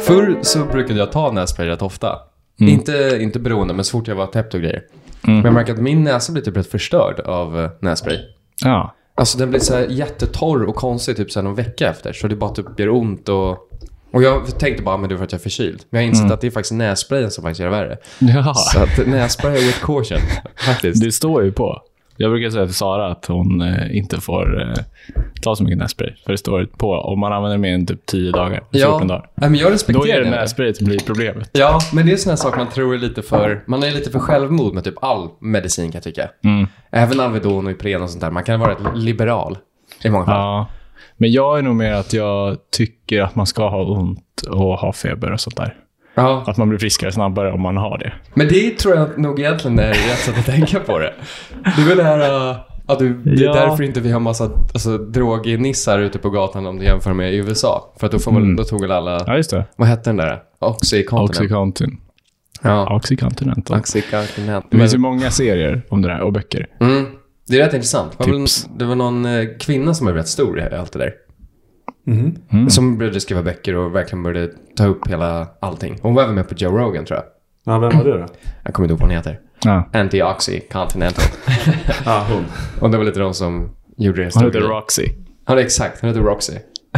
Förr så brukade jag ta nässpray rätt ofta. Mm. Inte, inte beroende, men så fort jag var täppt och grejer. Men jag märker att min näsa blir typ rätt förstörd av eh, nässpray. Ja. Alltså den blir så här jättetorr och konstig typ så här någon vecka efter. Så det bara typ gör ont och... Och jag tänkte bara, "Ah, men det är för att jag är förkyld. Men jag har insett Mm. att det är faktiskt nässprayen som faktiskt gör det värre. ja. Så att nässpray with caution, faktiskt. Det står ju på. Jag brukar säga till Sara att hon eh, inte får eh, ta så mycket nässpray. För det står på om man använder mer än typ 10 dagar, 14 ja, dagar. Nej, men jag respekterar Då är det det. nässprayet som blir problemet. Ja, men det är sån här sak man tror är lite för... Man är lite för självmod med typ all medicin kan jag tycka. Mm. Även Alvedon och Ipren och sånt där. Man kan vara rätt liberal i många fall. Ja. Men jag är nog mer att jag tycker att man ska ha ont och ha feber och sånt där. Ja. Att man blir friskare snabbare om man har det. Men det tror jag nog egentligen är rätt sätt att tänka på det. Det är väl det här... Uh, att du, det är Ja. därför inte vi har massa alltså, drognissar ute på gatan om du jämför med i USA. För att då, får man, då tog väl alla... Mm. Ja, just det. Vad hette den där? Oxycontin. Oxycontin. Ja. Oxycontinental. Oxycontin. Det finns ju många serier om det där och böcker. Mm. Det är rätt intressant. Det var, väl, Tips. det var någon eh, kvinna som blev rätt stor i allt det där. Mm-hmm. Som började skriva böcker och verkligen började ta upp hela allting. Hon var även med på Joe Rogan tror jag. Ja, vem var det då? Jag kommer inte ihåg vad hon heter. Ja. Antioxy Continental. Ja, hon. och det var lite de som gjorde det Hon heter grej. Roxy. Ja, exakt. Hon heter Roxy.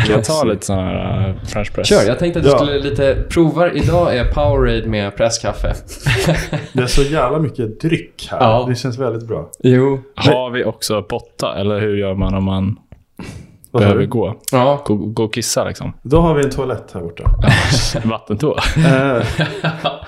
Jag tar lite sån här uh, french press. Kör, jag tänkte att du Ja. skulle lite prova. Idag är Powerade med presskaffe. Det är så jävla mycket dryck här. Ja. Det känns väldigt bra. jo. Har vi också potta, eller hur gör man om man Vad sa behöver du? gå? Ja. gå? Gå och kissa liksom. Då har vi en toalett här borta. Vattentoa. Eh,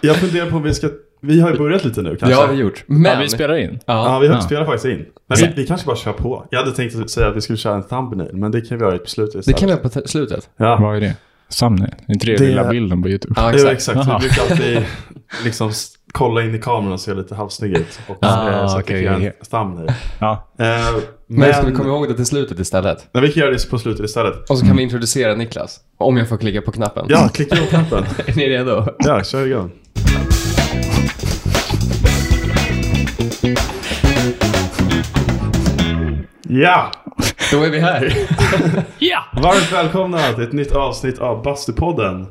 jag funderar på om vi ska... Vi har ju börjat lite nu Det kanske. har vi gjort. Men... Ja, vi spelar in. Ja, vi har Ja. spelar faktiskt in. Men vi, vi kanske bara kör på. Jag hade tänkt säga att vi skulle köra en thumbnail, men det kan vi göra i slutet Det kan vi ha på t- slutet. Ja, Vad är det? Thumbnail? Inte det, Det- lilla bilden på YouTube? Ja, jo, exakt. exakt. Jaha. Vi brukar alltid liksom s- kolla in i kameran och se lite halvsnygg ut. Och, Ah, eh, så att okej, vi kan göra okej. en thumbnail. Ja. Eh, men Men ska vi komma ihåg det till slutet istället? nej, vi kan göra det på slutet istället. Och så kan vi introducera Niklas. Om jag får klicka på knappen. Ja, klicka på knappen. Är ni redo? Ja, kör igång. Ja! Då är vi här. ja! Varmt välkomna till ett nytt avsnitt av Bastupodden.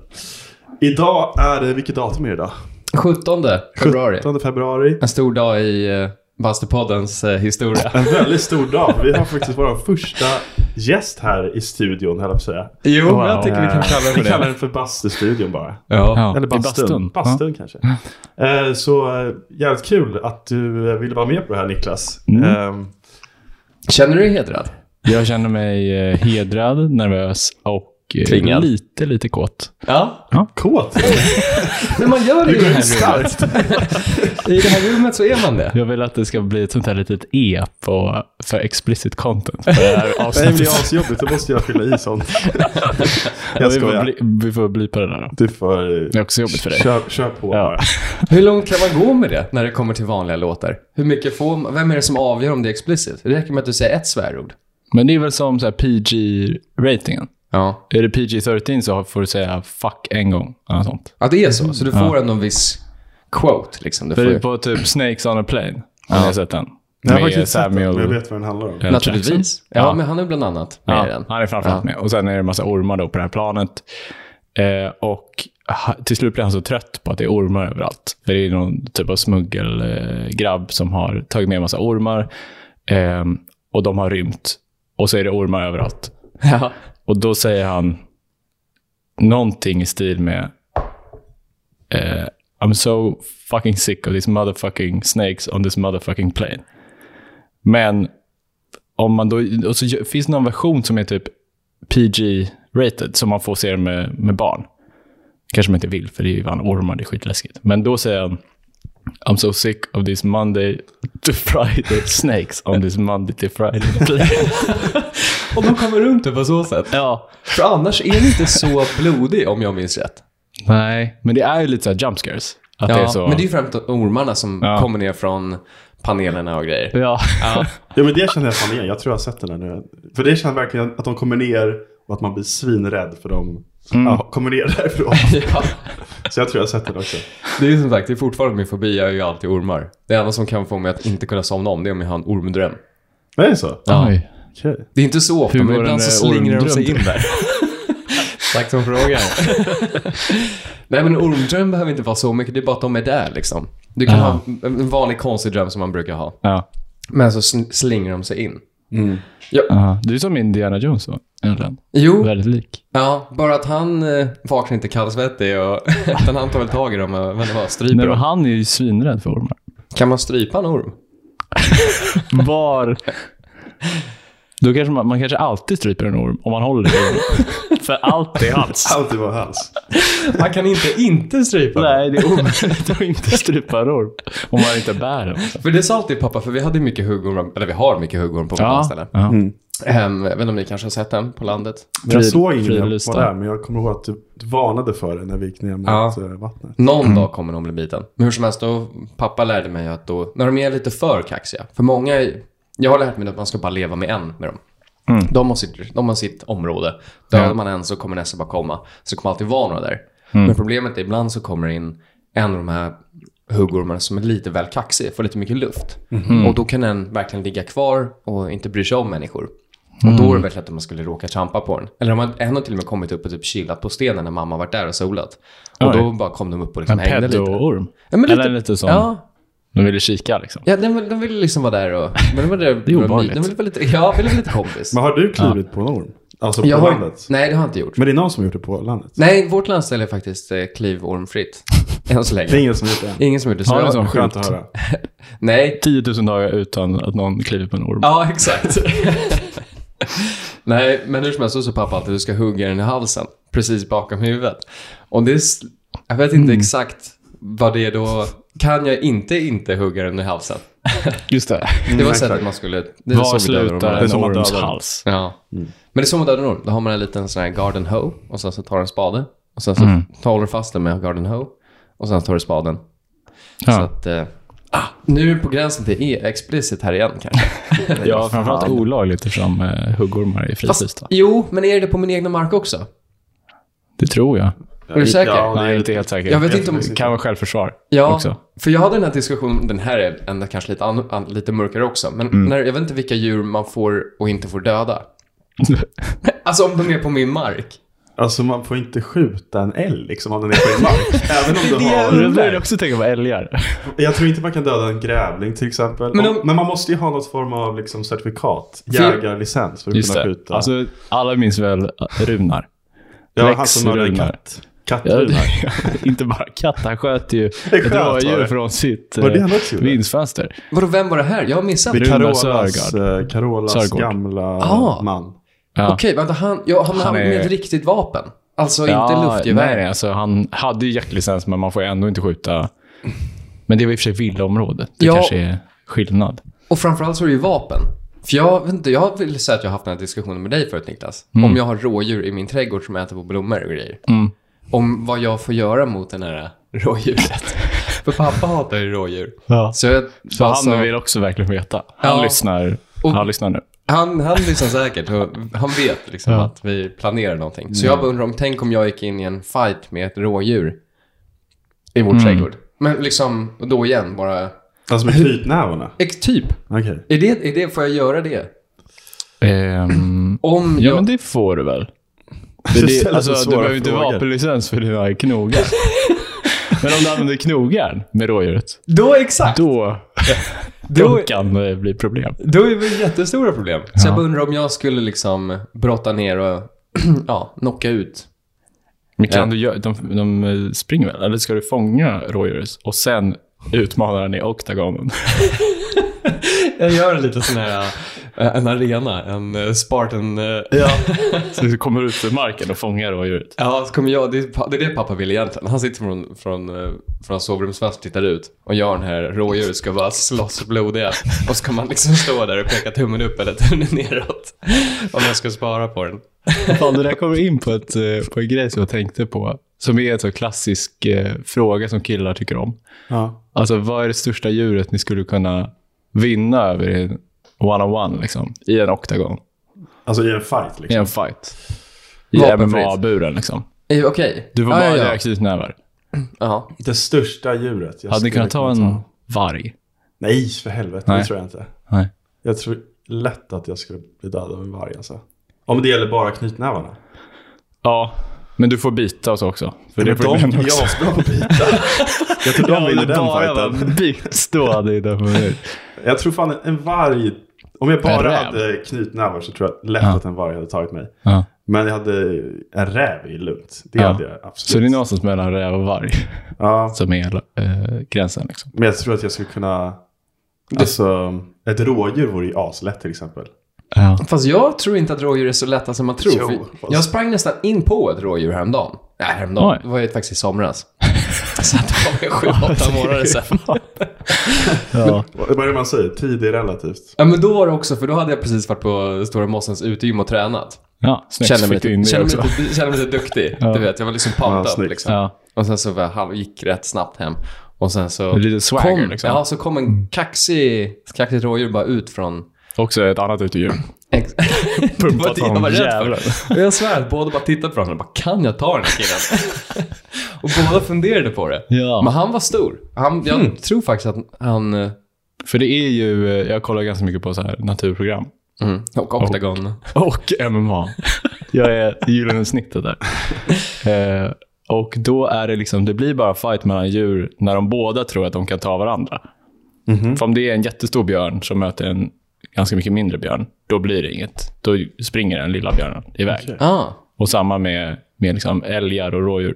Idag är det, vilket datum är det idag? 17 februari. 17 februari. En stor dag i eh, Bastupoddens eh, historia. En väldigt stor dag. för Vi har faktiskt vår första gäst här i studion, höll jag på att säga. Jo, Wow. jag tycker vi kan kalla den Vi för kallar det. den för Bastustudion bara. Ja. Eller I bastun. bastun. Bastun kanske. Eh, så eh, jävligt kul att du eh, ville vara med på det här Niklas. Mm. Eh, Känner du dig hedrad? Jag känner mig eh, hedrad, nervös och eh, Tvingad. lite, lite kåt. Ja. kåt. Men man gör det, i det här rummet. Starkt. I det här rummet så är man det. Jag vill att det ska bli ett sånt här litet E på, för explicit content. För det här Nej, men det avsnittet. är asjobbigt. Då måste jag fylla i sånt. Ja, jag vi, får skojar. bli, vi får bli på det där. då. Du får... eh, Det är också jobbigt för dig. Kör, kör på Ja. bara. Hur långt kan man gå med det när det kommer till vanliga låtar? Hur mycket får man? Vem är det som avgör om det är explicit? Det räcker med att du säger ett svärord. Men det är väl som så här PG-ratingen. Ja. Är det PG-13 så får du säga fuck en gång. Eller sånt. Mm-hmm. Ja, det är så. Så du får ändå en viss quote, liksom. Du För får det är ju... på typ Snakes on a plane. Har ni sett den? Jag har faktiskt inte sett den, men jag vet vad den handlar om. L. Jackson. Naturligtvis. Ja, men han är bland annat med i Ja, den. han är framförallt med. Och sen är det en massa ormar då på det här planet. Eh, och ha- till slut blir han så trött på att det är ormar överallt. För det är någon typ av smuggelgrabb eh, grabb som har tagit med en massa ormar. Eh, och de har rymt. Och så är det ormar överallt. Ja. Och då säger han någonting i stil med eh, I'm so fucking sick of these motherfucking snakes on this motherfucking plane. Men om man då, och så gö- finns det någon version som är typ PG-rated som man får se med, med barn. Kanske man inte vill, för det är ju fan ormar, det är skitläskigt. Men då säger han I'm so sick of these Monday to Friday snakes on this Monday to Friday plane. Om man kommer runt det på så sätt. ja. För annars är det inte så blodig om jag minns rätt. Nej, men det är ju lite så här jump scares. Att det är så. Men det är ju främst ormarna som Ja. kommer ner från panelerna och grejer. ja. Ja men det känner jag fan igen. Jag tror jag har sett den här nu. För det känns verkligen att de kommer ner och att man blir svinrädd för de Mm. ja, kommer ner därifrån. Ja. Så jag tror jag har sett den också. Det är ju som sagt, det är fortfarande min fobi, jag är ju alltid ormar. Det enda som kan få mig att inte kunna somna om det är om jag har en ormdröm. Men är det så? Ja. Oj. Okej. Det är inte så ofta, Hur men går ibland den, så eh, slingrar de sig in ormdröm där. Tack som frågar. Nej, men ormdröm behöver inte vara så mycket. Det är bara att de är där liksom. Du kan Ja. ha en- en vanlig konstig dröm som man brukar ha. Ja. Men så sl- slingrar de sig in. Ja. Du är som Indiana Jones va? Egentligen. Jo, Oh. Väldigt lik. ja, bara att han eh, vaknar inte kallsvettig. Och, utan han tar väl tag i dem och vad det var, stryper Nej, men dem. han är ju svinrädd för ormar. Kan man strypa en orm? Var? Då kanske man, man kanske alltid stryper en orm om man håller i orm. för allt är hals. Allt i vår hals. Man kan inte inte strypa den. Nej, det är omöjligt att inte strypa en orm. Om man inte bär den. För det sa alltid pappa, för vi hade mycket huggorm, eller vi har mycket huggorm på våra ställen. ja. Ehm, jag vet inte om ni kanske har sett den på landet? Men jag Frid- såg ingen när jag fridlysta. var där, men jag kommer ihåg att du du varnade för det när vi gick ner mot Ja. eh, vattnet. Någon Mm. dag kommer de bli biten. Men hur som helst, då, pappa lärde mig att då, när de är lite för kaxiga, för många, är- jag har lärt mig att man ska bara leva med en med dem. Mm. De, har sitt, de har sitt område. Dödar man en så kommer nästa bara komma. Så det kommer alltid vara några där. Mm. Men problemet är ibland så kommer det in en av de här huggormarna som är lite väl kaxig, får lite mycket luft. Mm. Och då kan den verkligen ligga kvar och inte bry sig om människor. Och Mm. då är det väldigt lätt att man skulle råka trampa på den. Eller de har, en har till och med kommit upp och typ chillat på stenen när mamma varit där och solat. Och Oj. då bara kom de upp och En liksom hängde lite. pedo-orm. Ja, men lite- Eller lite som Ja, de ville kika liksom. ja de, de ville liksom vara där och... Men de var där Det är obehagligt. De ville vara lite, ja, ville vara lite kompis. Men har du klivit på en orm? Alltså på Jag har- landet? Nej, det har jag inte gjort. Men det är någon som har gjort det på landet? Nej, vårt landställe är faktiskt eh, klivormfritt. Än så Det är länge. ingen som har gjort det än. Ingen som gjort det. Så Har ni jag, sån Skönt skylt? att höra. nej. 10 000 dagar utan att någon kliver på en orm. Ja, exakt. nej, men hur som helst så sa pappa alltid du ska hugga den i halsen. Precis bakom huvudet. Och det är, s- Jag vet inte exakt vad det är då. Kan jag inte inte hugga den i halsen? Just det. Det var exakt. sättet man skulle... Det är så Var vi dödar de här. slutar Det är en som att orms döda den. hals? Ja. Men det är som att döda en orm. Då har man en liten sån här garden hoe och sen så tar du en spade. Och sen så tar håller du fast den med garden hoe. Och sen tar du spaden. Så Ja. att... Eh, ah, nu är vi på gränsen till e- explicit här igen kanske. Ja, framförallt olagligt eftersom eh, huggormar är fridlysta. jo, men är det på min egna mark också? Det tror jag. Är du säker? Ja, Nej, det jag är är inte helt säker. Jag vet inte om... Det kan vara självförsvar Ja, också. för jag hade den här diskussionen, den här är ändå kanske lite, an, an, lite mörkare också, men Mm. när, jag vet inte vilka djur man får och inte får döda. Alltså om de är på min mark. Alltså man får inte skjuta en älg liksom om den är på din mark. Även om du har... Jag började också tänka på älgar. Jag tror inte man kan döda en grävling till exempel. Men Men, om- man måste ju ha något form av liksom, certifikat. Jägarlicens för att Just kunna det. skjuta. Alltså, alla minns väl eh, Runar? ja, han Lex som mördade en Runar. Ja, katt. Kattrunar. det- inte bara katt, han sköt ju sköt, ett var rådjur det. från sitt Var det eh, han också gjorde? vindsfönster. Vadå, vem var det här? Jag har missat. Det är Runar Carolas, Sörgård. eh, Carolas Sörgård. gamla Ah. man. Ja. Okej, vänta, han, ja, han, Han han är- med ett riktigt vapen. Alltså inte Ja, luftgevär. Nej, alltså, han hade ju jaktlicens, men man får ju ändå inte skjuta. Men det var i och för sig villaområdet. Det Ja. kanske är skillnad. Och framförallt så är det ju vapen. För jag, vet inte, jag vill säga att jag har haft den här diskussionen med dig förut Niklas. Om jag har rådjur i min trädgård som äter på blommor och grejer. Om vad jag får göra mot den här rådjuret. För pappa hatar ju rådjur. Så, jag, Så alltså, han vill också verkligen veta. Han Ja. lyssnar. Och- Han lyssnar nu. han, han lyssnar säkert. och Han vet liksom att vi planerar någonting. Så jag bara undrar om, tänk om jag gick in i en fight med ett rådjur i vår trädgård. Men liksom, och då igen, bara, Alltså med knytnävarna. ex- typ. Okej. Är det, är det, får jag göra det? Ehm, Om ja, jag... men det får du väl? Du Det, ställer alltså, så du svåra behöver inte frågor. vapenlicens för dina knogar. men om du använder knogar med rådjuret, Då exakt! då, Då- då kan det bli problem. Då är vi jättestora problem. Så jag bara undrar om jag skulle liksom brotta ner och ja, knocka ut. Men kan du göra, de, de eh, springer väl? Eller ska du fånga rådjuret och sen utmana den i oktagonen? Jag gör en liten sån här, eh, en arena, en eh, Spartan... Ja, så du kommer ut ur marken och fångar rådjuret. ja så kommer jag, det, är pa- det är det pappa vill egentligen. Han sitter från, från, eh, från sovrumsfönstret och tittar ut. Och jag och den här rådjuret ska bara slåss blodiga. Och så kan man liksom stå där och peka tummen upp eller tummen neråt. Om jag ska spara på den. Fan, det där kommer in på, ett, eh, på en grej som jag tänkte på. Som är en så klassisk eh, fråga som killar tycker om. Ja. Alltså, vad är det största djuret ni skulle kunna vinna över i en one-on-one, liksom? I en oktagon? Alltså i en fight I liksom. en fight? I Vapenfritt. MMA-buren, liksom? Eh, Okej. Du får Ja, bara ja, ja, ja. knytnävar. Ja. Det största djuret. jag liksom Hade ni skulle kunnat ta kunna en varg? Nej, för helvete. Nej. Det tror jag inte. Nej. Jag tror lätt att jag skulle bli dödad av en varg alltså. Om det gäller bara knytnävarna. Ja. Men du får bita och så också. För Men det får du de med är också. asbra på att bita. Jag tror de vinner den fighten. Bitstående i den fighten. Jag tror fan en varg. Om jag bara räv. hade knytnävar så tror jag lätt Ja. att en varg hade tagit mig. Ja. Men jag hade en räv i lugnt. Det Ja. hade jag absolut. Så det är någonstans mellan räv och varg ja, som är eh, gränsen. Liksom. men jag tror att jag skulle kunna... Alltså, ett rådjur vore ju aslätt till exempel. Ja. Fast jag tror inte att rådjur är så lätta som man tror. Jo, för fast- jag sprang nästan in på ett rådjur häromdagen. Nej, häromdagen. Oj. Det var ju faktiskt i somras. så att det var väl sju, åtta månader sedan. Ja. Vad vad är det man säger? Tid är relativt. Ja, men då var det också, för då hade jag precis varit på Stora Mossens utegym och tränat. ja, snyggt. Kände mig, Fick du in lite, det kände, mig också. lite, kände mig lite duktig. Du vet, jag var liksom Ja, pumped up. snyggt. Liksom. Ja. Och sen så var jag halv, gick rätt snabbt hem. Och sen så... Lite swagger, kom, liksom. Ja, så kom en kaxig, kaxigt rådjur bara ut från... Också ett annat utedjur. Ex- det var Pumpat det jag honom var rädd jävlar. för. Och jag svär att båda bara tittade på varandra och bara, kan jag ta den här killen? och båda funderade på det. Ja. Men han var stor. Han, jag tror faktiskt att han... eh, För det är ju, eh, jag kollar ganska mycket på så här naturprogram. Mm, och Octagon. Och MMA. Jag är gyllene snittet där. Eh, och då är det liksom, det blir bara fight mellan djur när de båda tror att de kan ta varandra. Mhm. För om det är en jättestor björn som möter en ganska mycket mindre björn, då blir det inget. Då springer den lilla björnen iväg. Ah, Och samma med, med liksom älgar och rådjur.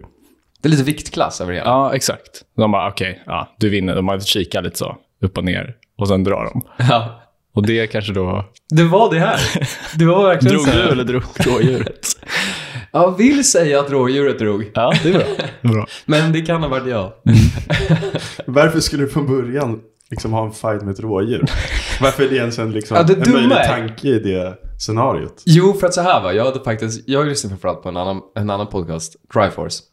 det är lite viktklass över det hela. Ja, exakt. De bara, okej, ja, du vinner. De har kikat lite så, upp och ner. Och sen drar de. Ja. Och det kanske då... Det var det här. Det var verkligen Drog så här. du eller drog rådjuret? Jag vill säga att rådjuret drog. ja, det är bra. Det är bra. Men det kan ha varit jag. Varför skulle du från början liksom ha en fight med ett rådjur? Varför är det ens en, liksom, Ja, det en dumma möjlig är- tanke i det scenariot? Jo, för att så här va. Jag hade faktiskt, jag lyssnade framförallt på en annan, en annan podcast, Triforce.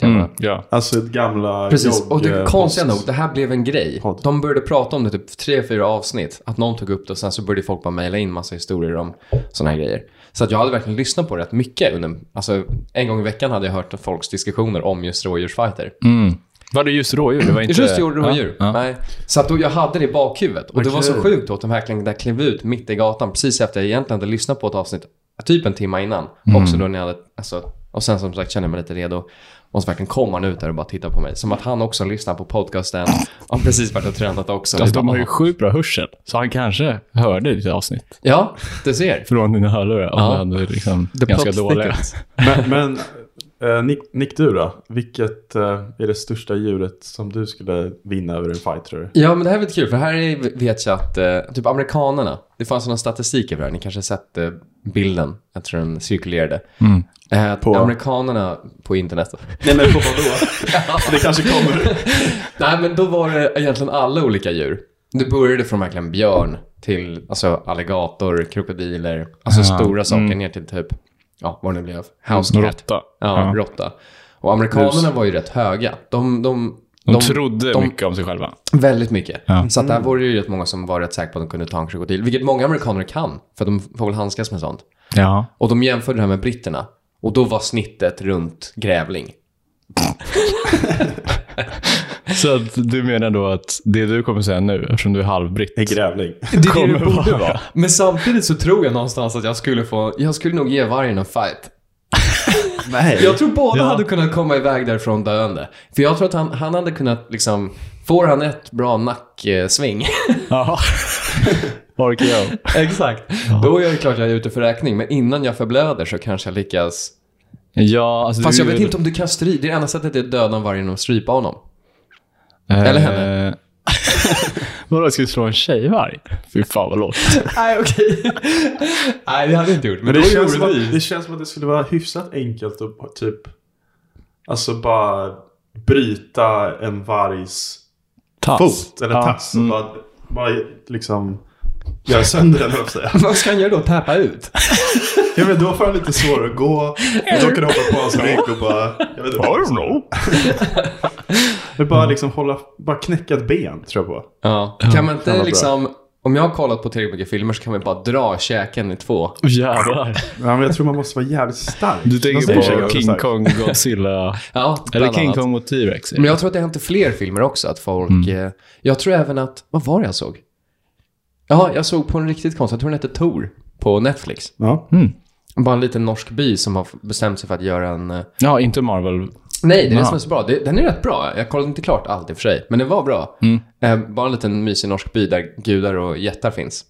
Mm. Ja. Alltså ett gamla Precis, jogg- och det konstiga nog, eh, post. det här blev en grej. Podd. De började prata om det typ tre, fyra avsnitt. Att någon tog upp det och sen så började folk bara mejla in massa historier om sådana här grejer. Så att jag hade verkligen lyssnat på rätt mycket. Under, alltså, en gång i veckan hade jag hört folks diskussioner om just rådjursfighter. Var det just rådjur? Det var inte... Just gjorde rådjur. Ja, ja. Eh, Nej. Så att då, jag hade det i bakhuvudet. Och det var så kul. sjukt då att de verkligen där klev ut mitt i gatan precis efter jag egentligen hade lyssnat på ett avsnitt, typ en timme innan. Mm. Också då när jag hade, alltså, och sen som sagt kände jag mig lite redo. Och så verkligen kom han ut där och bara tittade på mig. Som att han också lyssnar på podcasten. Har precis varit och tränat också. Alltså, de har ju sjukt bra hörsel, så han kanske hörde ditt avsnitt Ja, du ser. från dina hörlurar. Om Ja. ja. han hade liksom The ganska pop dåliga. stickers. Men, men eh, Nick, Nick, du då? Vilket eh, är det största djuret som du skulle vinna över en fight tror du? Ja, men det här är lite kul, för här är, vet jag att eh, typ amerikanerna, det fanns sådana statistik över det här, ni kanske har sett eh, bilden, jag tror den cirkulerade. Eh, på? Amerikanerna på internet. Nej men på vadå? det kanske kommer. Nej, men då var det egentligen alla olika djur. Det började från verkligen björn till alltså, alligator, krokodiler, alltså stora saker ner till typ, ja, vad det nu blev, house cat. Råtta. Ja, Ja. råtta. Och amerikanerna var ju rätt höga. De, de, De, trodde de- mycket om sig själva. Väldigt mycket. Ja. Så att där var det ju rätt många som var rätt säkra på att de kunde ta en krokodil. Vilket många amerikaner kan, för de får väl handskas med sånt. Ja. Och de jämförde det här med britterna. Och då var snittet runt grävling. Så att du menar då att det du kommer säga nu, eftersom du är halvbritt, En grävling. Det är Kommer det det borde vara. vara. Men samtidigt så tror jag någonstans att jag skulle få, jag skulle nog ge vargen en fight. Nej. Jag tror båda Ja. hade kunnat komma iväg därifrån döende. För jag tror att han, han hade kunnat liksom, får han ett bra nacksving. Ja. Orkar jag. Exakt. Då är det klart jag är ute för räkning, men innan jag förblöder så kanske jag lyckas Ja, alltså Fast du jag är vet ju- inte om du kan strypa. Det enda sättet är att döda en varg genom att strypa honom. Eller henne. Eh, Vadå, ska du slå en tjejvarg? Fy fan vad lågt. Nej, okej. Nej, det hade jag inte gjort. Men Men det, då är känns som det att, det känns som att det skulle vara hyfsat enkelt att typ Alltså bara bryta en vargs Tass. fot eller Ja. tass. Och bara, bara liksom göra sönder den höll jag på att säga. Vad ska han göra då? Täpa ut? Ja men då får han lite svårare att gå. Och då kan du hoppa på hans rygg och bara... Jag vet inte. Men bara liksom hålla... Bara knäcka ett ben tror jag på. Ja. Kan man fan inte vad liksom... Om jag har kollat på tillräckligt mycket filmer så kan man ju bara dra käken i två. Åh, Jävlar. Ja, men jag tror man måste vara jävligt stark. Du Man måste vara tänker på jävligt King stark. Kong, Godzilla. Ja, Eller bland King annat. Kong mot T-Rex. Men jag tror att det har hänt i fler filmer också. Att folk... Eh, jag tror även att... Vad var det jag såg? Ja, jag såg på en riktigt konstig. Jag tror den hette Tor. På Netflix. Ja. Bara en liten norsk by som har bestämt sig för att göra en... eh, Ja, inte Marvel. Nej, det är Aha. det som är så bra. Det, den är rätt bra. Jag kollade inte klart allt i och för sig, men den var bra. Mm. Eh, bara en liten mysig norsk by där gudar och jättar finns.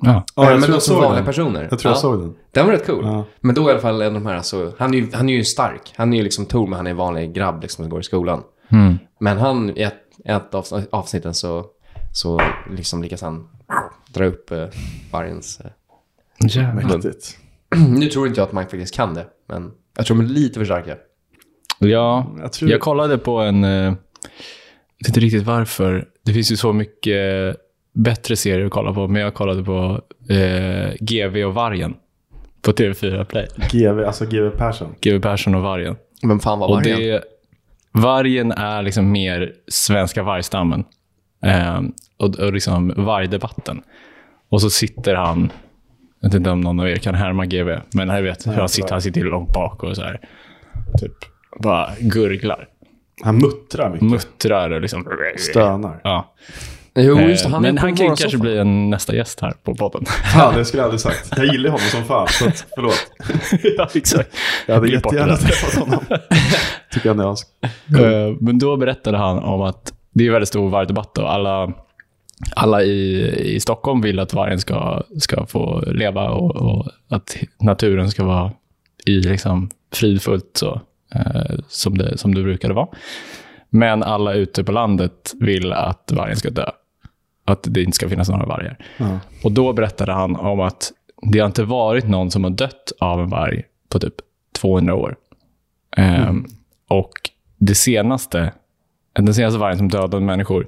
Ja. Eh, Ja, jag men tror jag också såg vanliga den. personer. Jag tror jag Ja. såg den. Den var rätt cool. Ja. Men då i alla fall en av de här, alltså, han, är ju, han är ju stark. Han är ju liksom Tor, men han är en vanlig grabb liksom, som går i skolan. Mm. Men han, i ett, ett av avsnitten så, så liksom lyckas han dra upp eh, vargens... Eh. Jävlar. Mäktigt. nu tror inte jag att man faktiskt kan det, men jag tror de är lite för starka. Ja, Jag jag, tror- kollade på en... eh, Jag vet inte riktigt varför. Det finns ju så mycket eh, bättre serier att kolla på, men jag kollade på eh, GV och Vargen på TV4 Play. GV, alltså GV Persson. GV Persson och Vargen. Men fan vad Och vargen. det, vargen är liksom mer svenska vargstammen. Eh, och, och liksom vargdebatten. Och så sitter han, jag vet inte om någon av er kan härma GV, men jag vet hur han sitter. Han sitter långt bak och så här. Typ bara gurglar. Typ. Han muttrar mycket. Muttrar och liksom... Stönar. Ja. Eh, Jo, just Eh, det, han är men på han kan ju kanske morgonsoffan. bli en nästa gäst här på podden. Fan, det skulle jag aldrig sagt. Jag gillar honom som fan, så att, förlåt. ja, exakt. Jag hade Klipp bort det jättegärna där. träffat honom. Tycker alltså. han är as... Eh, Men då berättade han om att det är en väldigt stor vargdebatt och alla, alla i, i Stockholm vill att vargen ska, ska få leva och, och att naturen ska vara i liksom fridfullt så, eh, som, det, som det brukade vara. Men alla ute på landet vill att vargen ska dö. Att det inte ska finnas några vargar. Ja. Och då berättade han om att det har inte varit någon som har dött av en varg på typ 200 år. Ehm, Och det senaste, den senaste vargen som dödade människor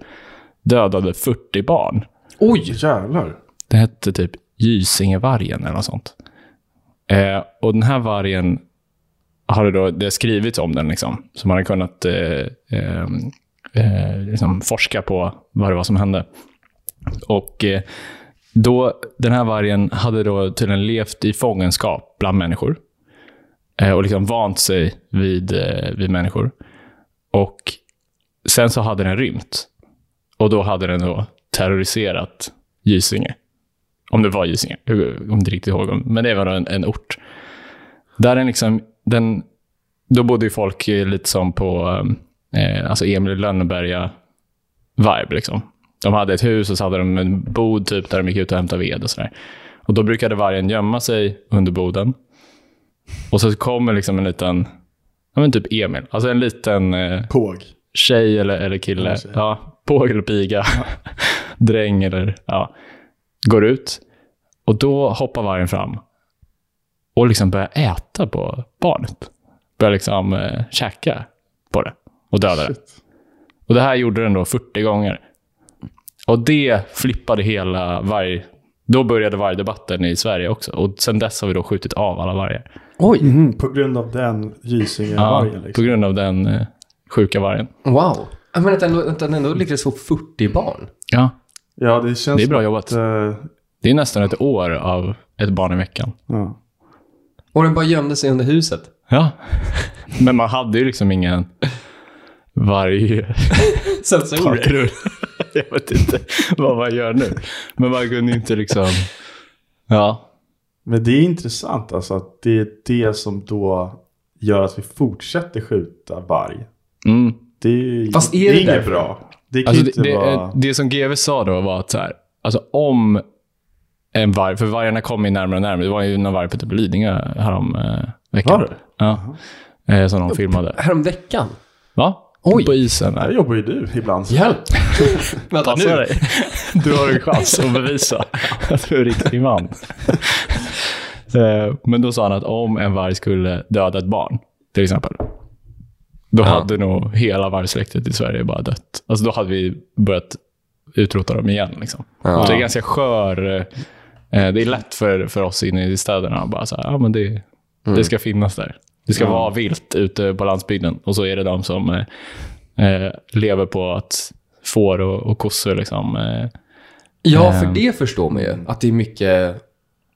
dödade 40 barn. Oj! Jävlar. Det hette typ Gysingevargen eller något sånt. Eh, och den här vargen har det, då, det har skrivits om den, liksom. så man har kunnat eh, eh, eh, liksom forska på vad det var som hände. Och eh, då, den här vargen hade då tydligen levt i fångenskap bland människor. Eh, och liksom vant sig vid, eh, vid människor. Och sen så hade den rymt. Och då hade den då terroriserat Gysinge. Om det var Gysinge. Jag kommer inte riktigt ihåg. om- Men det var då en, en ort. Där den liksom, den, då bodde ju folk eh, lite som på eh, alltså Emil i Lönneberga-vibe. Liksom. De hade ett hus och så hade de en bod typ, där de gick ut och hämtade ved och sådär. Och då brukade vargen gömma sig under boden. Och så kommer liksom en liten, ja men typ Emil, alltså en liten eh, Påg. tjej eller, eller kille, tjej. ja, påg eller piga, dräng eller ja, går ut. Och då hoppar vargen fram och liksom börjar äta på barnet. Börjar liksom eh, käka på det och döda det. Shit. Och det här gjorde den då 40 gånger. Och det flippade hela varg... Då började vargdebatten i Sverige också. Och sen dess har vi då skjutit av alla vargar. Oj! Mm, på grund av den Gysingevargen. Ja, På liksom. grund av den eh, sjuka vargen. Wow! Ja, Men att den ändå, att den ändå lyckades få 40 barn. Ja, Ja, det känns det är bra som jobbat. att, eh, Det är nästan ett år av ett barn i veckan. ja. Och den bara gömde sig under huset. Ja. Men man hade ju liksom ingen varg... Sensorer. Jag vet inte vad man gör nu. Men man kunde inte liksom... Ja. Men det är intressant alltså att det är det som då gör att vi fortsätter skjuta varg. Mm. Det är, Fast är det inget därför? bra. Det kan Alltså ju inte det, det, vara... det som GV sa då var att så här, alltså om en varg, för vargarna kom ju närmare och närmare. Det var ju någon varg på typ Lidingö härom eh, veckan. Var det? Ja. Eh, som de filmade. Häromveckan. Va? Oj. På isen. Där Där. jobbar ju du ibland. Hjälp! Vänta Passa nu. dig. Du har en chans att bevisa att du är en riktig man. Eh, Men då sa han att om en varg skulle döda ett barn, till exempel, då hade nog hela vargsläktet i Sverige bara dött. Alltså då hade vi börjat utrota dem igen. Liksom. Ja. Så det är ganska skör... eh, Det är lätt för, för oss inne i städerna att bara så här, ja, men det, det ska finnas där. Det ska vara vilt ute på landsbygden. Och så är det de som eh, eh, lever på att får och, och kossor liksom, eh, Ja, för det förstår man ju. Att det är mycket,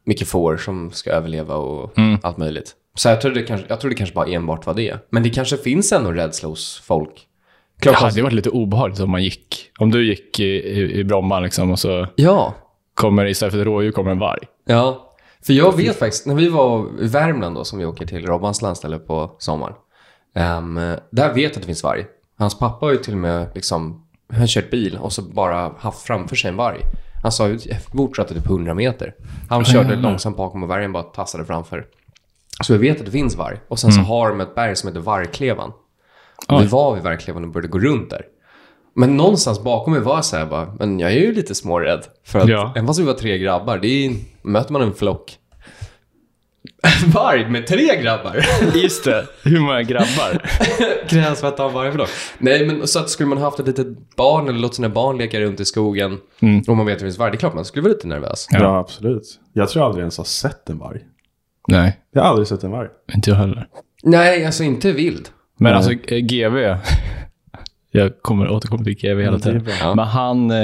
mycket får som ska överleva och allt möjligt. Så jag trodde, det kanske, jag trodde det kanske bara enbart var det. Men det kanske finns ändå rädsla hos folk. Det Klart, ja, hade varit lite obehagligt om man gick. Om du gick i, i, i Bromma liksom, och så ja, kommer det, istället för ett rådjur kommer en varg. ja. För jag vet faktiskt, när vi var i Värmland då, som vi åker till Robbans landställe på sommaren. ehm, där vet jag att det finns varg. Hans pappa har ju till och med liksom, han kört bil och så bara haft framför sig en varg. Han sa ju, fortsatte typ 100 meter. Han körde långsamt bakom och vargen bara tassade framför. Så vi Alltså, vet att det finns varg. Och sen så har de ett berg som heter Vargklevan. Och vi var vid Vargklevan och började gå runt där. Men någonstans bakom mig var jag så här bara, men jag är ju lite smårädd. För att Ja. även fast vi var tre grabbar, det är, möter man en flock. Varg med tre grabbar? Just det, hur många grabbar? Krävs för att ta en varg för flock? Nej, men så att skulle man haft ett litet barn eller låtit sina barn leka runt i skogen och man vet att det finns varg, det är klart man skulle vara lite nervös. Ja. Ja, absolut. Jag tror aldrig ens har sett en varg. Nej, Jag har aldrig sett en varg. inte jag heller. Nej, alltså inte vild. Men alltså eh, GV jag kommer återkomma till GV hela tiden. Ja. Men han eh,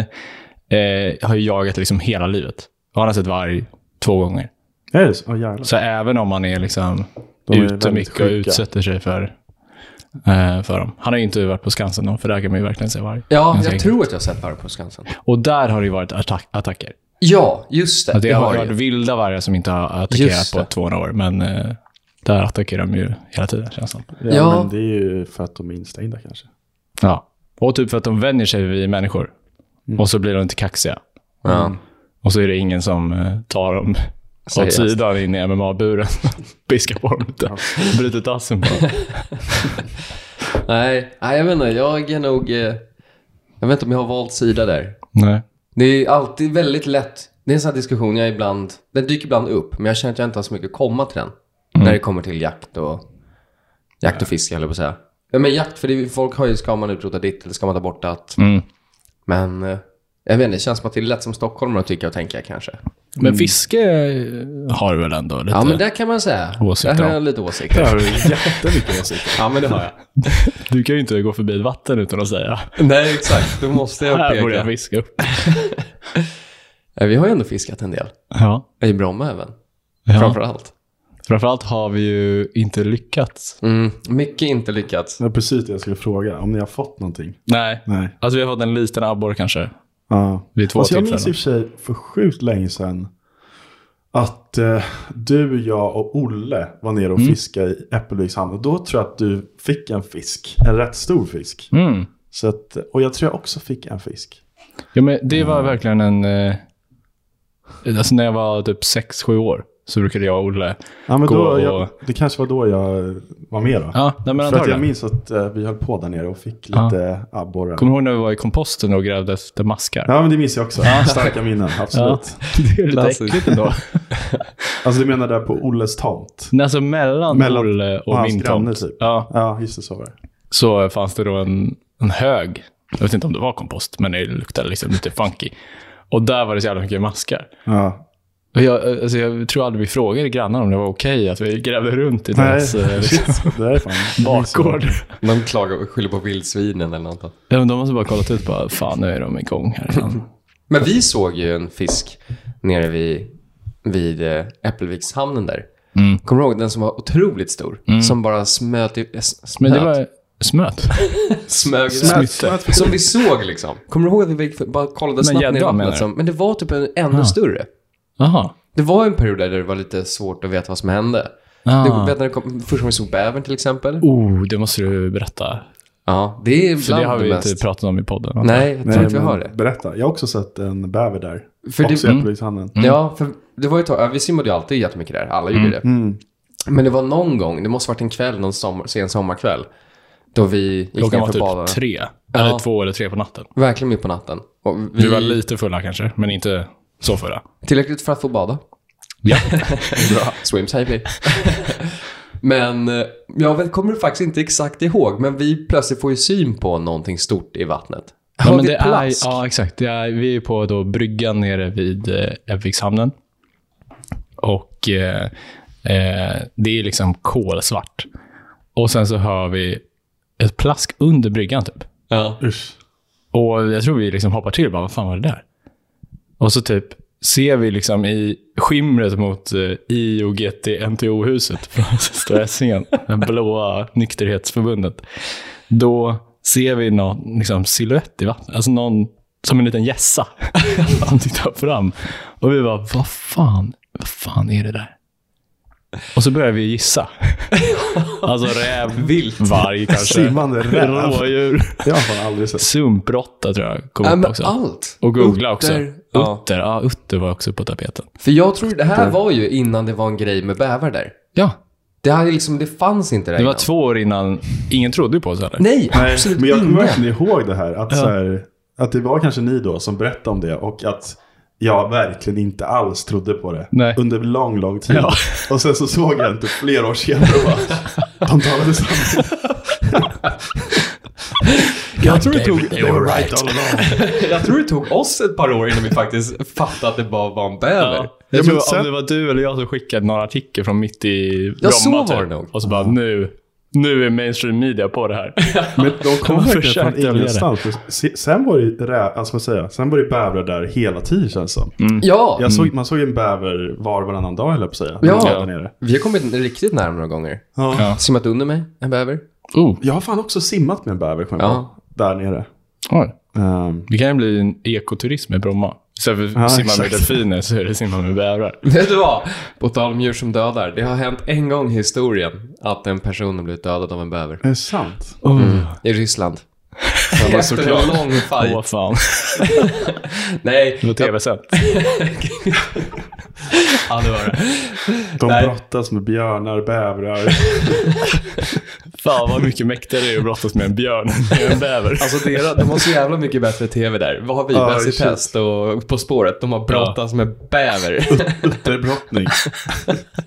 eh, har ju jagat liksom hela livet. Och han har sett varg två gånger. Är det så? Åh, jävlar. Så även om man är liksom De är ute väldigt mycket och sjuka. utsätter sig för, eh, för dem. Han har ju inte varit på Skansen då, för där kan man ju verkligen se varg. Ja, Alltså, jag, Ganska enkelt. tror att jag har sett varg på Skansen. Och där har det ju varit attack attacker. Ja, just det. Att det det har jag. varit vilda vargar som inte har attackerat Just på det. 200 år, men eh, där attackerar de ju hela tiden känns det som. Ja, Ja. men det är ju för att de är instängda kanske. Ja. Och typ för att de vänjer sig vid människor. Och så blir de inte kaxiga. Ja. Och så är det ingen som eh, tar dem åt Seriöst. sidan in i MMA-buren. Piskar på dem lite. Bryter tassen på dem. Nej, nej, jag vet inte. Jag är nog... eh, Jag vet inte om jag har valt sida där. Nej. Det är alltid väldigt lätt. Det är en sån här diskussion jag ibland... Den dyker ibland upp, men jag känner att jag inte har så mycket att komma till den. När det kommer till jakt och... Jakt och fiske, höll jag på att säga. Ja, men jakt, för det, är- folk har ju... Ska man utrota ditt eller ska man ta bort att... Mm. Men... eh, Jag vet inte, det känns som att det är lätt som stockholmare att tycka och tänka kanske. Men fiske har du väl ändå lite? Ja, men där kan man säga. Åsikter Där har om. jag lite Där åsikter. har du jättemycket åsikter. Ja, men det har jag. Du kan ju inte gå förbi ett vatten utan att säga Nej, exakt. Då måste jag här borde jag peka. fiska upp. Nej, Vi har ju ändå fiskat en del. Ja. I Bromma även. ja. Framför allt. Framförallt har vi ju inte lyckats. Mm, mycket inte lyckats. Det var precis det jag skulle fråga. Om ni har fått någonting? Nej. Nej. Alltså vi har fått en liten abborre kanske. Ja. Vid två alltså, jag minns i tillfällen. och för sig för sjukt länge sedan att eh, du, jag och Olle var nere och fiskade i Äppelviks hamn. Och då tror jag att du fick en fisk. En rätt stor fisk. Mm. Så att, och jag tror jag också fick en fisk. Ja, men det var verkligen en... Eh, alltså när jag var typ 6-7 år så brukade jag och Olle Ja, men gå då, och... jag, det kanske var då jag var med då. Ja, nej, men För att jag antagligen. minns att eh, vi höll på där nere och fick Ja. lite abborre. Kommer du ihåg när vi var i komposten och grävde efter maskar? Ja, men det minns jag också. Starka minnen, absolut. det är lite Klassiskt. äckligt ändå. Alltså du menar där på Olles tomt? Men alltså mellan, Mellan- Olle och hans min granne, tomt typ. ja, Ja, just det, så var det. så fanns det då en, en hög. Jag vet inte om det var kompost, men det luktade liksom lite funky. Och där var det så jävla mycket maskar. Ja. Och jag, alltså jag tror aldrig vi frågade grannarna om det var okej att vi grävde runt i Nej, deras eh, liksom, shit, det där är fan... bakgård. De klagar och skyller på vildsvinen eller något. Ja, men de måste bara kollat ut bara, fan nu är de igång här igen. Men vi såg ju en fisk nere vid, vid eh, Äppelvikshamnen där. Mm. Kommer du ihåg den som var otroligt stor? Som bara smöt, i, eh, s- Men smöt, det var smöt. smög Smöt. smöt. Smitte. Som vi såg liksom. Kommer du ihåg att vi gick för- bara kollade Men snabbt ner i gädda, menar vattnet? du? Som, men det var typ en ännu större. Jaha. Det var en period där det var lite svårt att veta vad som hände. Ah. Du vet när det kom, första gången vi såg bävern till exempel. Oh, det måste du berätta. Ja, det är För bland det har det, vi mest. inte pratat om i podden. Nej, jag tror Nej, inte vi men har det. Berätta, jag har också sett en bäver där. För det- också i Mm. Äppelvikshamnen. Ja, för det var ju ett tag, ja, vi simmade ju alltid jättemycket där. Alla gjorde det. Mm. Men det var någon gång, det måste varit en kväll, någon sommar, sen sommarkväll, då vi gick Klockan ner var för att bada. typ tre, eller två eller tre på natten. Verkligen mitt på natten. Och vi Vi var lite fulla kanske, men inte så fulla. tillräckligt för att få bada. Ja. Bra. Swim safely. men eh, jag vet, kommer faktiskt inte exakt ihåg, men vi plötsligt får ju syn på någonting stort i vattnet. Har ja, men vi det är, plask? ja, exakt. Det är, vi är på då bryggan nere vid eh, Äppvikshamnen. Och eh, eh, det är liksom kolsvart. Och sen så hör vi ett plask under bryggan typ. Ja. Usch. Och jag tror vi liksom hoppar till och bara, vad fan var det där? Och så typ ser vi liksom i skimret mot eh, IOGT-NTO-huset från Stora Essingen, det blåa nykterhetsförbundet. Då ser vi någon liksom, silhuett i vattnet, alltså någon som en liten gässa som tittar fram. Och vi bara, vad fan vad fan är det där? Och så börjar vi gissa. alltså räv, Vilt. varg kanske. Simmande räv. Rådjur. Jag har fan aldrig sett. Sumpråtta tror jag kom Ja, upp men också. allt. Och googla också. Utter, ja. Utter, ja, utter var också på tapeten. För jag tror det Mm. här var ju innan det var en grej med bävar där. Ja, Det, här, liksom, det fanns inte där det var innan. två år innan. Ingen trodde ju på oss heller. Nej, Nej, absolut men jag kommer ingen. verkligen ihåg det här. Att, så här. att det var kanske ni då som berättade om det och att jag verkligen inte alls trodde på det. Nej. Under lång, lång tid. Ja. Och sen så såg jag inte flera år senare och bara, de talade samtidigt. Jag tror det tog... They were right all along. Jag tror det tog oss ett par år innan vi faktiskt fattade att det bara var en bäver. Ja. Ja, Jag men tror sen- om det var du eller jag som skickade någon artikel från mitt i Bromma. typ. så var det nog. Och så bara nu, nu är mainstream media på det här. Men de kom De verkligen försökte från dölja det. ingenstans. För se- Sen var det ju rä- alltså, vad ska jag säga, sen var det ju bävrar där hela tiden känns det som. Mm. Ja, Jag såg, man såg ju en bäver var och varannan dag höll jag på att säga. Ja. Där nere. vi har kommit riktigt nära några gånger. Ja. Ja. Simmat under mig, en bäver. Oh, Jag har fan också simmat med en bäver kommer jag Ja. ihåg. Där nere. oj. Ehm, Det kan ju bli en ekoturism i Bromma. Istället för att Ja, simma med exakt. delfiner så är det simma med bävrar. Vet du vad? På tal om djur som dödar. Det har hänt en gång i historien att en person har blivit dödad av en bäver. är det sant? Mm. I Ryssland. Det var Efter en lång Åh, fight. vad fan. Nej. Det var tv-sänt. Ja, det var det. De Nej. brottas med björnar, bävrar. Fan vad mycket mäktigare det är att brottas med en björn än en bäver. Alltså deras, de har så jävla mycket bättre tv där. Vad har vi? Ja, Bäst i shit. test och På spåret. De har brottats med bäver. Utterbrottning.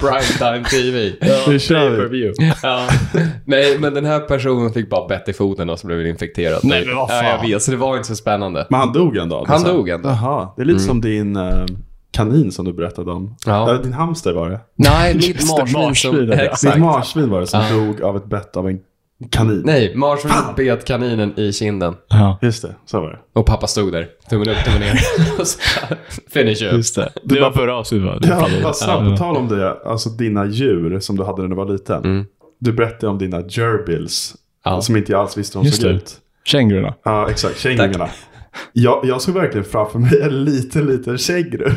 Primetime TV. Nu kör vi. Pay-per-view. Ja. Nej, men den här personen fick bara bett i foten och så blev den infekterad. Nej, men vad fan. Ja, jag vet. Så det var inte så spännande. Alltså, Men han dog ändå? Han dog ändå. Jaha, det är lite som din eh, kanin som du berättade om. Ja. Eller din hamster var det. Nej, mitt Just det, marsvin marsvin, som... ja. Exakt. Ditt marsvin var det som dog av ett bett av en kanin. Nej, marsvinet bet kaninen i kinden. Ja, Just det, så var det. Och pappa stod där, tummen upp, tummen ner. Och så Finish up. just det. Det var förra avsnittet va? Det Ja, faller- vad snabbt, på tal om det, alltså dina djur som du hade när du var liten. Du berättade om dina gerbils, Ja. som inte jag alls visste hur de Just såg det. ut. Kängurorna. Ja, exakt. Kängurorna. Jag, jag såg verkligen framför mig en liten, liten känguru.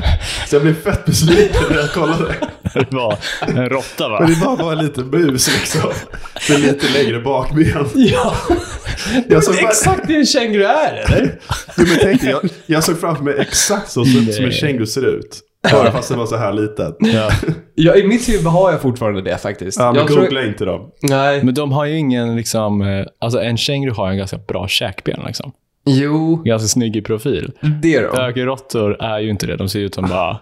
Så jag blev fett besviken när jag kollade. Det var en råtta va? Men det var bara en liten bus liksom. Med lite längre bakben. Ja, Jag såg, bara, exakt det en känguru är eller? jo, men tänk dig, jag, jag såg framför mig exakt så som, som en känguru ser ut. Bara fast den var så här liten. Ja. Ja, I mitt huvud har jag fortfarande det faktiskt. Ja, men jag googla inte dem. Nej. Men de har ju ingen liksom... eh, Alltså en känguru har en ganska bra käkben liksom. Jo, Ganska snygg i profil. det då. Ökenråttor är ju inte det. De ser ju ut som bara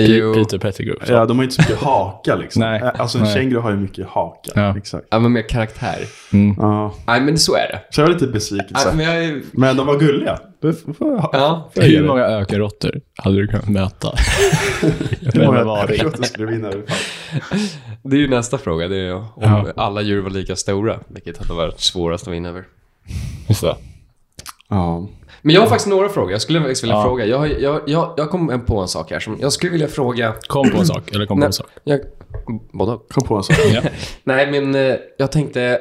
Jo. Peter Pettigrew. Ja, de har ju inte så mycket haka liksom. Nej. Alltså en Nej. känguru har ju mycket haka. Ja. Exakt. Ja, men mer karaktär. Ja. Nej, men så är det. Så jag var lite Nej, besviken. men jag är... Men de var gulliga. Det får- får jag ha- Ja. får jag ge Hur dig. många ökenråttor hade du kunnat möta? Hur många var det? jag tror att du skulle vinna i alla fall. Det är ju nästa fråga. Det är ju om Ja. alla djur var lika stora, vilket hade varit svårast att vinna över. Just det. Ja. Men jag har faktiskt några frågor. Jag skulle faktiskt vilja Ja. fråga. Jag, har- jag, jag, jag kom på en sak här som jag skulle vilja fråga. Kom på en sak. Eller kom på Nej, en sak. jag, både och. Kom på en sak. Ja. Nej, men eh, jag tänkte,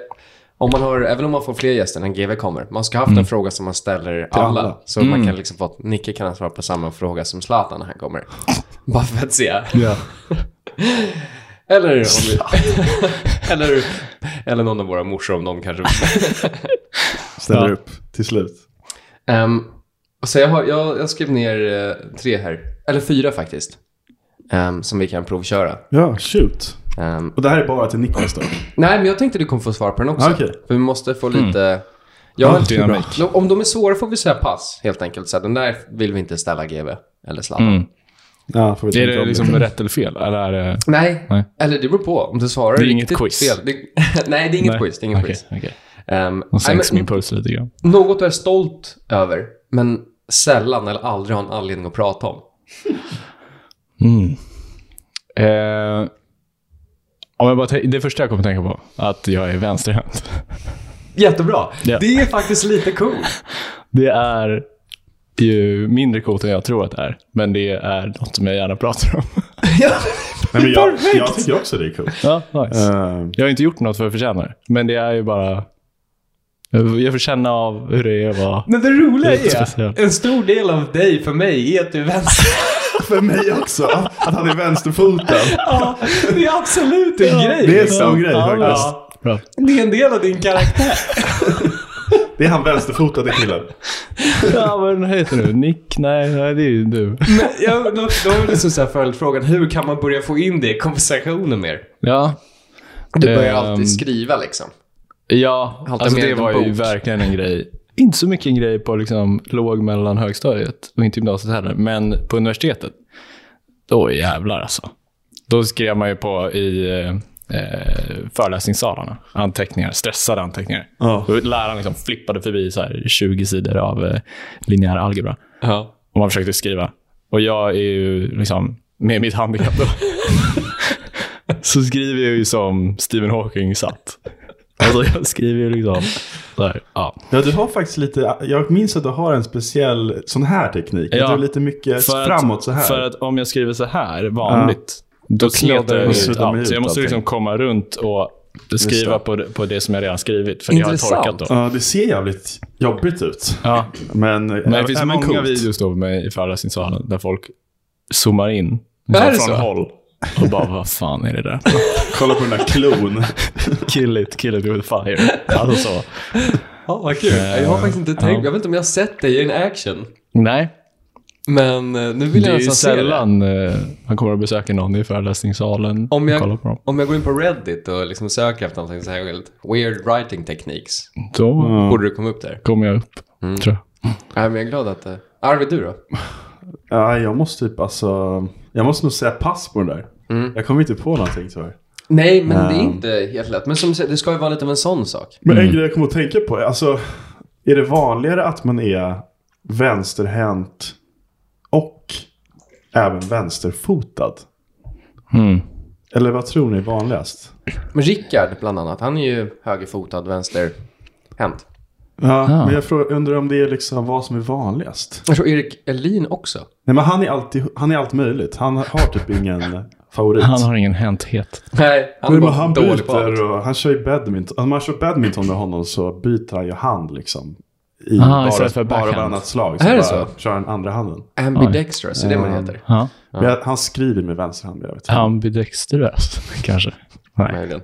om man har, även om man får fler gäster när GV kommer, man ska ha haft Mm. en fråga som man ställer till alla. alla. Så man kan liksom få att Nicke kan svara på samma fråga som Zlatan när han kommer. Bara för att se. Eller, om vi, eller, eller någon av våra morsor om de kanske Ställer Ja. upp till slut. Ehm, så jag, har, jag, jag skrev ner eh, tre här, eller fyra faktiskt, ehm, som vi kan provköra. Ja, shoot. Ehm, Och det här är bara till Niklas då? nej, men jag tänkte du kommer få svara på den också. Ah, okej. För vi måste få Mm. lite... Jag har- dynamik. Bra. Om de är svåra får vi säga pass, helt enkelt. Så här, den där vill vi inte ställa GV eller Zlatan. Mm. Ja, får vi Är tänka det om liksom rätt eller fel? Eller är det... Nej. Nej. eller det beror på. Om du svarar Det är inget riktigt quiz. fel. Det, nej, det är inget quiz. Det är inget Okej, quiz. okej. Ehm, Då nej, sänks men min puls lite grann. Något du är stolt över, men sällan eller aldrig har en anledning att prata om. Eh, om jag bara tän- det första jag kommer tänka på, att jag är vänsterhänt. Jättebra. Ja. Det är faktiskt lite coolt. Det är ju mindre coolt än jag tror att det är, men det är något som jag gärna pratar om. Ja. Nej, men jag, Perfekt! jag tycker också det är coolt. ja, nice. Ehm, Jag har inte gjort något för att förtjäna det, men det är ju bara Jag jag får känna av hur det är att vara... Men det roliga Det är speciellt. är, en stor del av dig för mig är att du är vänster. För mig också, att, att han är vänsterfoten. Ja, det är absolut en Ja, grej. Det är en liksom. stor grej Ja, faktiskt. ja. Bra. det är en del av din karaktär. Det är han vänsterfotade killen. Ja, vad är den heter nu? Nick? Nej, nej, det är ju du. Men jag, då, då är det liksom så här följdfrågan, hur kan man börja få in det i konversationen mer? Ja, Du börjar Ehm. alltid skriva liksom. Ja, Halta alltså med det en var ju bok. verkligen en grej. Inte så mycket en grej på liksom låg, mellan, högstadiet och inte gymnasiet heller, men på universitetet. Då jävlar alltså. Då skrev man ju på i eh, eh, föreläsningssalarna. Anteckningar, stressade anteckningar. Ja. Och läraren liksom flippade förbi så här 20 sidor av eh, linjär algebra. Ja. Och man försökte skriva. Och jag är ju liksom, med mitt handikapp då, så skriver jag ju som Stephen Hawking satt. Alltså jag skriver ju liksom så här, ja. Ja, du har faktiskt lite, jag minns att du har en speciell sån här teknik. Ja. Ja. Du är lite mycket För att- framåt så här. För att om jag skriver så här vanligt, då knådar kletar jag det ut allt. ut Så jag allting. måste liksom komma runt och skriva det. på, det- på det som jag redan skrivit. För det har jag Intressant. torkat då. Ja, det ser jävligt jobbigt ut. Ja. Men, Men det finns många coolt. videos då med mig i föreläsningssalen där folk zoomar in är det från så? håll och bara vad fan är det där? Kolla på den där klon. Kill it, kill it with fire. Alltså så. Ja, vad kul. Ehm, jag har faktiskt inte tänkt, jag vet inte om jag har sett dig i en action. Nej, Men eh, nu vill det jag är ju nästan se det. sällan eh, man kommer att besöka någon i föreläsningssalen Om och kolla jag, på dem. om jag går in på Reddit och liksom söker efter någonting särskilt, weird writing techniques, Då borde du komma upp där. kommer jag upp, tror jag. Nej, men jag är glad att... eh, Arvid, du då? Ja, jag måste typ alltså, jag måste nog säga pass på den där. Jag kommer inte på någonting tyvärr. Nej, men det är inte helt lätt. Men som du säger, det ska ju vara lite av en sån sak. Men en grej jag kommer att tänka på är, alltså, är det vanligare att man är vänsterhänt och även vänsterfotad? Mm. Eller vad tror ni är vanligast? Men Rickard, bland annat, han är ju högerfotad, vänsterhänt. Ja, Ah. men jag frågar, undrar om det är liksom vad som är vanligast. Jag tror Erik Elin också. Nej, men han är alltid, han är allt möjligt. Han har typ ingen favorit. Han har ingen hänthet. Nej, han Nej, är men bara han dålig på allt. byter och han kör ju badminton. Om man kör badminton med honom så byter han ju hand liksom. I Ah, bara, istället för bara backhand. varannat slag. Så Är det bara så? kör han andra handen. Ambidextrous, är det man heter? Ja. Men jag, han skriver med vänster hand. Jag vet. Ambidextrös, kanske. Nej. Möjligen.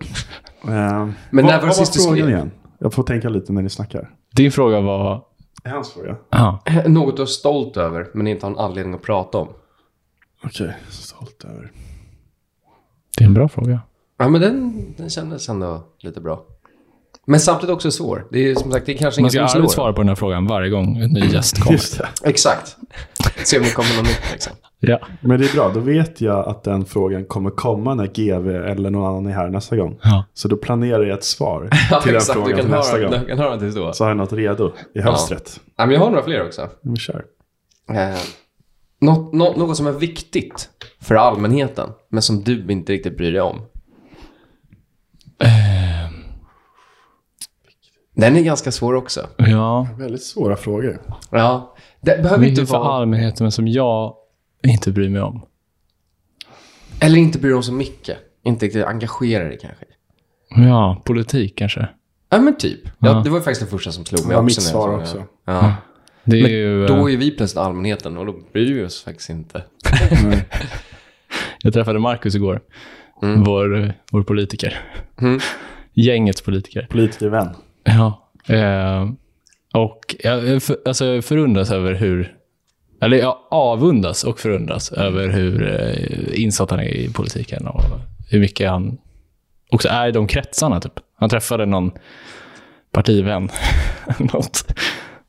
Ehm, Men när var det sist du skrev? igen? Jag får tänka lite när ni snackar. Din fråga var... Det är hans fråga. Ja. Något du är stolt över, men inte har en anledning att prata om. Okej, stolt över. Det är en bra fråga. Ja, men den, den kändes ändå lite bra. Men samtidigt också svår. Det är ju som sagt, det är kanske Man ingen ska som slår. aldrig svara på den här frågan varje gång en ny gäst kommer. Just det. den. Exakt. Se om det kommer något nytt liksom. Ja. Men det är bra, då vet jag att den frågan kommer komma när GV eller någon annan är här nästa gång. Ja. Så då planerar jag ett svar Ja, till den exakt. Du frågan kan, till nästa höra, gång. du kan höra tills då. Så har jag något redo i hösträtt. Ja, men jag har några fler också. Vi kör. Eh, något, nå- något som är viktigt för allmänheten, men som du inte riktigt bryr dig om. Eh. Den är ganska svår också. ja. Väldigt svåra frågor. Ja, det behöver inte Mycket för vara... allmänheten, men som jag inte bryr mig om. Eller inte bryr dig om så mycket. Inte riktigt engagera dig kanske. Ja, politik kanske. Ja, men typ. Ja, Mm. det var ju faktiskt den första som slog mig Ja, också. mitt när jag svar såg den. också. Ja. Det är ju, eh, Då är vi plötsligt allmänheten och då bryr vi oss faktiskt inte. Jag träffade Marcus igår, Mm. vår, vår politiker. Gängets politiker. Politikervän. Ja. Eh, och jag, jag för, alltså, jag förundras över hur... Eller jag avundas och förundras över hur eh, insatt han är i politiken och hur mycket han också är i de kretsarna. Typ. Han träffade någon partivän. något,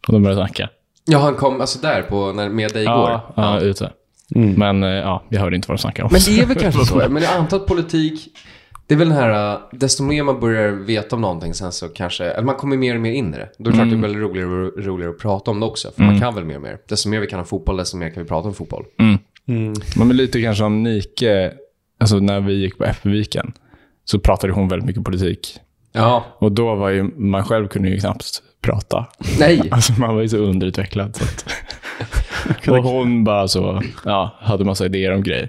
och de började snacka. Ja, han kom alltså där på, när, med dig igår. Ja, ja, ute. Men eh, ja, jag hörde inte vad de snackade om. Men det är väl kanske så. Men jag antar att politik, det är väl den här, eh, desto mer man börjar veta om någonting sen så kanske, eller man kommer mer och mer in i det. Då är det klart Mm. det är väl roligare, och roligare att prata om det också, för man kan väl mer och mer. Desto mer vi kan om fotboll, desto mer kan vi prata om fotboll. Mm. Men men lite kanske om Nike, alltså när vi gick på FB-viken, så pratade hon väldigt mycket politik. Ja. Och då var ju, man själv kunde ju knappt prata. Nej. Alltså man var ju så underutvecklad. Så att... och hon bara så, ja, hade massa idéer om grejer.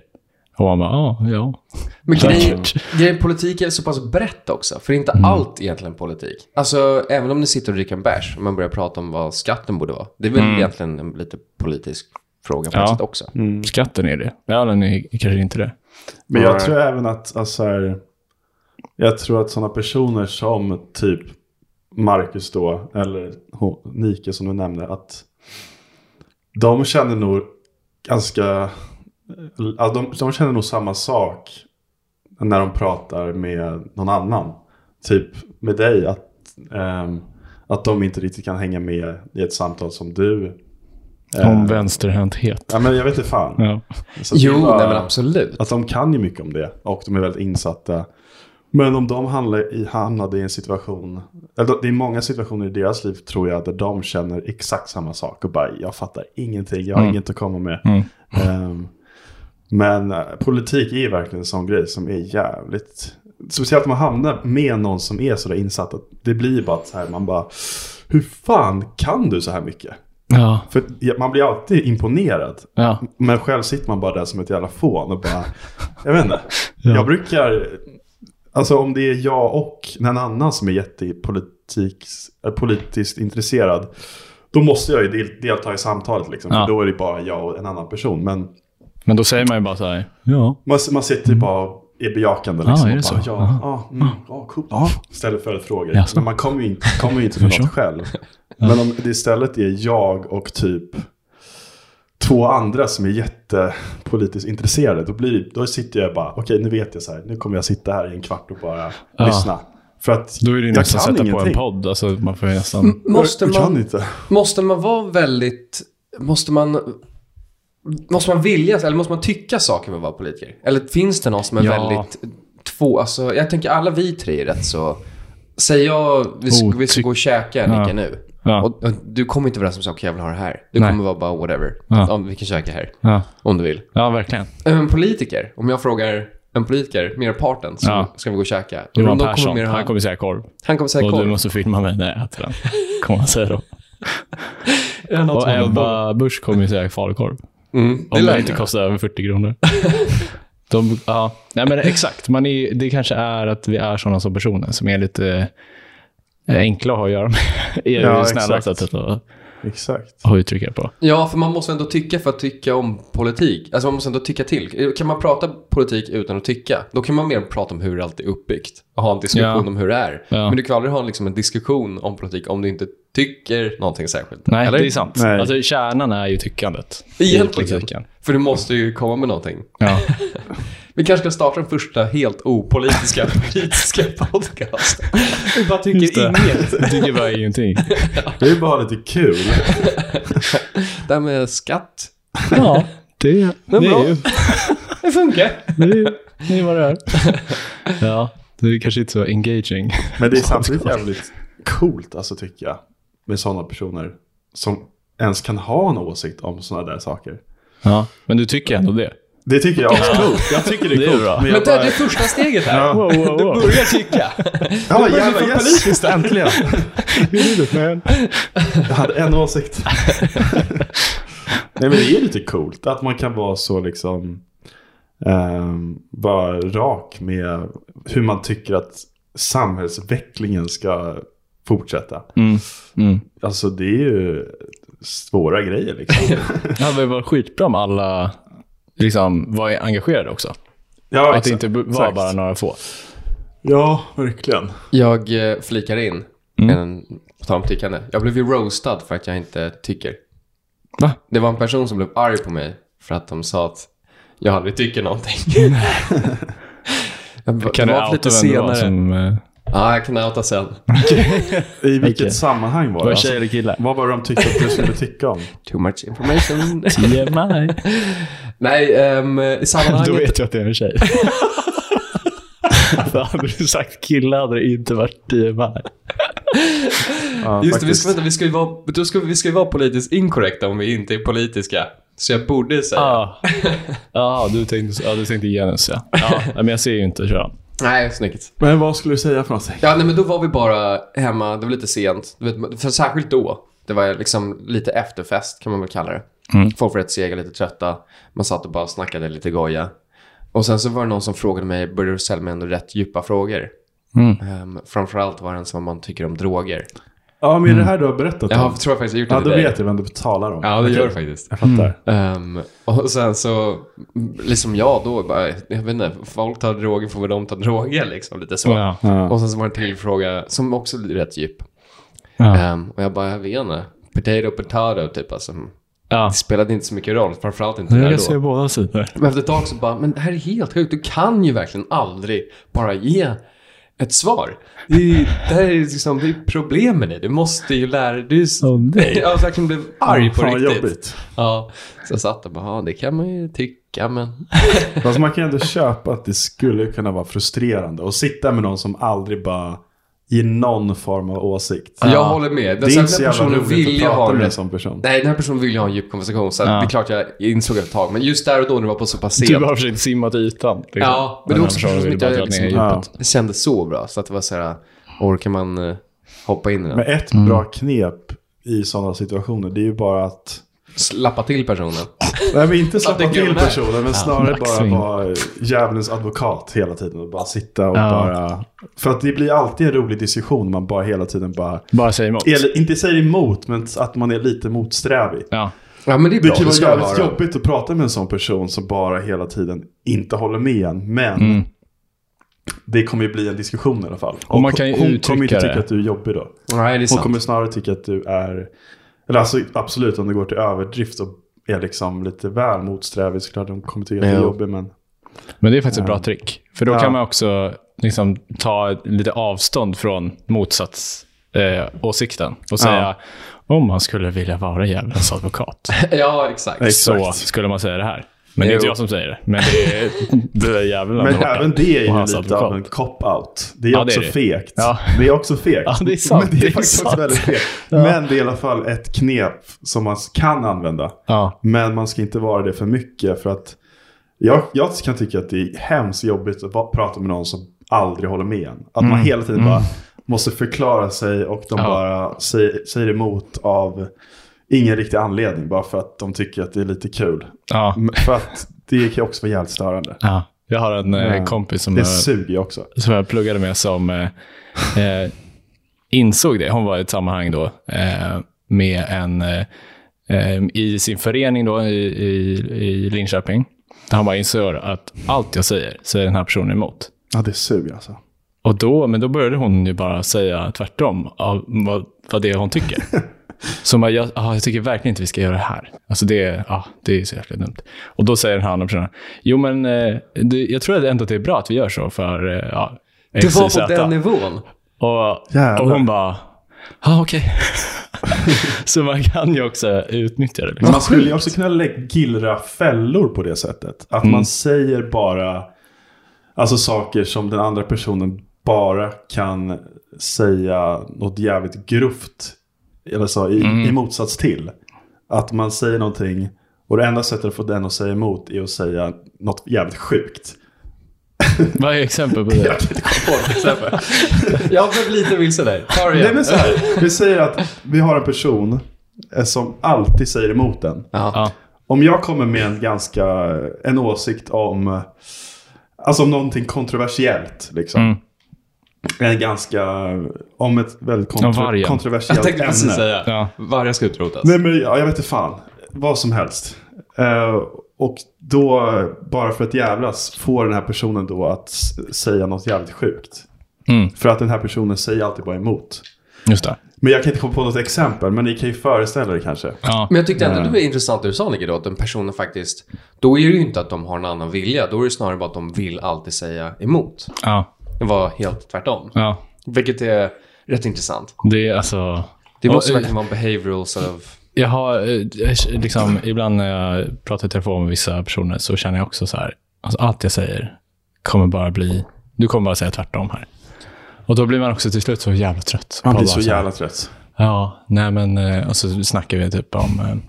Och han bara, ah, ja. Men grejen, Säkert. grejen, politik är så pass brett också, för det är inte Mm. allt egentligen politik. Alltså, även om ni sitter och dricker en bärs och man börjar prata om vad skatten borde vara. Det är väl egentligen en lite politisk fråga på Mm. Ja. Mm. ett sätt också. Mm. Skatten är det. Ja, den är kanske inte det. Men jag Nej. tror även att, alltså här, jag tror att sådana personer som typ Marcus då, eller hon- Nike som du nämnde, att de känner nog ganska, ja, de, de känner nog samma sak när de pratar med någon annan. Typ med dig, att, ehm, att de inte riktigt kan hänga med i ett samtal som du. eh, Om vänsterhänthet. ja, men jag vet inte fan. Ja. Så att det Jo, var- nej men absolut. att de kan ju mycket om det och de är väldigt insatta. Men om de handlar i, hamnade i en situation, eller det är många situationer i deras liv tror jag där de känner exakt samma sak och bara jag fattar ingenting, jag har inget att komma med. Mm. Ehm, men eh, politik är ju verkligen en sån grej som är jävligt, speciellt om man hamnar med någon som är sådär insatt, att det blir bara att så här, man bara, hur fan kan du så här mycket? Ja. För man blir alltid imponerad ja. men själv sitter man bara där som ett jävla fån och bara, jag vet inte. Jag brukar, alltså om det är jag och någon annan som är jättepolitiks- eh, politiskt intresserad, då måste jag ju del- delta i samtalet liksom. Ja. För då är det bara jag och en annan person. Men Men då säger man ju bara så här. Ja. man, man sitter ju bara och är bejakande Ja, liksom. Ah, är det och bara, så? ja, Aha. Ah. ja, mm, ja, coolt. Ställer följdfrågor. Jaså. Men man kommer ju inte, kommer ju inte för något själv. Men om det istället är jag och typ två andra som är jättepolitiskt intresserade, då, blir, då sitter jag bara, okej nu vet jag så här, nu kommer jag sitta här i en kvart och bara Ja. lyssna. För att Då är det ju jag nästan kan sätta på en ingenting. podd. Alltså, man får ju nästan... Måste jag, jag kan man, inte. måste man vara väldigt... Måste man... Måste man vilja, eller måste man tycka saker med att vara politiker? Eller finns det någon som är Ja. väldigt två... Alltså, jag tänker alla vi tre är rätt så... Säg jag, vi ska, vi ska Otyck- gå och käka, Nicke, Ja. nu. Ja. Och, och du kommer inte vara den som säger okej, jag vill ha det här. Du Nej. kommer vara bara whatever. Ja. Ja, vi kan käka här, Ja. om du vill. ja, verkligen. En politiker, om jag frågar en politiker, merparten, så Ja. ska vi gå och käka. Och Johan de kommer Persson, mer ha- han kommer säga korv. han kommer säga Och du korv. måste filma mig när jag äter den. Kommer han säga då. Jag har något Och honom. Ebba Busch kommer ju säga falukorv. Mm, det Om lär det inte inte kostar över 40 kronor. De, ja. Nej, men exakt. Man är, det kanske är att vi är sådana som personer som är lite eh, enkla att ha att göra med. Det är Ja, det snälla exakt. sättet att, Exakt. att uttrycka det på. Ja, för man måste ändå tycka för att tycka om politik. Alltså man måste ändå tycka till. Kan man prata politik utan att tycka, då kan man mer prata om hur allt är uppbyggt. Och ha en diskussion Ja. om hur det är. Ja. Men du kan aldrig ha liksom en diskussion om politik om du inte tycker någonting särskilt. Nej, Eller? det är sant. Nej. Alltså, kärnan är ju tyckandet. i politiken. Egentligen. För du måste ju komma med någonting. Ja. Vi kanske ska starta den första helt opolitiska politiska podcasten. Vi bara Just tycker det. inget. Jag tycker bara ingenting. Det är bara lite kul. Det här med skatt, Ja, det, det, bra. är ju, det funkar. det är ju det är vad det är. Ja, det är kanske inte så engaging. Men det är samtidigt jävligt coolt alltså tycker jag. Med sådana personer som ens kan ha en åsikt om sådana där saker. Ja, men du tycker ändå det. Det tycker jag också är coolt. Jag tycker det Det är är coolt. bra. Men Men jag det är bara, det första steget här. Ja. Wow, wow, wow. Börja tycka. ja, jävlar, yes. äntligen. Jag hade en åsikt. Nej men det är lite coolt att man kan vara så liksom. ehm, bara rak med hur man tycker att samhällsutvecklingen ska fortsätta. Mm. Mm. Alltså det är ju svåra grejer liksom. Det hade väl varit skitbra om alla liksom, var engagerade också. Ja, Att det inte b- var Exakt. bara några få. Ja, verkligen. Jag eh, flikar in, Mm. en, på tal om tyckande. Jag blev ju roastad för att jag inte tycker. Va? Det var en person som blev arg på mig för att de sa att jag aldrig tycker någonting. jag bara, Kan det du var outa lite vem det var senare. som... eh, Ja, jag kan outa sen. I vilket Okej. sammanhang var det? Var det Alltså, tjej eller kille? vad var det de tyckte att du skulle tycka om? Too much information. TMI. Nej, ehm, i Då sammanhanget. vet jag att det är en tjej. För hade du sagt kille hade det inte varit TMI. Ja, Just det, vi faktiskt. ska, vänta, vi ska ju vara, då ska, vi- vi ska ju vara politiskt inkorrekta om vi inte är politiska. Så jag borde säga. Ja, ah. du, tänkte- ja, du tänkte genus ja. ja. Men jag ser ju inte kön. Nej, snyggt. Men vad skulle du säga för någonting? Ja, nej, men då var vi bara hemma. Det var lite sent. Du vet, för särskilt då. Det var liksom lite Mm. efterfest, kan man väl kalla det. Folk var rätt sega, lite trötta. Man satt och bara snackade lite goja. Och sen så var det någon som frågade mig, började du ställa mig ändå rätt djupa frågor? Mm. Um, framförallt var det en som vad man tycker om droger. Ja, men är det här du har berättat Mm. Jag om? har, tror jag faktiskt jag gjort det Ja, då till dig. vet jag vem du talar om. Ja, det Okej. gör du faktiskt. Jag fattar. Ehm, och sen så, liksom jag då, bara, jag vet inte, folk tar droger får väl de ta droger liksom, lite så. Ja. Ja. Och sen så var det en till fråga som också är rätt djup. Ja. Ehm, och jag bara, jag vet inte. Potato, potato, typ alltså. Ja. Det spelade inte så mycket roll, framförallt inte Nu där jag ser då. båda sidor. Men efter ett tag så bara, men det här är helt sjukt. Du kan ju verkligen aldrig bara ge ett svar. Det är, ju- det här är ju liksom, det är problem med det. Du måste ju lära dig. Du är så... Åh, nej. Jag verkligen blev arg på Fan, vad riktigt. jobbigt. Ja, så jag satt och bara, ja, det kan man ju tycka, men... Fast Alltså, man kan ändå köpa att det skulle kunna vara frustrerande att sitta med någon som aldrig bara ger någon form av åsikt. Jag håller med. Det är Sen inte så den här jävla personen vill roligt ju att ha prata med en det. sån person. Nej, den här personen vill ju ha en djup konversation, så att Ja. det är klart jag insåg ett tag. Men just där och då när det var på så pass Du sent, har försökt simma till ytan. liksom. Ja, men det är också annars har personer du som inte bara har dragit liksom- ner Ja. djupet. det kändes så bra. Så att det var så här, orkar man eh, hoppa in i den? Men ett bra knep i sådana situationer det är ju bara att Slappa till personen. Nej men inte det släppa till gulnar. personen men snarare bara Maxwing. vara djävulens advokat hela tiden. Och bara sitta och Ja. bara... För att det blir alltid en rolig diskussion om man bara hela tiden bara... Bara säg emot. Eller, inte säger emot men att man är lite motsträvig. Ja. Ja, men det är Det bra. kan ju vara ska jävligt vara. jobbigt att prata med en sån person som bara hela tiden inte håller med en. Men Mm. det kommer ju bli en diskussion i alla fall. Och man kan ju hon uttrycka kommer inte tycka det. att du är jobbig då. Nej, det är Hon sant. kommer snarare tycka att du är... Eller alltså absolut om det går till överdrift och är liksom lite väl motsträvig så klart hon kommer tycka att du är Ja. jobbig. Men Men det är faktiskt ett bra trick. För då Ja. kan man också liksom, ta ett- lite avstånd från motsats eh, åsikten och säga om man skulle vilja vara djävulens advokat Ja, exakt. Nej. så Exakt. skulle man säga det här. Men det är Jo. inte jag som säger det. Men det är det där djävulen. Men borta. även det är Och ju hans lite advokat. av en cop-out. Det är Ja, det också är det. fegt. Ja. Det är också fegt. Ja, det är sant. Men det Det är är faktiskt sant. också väldigt fegt. Men det är i alla fall ett knep som man kan använda. Ja. Men man ska inte vara det för mycket för att jag, jag kan tycka att det är hemskt jobbigt att bara prata med någon som aldrig håller med en. Att man hela tiden bara måste förklara sig och de Mm. Ja. bara säger, säger emot av ingen riktig anledning. Bara för att de tycker att det är lite kul. Ja. Men- För att det kan ju också vara jävligt störande. ja. Jag har en eh, kompis som Det har- suger ju också. som jag pluggade med som eh, eh, insåg det. Hon var i ett sammanhang då eh, med en, eh, eh, i sin förening då i, i, i Linköping. Där han bara insåg att allt jag säger, säger den här personen emot. Ja, det suger alltså. Och då, men då började hon ju bara säga tvärtom av vad, vad det är hon tycker. Så man, jag, ah, jag tycker verkligen inte vi ska göra det här. Alltså det, ah, det är så jäkla dumt. Och då säger den här andra personen, jo men eh, det, jag tror ändå att det är bra att vi gör så för eh, ja, Det var XYZ." på den nivån. Och, Jävlar. och hon bara, ja ah, okej. så man kan ju också utnyttja det. Liksom. Man skulle ju också kunna lä- gillra fällor på det sättet. Att man säger bara alltså saker som den andra personen bara kan säga något jävligt gruft. Eller så, i, i motsats till. Att man säger någonting och det enda sättet att få den att säga emot är att säga något jävligt sjukt. Vad är exempel på det? Jag kan inte komma på något exempel. Jag blev lite vilse där. Ta det Nej men igen. så här, vi säger att vi har en person eh, som alltid säger emot den. Ja. Om jag kommer med en ganska, en åsikt om, alltså om någonting kontroversiellt liksom. Mm. En ganska, om ett väldigt Om kontro- vargen. Jag kontroversiellt tänkte ämne. precis säga. Ja. Vargar ska utrotas. Nej men ja, jag vet inte fan, vad som helst. Eh, och då, bara för att jävlas, får den här personen då att s- säga något jävligt sjukt. Mm. För att den här personen säger alltid bara emot. Just det. Men jag kan inte komma på något exempel, men ni kan ju föreställa er kanske. Ja. Men jag tyckte ändå det Mm. var intressant det du sa Nicky, då, att den personen faktiskt... Då är det ju inte att de har en annan vilja, då är det snarare bara att de vill alltid säga emot. Ja. Det var helt tvärtom. ja. Vilket är rätt intressant. Det är alltså... Det Och- måste verkligen vara en behavioral sort of... Jag har, eh, liksom, ibland när jag pratar i telefon med vissa personer så känner jag också så här, alltså allt jag säger kommer bara bli, du kommer bara säga tvärtom här. Och då blir man också till slut så jävla trött. Man blir Bara så här, jävla trött. Ja, nej men, eh, och så snackar vi typ om,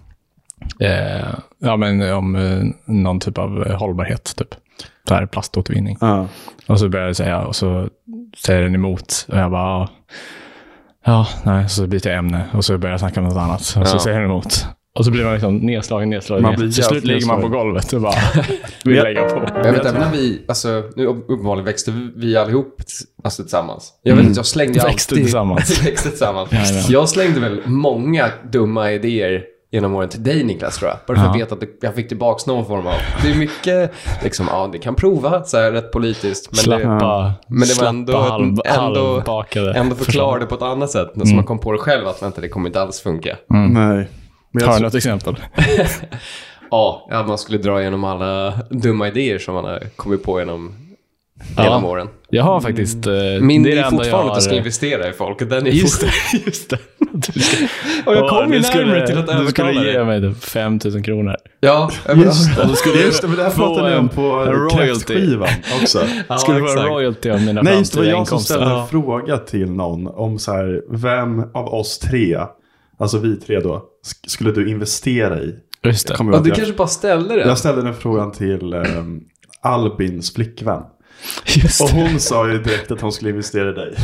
eh, eh, ja men om eh, någon typ av eh, hållbarhet, typ. Så här plaståtervinning. Ja. Och så börjar jag säga, och så säger den emot. Och jag bara, ja, ja nej, så byter jag ämne. Och så börjar jag snacka om något annat. Och så Ja. säger den emot. Och så blir man liksom nedslagen, nedslagen. Man nedslagen. blir Till slut jävligt ligger man på nedslagen. golvet och bara vill Ja. lägga på. Men jag vet även när vi, alltså, nu upp- uppenbarligen växte vi allihop ts- alltså, tillsammans. Jag vet inte, jag slängde Växte alltid... tillsammans. växte tillsammans. Jajamän. Jag slängde väl många dumma idéer genom åren till dig Niklas tror jag. Bara för att veta att det- jag fick tillbaka någon form av... Det är mycket, liksom, ja, det kan prova så här rätt politiskt. Men det, Slappa, men det var slappa ändå, halv, ändå, halvbakade. ändå förslag. förklarade på ett annat sätt. Så man kom på det själv att vänta, det kommer inte alls funka. Nej. Men jag Har du tror, något exempel? Ja, att man skulle dra igenom alla dumma idéer som man har kommit på genom Ja. genom åren. Jag har faktiskt... eh, Mm. Min det det är det enda jag fortfarande att har- jag ska investera i folk. och Den är Just fort- det, just det. Du ska- och jag Åh, kom ju du närmare till att Du skulle övertala ge dig. mig 5 000 kronor. Ja, just, Och då skulle just det, men det här få pratade ni en- om på en royalty. kräftskivan också. ja, skulle exakt. vara royalty av mina Nej, just det var framtida jag som inkomster. ställde en Ja. fråga till någon om så här, vem av oss tre, alltså vi tre då, sk- skulle du investera i? Just det. Kommer Ja, jag du ihåg. kanske bara ställde den. Jag ställde den frågan till ehm, Albins flickvän. Och Just det. hon sa ju direkt att hon skulle investera i dig.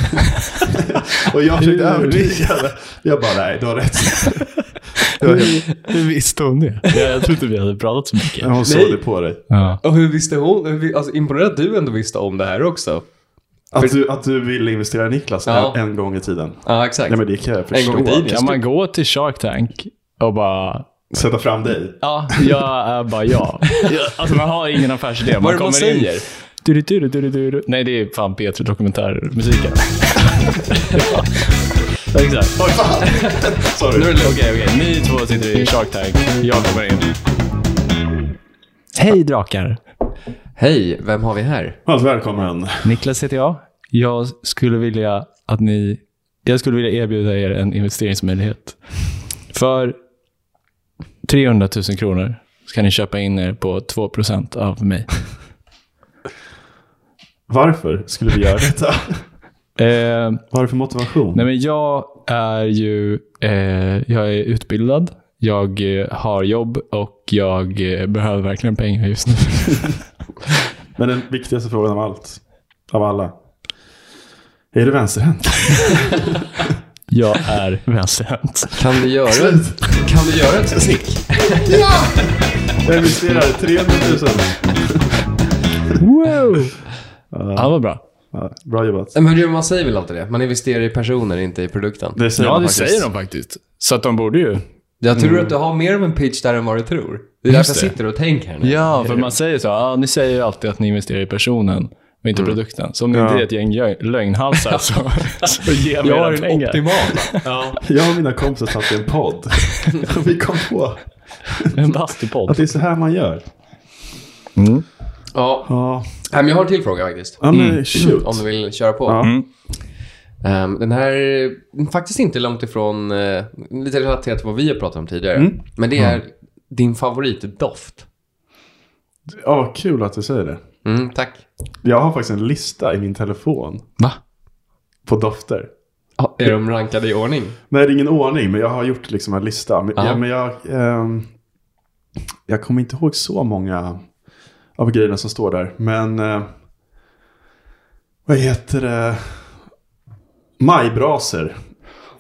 och jag försökte övertyga henne. Jag bara, nej, du har rätt. Det var helt- Hur visste hon det? Ja, jag tror inte vi hade pratat så mycket. Hon såg Nej. det på dig. Ja. Och hur visste hon? Hur, vi- alltså, imponerad att du ändå visste om det här också. Att du, att du ville investera i Niklas Ja. en, en gång i tiden. Ja, exakt. Nej men det kan jag förstå. gång i tiden. Kan man gå till Shark Tank och bara... Sätta fram dig. Ja, jag är bara jag. Ja, Alltså man har ingen affärsidé. Vad är det man kommer in- säger? Du, du, du, du, du, du. Nej, det är fan P3 Dokumentärmusiken. ja, exakt. Oj, fan. Sorry. Nu är det lugnt. Okej, okej. Ni två sitter i Shark Tank. Jag kommer in. Hej drakar! Hej, vem har vi här? Varmt Alltså, välkommen. Niklas heter jag. Jag skulle vilja att ni... Jag skulle vilja erbjuda er en investeringsmöjlighet. För 300 000 kronor så kan ni köpa in er på 2 av mig. Varför skulle vi göra detta? Eh, Vad har du för motivation? Nej, men jag är ju eh, jag är utbildad, jag eh, har jobb och jag eh, behöver verkligen pengar just nu. Men den viktigaste frågan av allt. Av alla. Är du vänsterhänt? Jag är vänsterhänt. Kan du göra, kan du göra ett snick? Jag investerar 300 000. Wow! Han var bra. Ja, bra jobbat. Men du, man säger väl alltid det? Man investerar i personer, inte i produkten. Det säger Ja, man det faktiskt. säger de faktiskt. Så att de borde ju. Jag tror att du har mer av en pitch där än vad du tror. Mm. Det är därför jag det. sitter och tänker här nu. Ja, för man säger så. Ja, ni säger ju alltid att ni investerar i personen och inte produkten. Så om ni inte är ett gäng gö- lögnhalsar så, så ge mig Jag har era en pengar. optimal. Ja. Jag och mina kompisar satt i en podd. Och vi kom på En att bastupodd. det är så här man gör. ja. Ja, Nej, men jag har en till fråga faktiskt. ja men shoot. Om du vill köra på. Ja. Mm. Ehm, den här är faktiskt inte långt ifrån, eh, lite relaterat till vad vi har pratat om tidigare. Men det är din favoritdoft. Ja, kul att du säger det. Mm, tack. Jag har faktiskt en lista i min telefon Va? på dofter. Ja, är de rankade i ordning? Nej, det är ingen ordning, men jag har gjort liksom en lista. Men, Ja. ja, men jag, ehm, jag kommer inte ihåg så många av grejerna som står där. Men eh, vad heter det? Majbraser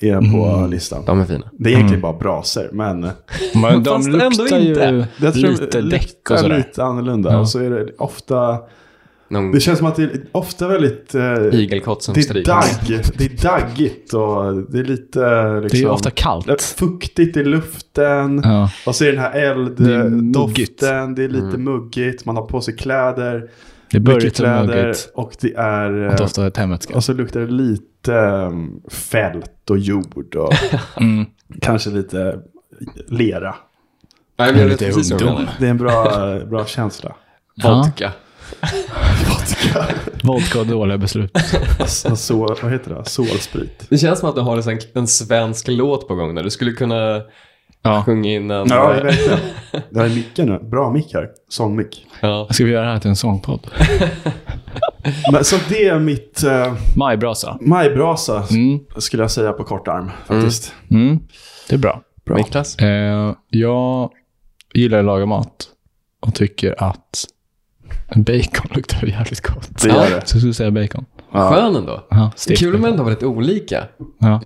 är på Mm. listan. De är fina. Det är egentligen bara braser, men eh, Men de Fast ändå luktar ju inte. jag tror lite däck och luktar sådär. lite annorlunda. Och så är det ofta, Någon det känns som att det är ofta väldigt... eh, igelkott som det är, stryker. dagg, det är daggigt och det är lite... eh, Liksom, Det är ju ofta kallt. det är fuktigt i luften. Ja. Och så är den här Det är elddoften, muggigt. det är lite muggigt, man har på sig kläder, Det börjar mycket lite kläder muggigt. och det är... Att eh, ofta ett hemmet ska. Och så luktar det lite mm, fält och jord och Mm. kanske lite lera. Nej, men jag vet Lite precis vad du ungdom. menar. Det är en bra, eh, bra känsla. Vodka. Vodka och dåliga beslut. Alltså, så, vad heter det? Solsprit. Det känns som att du har en sån- en svensk låt på gång där. Du skulle kunna Ja. sjunga in en... eh, Ja, jag vet det. Det här är micken nu. Bra mick här. Sångmick. ja. Ska vi göra det här till en sångpodd? Men, så det är mitt eh, Majbrasa. majbrasa, Mm. skulle jag säga på kort arm faktiskt. Mm. Det är bra. Bra. Niklas? Eh, jag gillar att laga mat och tycker att bacon luktar jävligt gott. Det gör det. Så jag skulle säga bacon. Skön ändå. Ja, Det är stekt kul om bacon. ändå väldigt olika. Ja.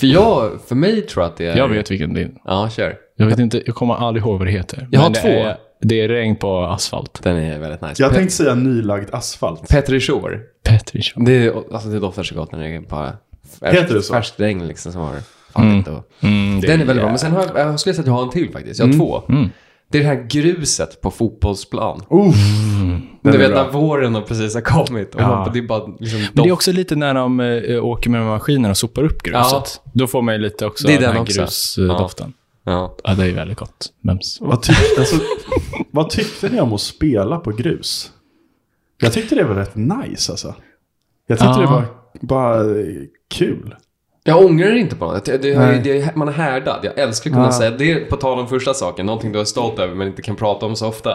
För jag, för mig tror jag att det är... Jag vet vilken din. Ja, kör. Jag vet inte, jag kommer aldrig ihåg vad det heter. Jag har det två. Är, det är regn på asfalt. Den är väldigt nice. Jag Pe- tänkte säga nylagd asfalt. Petri Shore. Petrich. Det, är, alltså, det doftar så gott när det är bara färskt- Heter det så? färskt regn liksom som har fallit. Och... Mm, det Den är väldigt bra. Men sen har jag, jag skulle säga att jag har en till faktiskt. Jag har Mm. två. Det är det här gruset på fotbollsplan. Uff, den du är vet bra. när våren har precis har kommit. Och Ja. man, det är bara liksom Men det är doft. också lite när de eh, åker med maskinen och sopar upp gruset. Då får man ju lite också Det är den, den här också. grusdoften. Ja. Ja. det är väldigt gott. Mems. Vad, tyck, alltså, vad tyckte ni om att spela på grus? Jag tyckte det var rätt nice alltså. Jag tyckte Ja. det var bara eh, kul. Jag ångrar inte på något. Det, det, Nej. det, det, man är härdad. Jag älskar att kunna Ja. säga det. är På tal om första saken, någonting du är stolt över men inte kan prata om så ofta.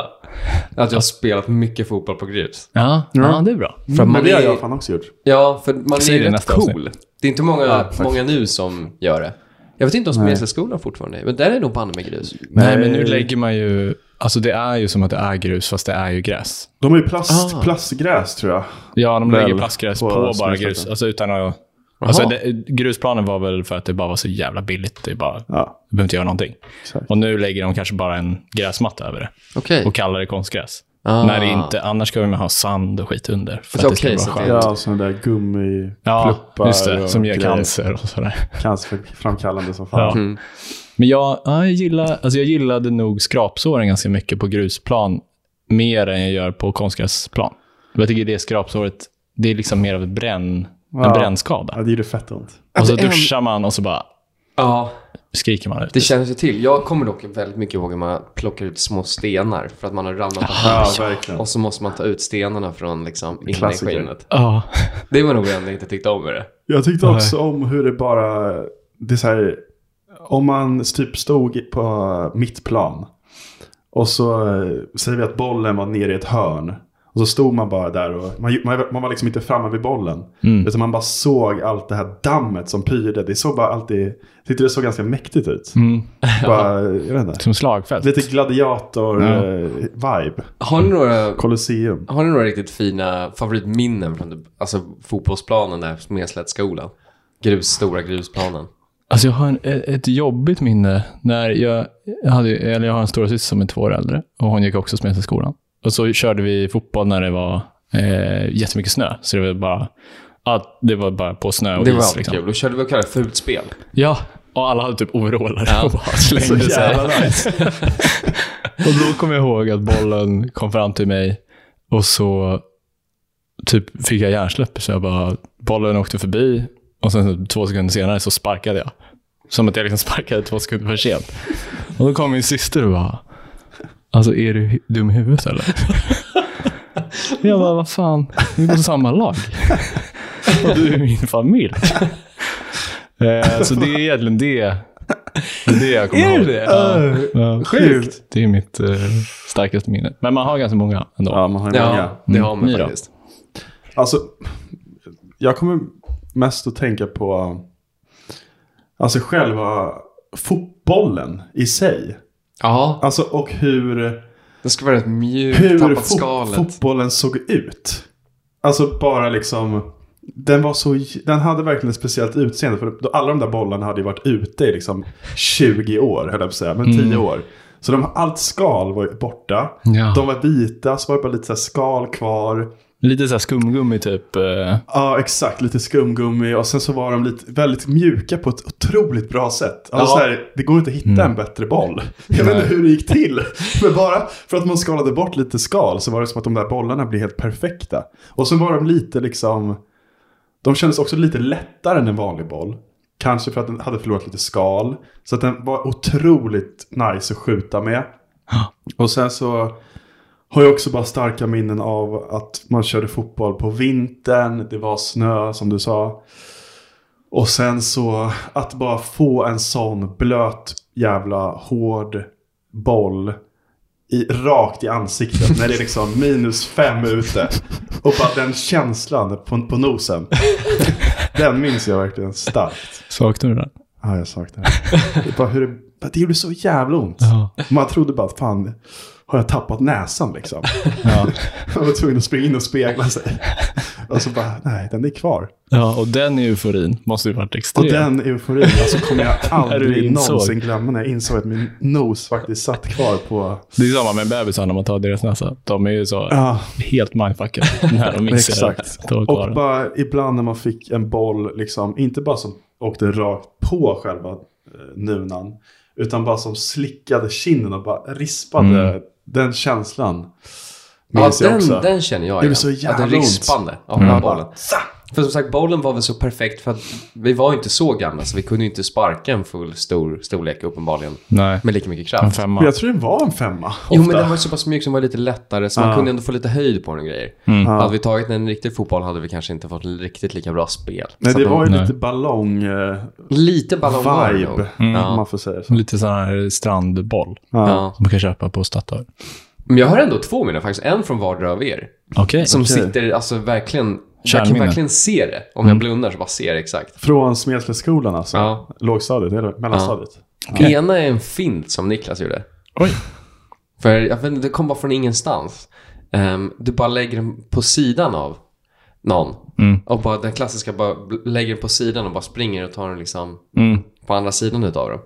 Att jag har spelat mycket fotboll på grus. Ja, ja. det är bra. För Men man det har är- jag fan också gjort. Ja, för man är Säg ju det rätt nästa cool. Det är inte många, Ja, faktiskt. många nu som gör det. Jag vet inte om Smedslättsskolan fortfarande är, men där är nog banne med grus. Nej, men nu lägger man ju... Alltså det är ju som att det är grus, fast det är ju gräs. De har ju plast, Ah. plastgräs tror jag. Ja, de Väl, lägger plastgräs på på, bara snöfläkten. grus. Alltså utan att... Alltså, Jaha. det, grusplanen var väl för att det bara var så jävla billigt. Det är bara... Du Ja, behöver inte göra någonting. exakt. Och nu lägger de kanske bara en gräsmatta över det Okej. och kallar det konstgräs. Ah. När det inte, annars ska vi ha sand och skit under. För Så att okej, det ska så vara skönt. det- Ja, och sådana där Ja, gummipluppar. just det. och Som ger grejer. cancer och sådär. Cancerframkallande som Ja. fan. Mhm. Men jag, ja, jag, gillar, alltså jag gillade nog skrapsåren ganska mycket på grusplan. Mer än jag gör på konstgräsplan. Jag tycker det skrapsåret, det är liksom mer av ett bränn, en Ja. brännskada. Ja, det gjorde fett ont. Och så Alltså, det är en- duschar man och så bara Ja, skriker man ut. det känns ju till. Jag kommer dock väldigt mycket ihåg hur man plockar ut små stenar för att man har ramlat på Ja, handen. verkligen. Och så måste man ta ut stenarna från liksom inne i Klassiker. skinnet. Ja. Det var nog det enda jag inte tyckte om med det. Jag tyckte också om hur det bara, det är så här, om man typ stod på mitt plan och så eh, säger vi att bollen var nere i ett hörn. Och så stod man bara där och man, man, man var liksom inte framme vid bollen. Utan man bara såg allt det här dammet som pyrde. Det såg bara alltid, jag tyckte det såg ganska mäktigt ut. Mm. Bara, jag vet inte. Som slagfält. Lite gladiator-vibe. Har ni några, Colosseum. har ni några riktigt fina favoritminnen från typ- alltså, fotbollsplanen där på Smedslättsskolan? Grus, stora grusplanen. Alltså jag har en, ett ett jobbigt minne. När jag, jag, hade, ju- eller jag har en storasyster som är två år äldre och hon gick också med till skolan. Och så körde vi fotboll när det var eh, jättemycket snö. Så det var bara, ja, det var bara på snö och Det var is. alltid Liksom. kul. Då körde vi och kallade fult spel. Ja, och alla hade typ overaller och bara Så slängde sig. jävla nice. Och då kommer jag ihåg att bollen kom fram till mig och så typ fick jag hjärnsläpp. Så jag bara, bollen åkte förbi och sen typ två sekunder senare så sparkade jag. Som att jag liksom sparkade två sekunder för sent. Och då kom min syster och bara, alltså är du hu- dum i huvudet eller? Jag bara, vad fan, vi är på samma lag. Och du är min familj. Eh, Så det är egentligen det, det, är det Äh, jag kommer ihåg. Ja. Ja. Sjukt. Det är mitt eh, starkaste minne. Men man har ganska många ändå. Ja, man har ju Ja, många. det har man Ni då? faktiskt. Alltså, jag kommer mest att tänka på alltså själva fotbollen i sig. Ja, Alltså och hur, det ska vara rätt mjukt, hur tappat fot, skalet. fotbollen såg ut. Alltså bara liksom, den var så, den hade verkligen ett speciellt utseende. För då- alla de där bollarna hade ju varit ute i liksom 20 år, höll jag på att säga, men 10 år. Så de, allt skal var ju borta. Ja. De var vita, så var det bara lite så här skal kvar. Lite så här skumgummi typ. eh, Ja, exakt. Lite skumgummi och sen så var de lite, väldigt mjuka på ett otroligt bra sätt. Alltså, Ja. så här, det går inte att hitta en bättre boll. Jag vet inte hur det gick till. Men bara för att man skalade bort lite skal så var det som att de där bollarna blev helt perfekta. Och så var de lite liksom... De kändes också lite lättare än en vanlig boll. Kanske för att den hade förlorat lite skal. Så att den var otroligt nice att skjuta med. Och sen så har jag också bara starka minnen av att man körde fotboll på vintern. Det var snö som du sa. Och sen så att bara få en sån blöt jävla hård boll i, rakt i ansiktet när det är liksom minus fem ute. Och bara den känslan på, på nosen. Den minns jag verkligen starkt. Saknar du den? Ja, jag saknar det. det. är Bara hur det, det gjorde så jävla ont. Ja. Man trodde bara att fan, har jag tappat näsan liksom? Ja. Man var tvungen att springa in och spegla sig. Och så bara, nej, den är kvar. Ja, och den euforin måste ju varit extrem. Och den euforin, alltså kommer jag Är du aldrig insåg? någonsin glömma när jag insåg att min nos faktiskt satt kvar på... Det är samma med bebisar när man tar deras näsa. De är ju så Ja, helt mindfuckade när de mixar. Exakt. Ta kvar och den. bara ibland när man fick en boll, liksom, inte bara som åkte rakt på själva eh, nunan, utan bara som slickade kinden och bara rispade. Mm. Den känslan Ja, minns jag också. den, den känner jag Det igen. blir så jävla ja, den ont. rispande av Mm. mm. bollen. För som sagt, bollen var väl så perfekt för att vi var ju inte så gamla så vi kunde ju inte sparka en full stor storlek uppenbarligen Nej, med lika mycket en kraft. femma. Men Jag tror den var en femma. Jo, men ofta. Ah. den var ju så pass mjuk som var lite lättare så man Ja. kunde ändå få lite höjd på den och grejer. Ja. Hade vi tagit en riktig fotboll hade vi kanske inte fått riktigt lika bra spel. Nej, Så det att den- var ju nej. lite ballong... Eh, lite ballong var det nog. Mm. vibe, Ah. om man får säga så. Lite sån här strandboll Ja. Ja. som man kan köpa på Statoil. Men jag har ändå två minnen faktiskt. En från vardera av er. Okej. Som Okej. sitter, alltså verkligen... Jag kan Kärnminne. Mm. verkligen se det. Om jag blundar så bara ser jag exakt. Från Smedslättsskolan alltså? Ja. Lågstadiet, eller mellanstadiet? Okej. Ena är en fint som Niklas gjorde. Oj. För jag vet inte, det kom bara från ingenstans. Ehm, du bara lägger den på sidan av någon. Mm. Och bara den klassiska bara bl- lägger den på sidan och bara springer och tar den liksom Mm. på andra sidan utav dem.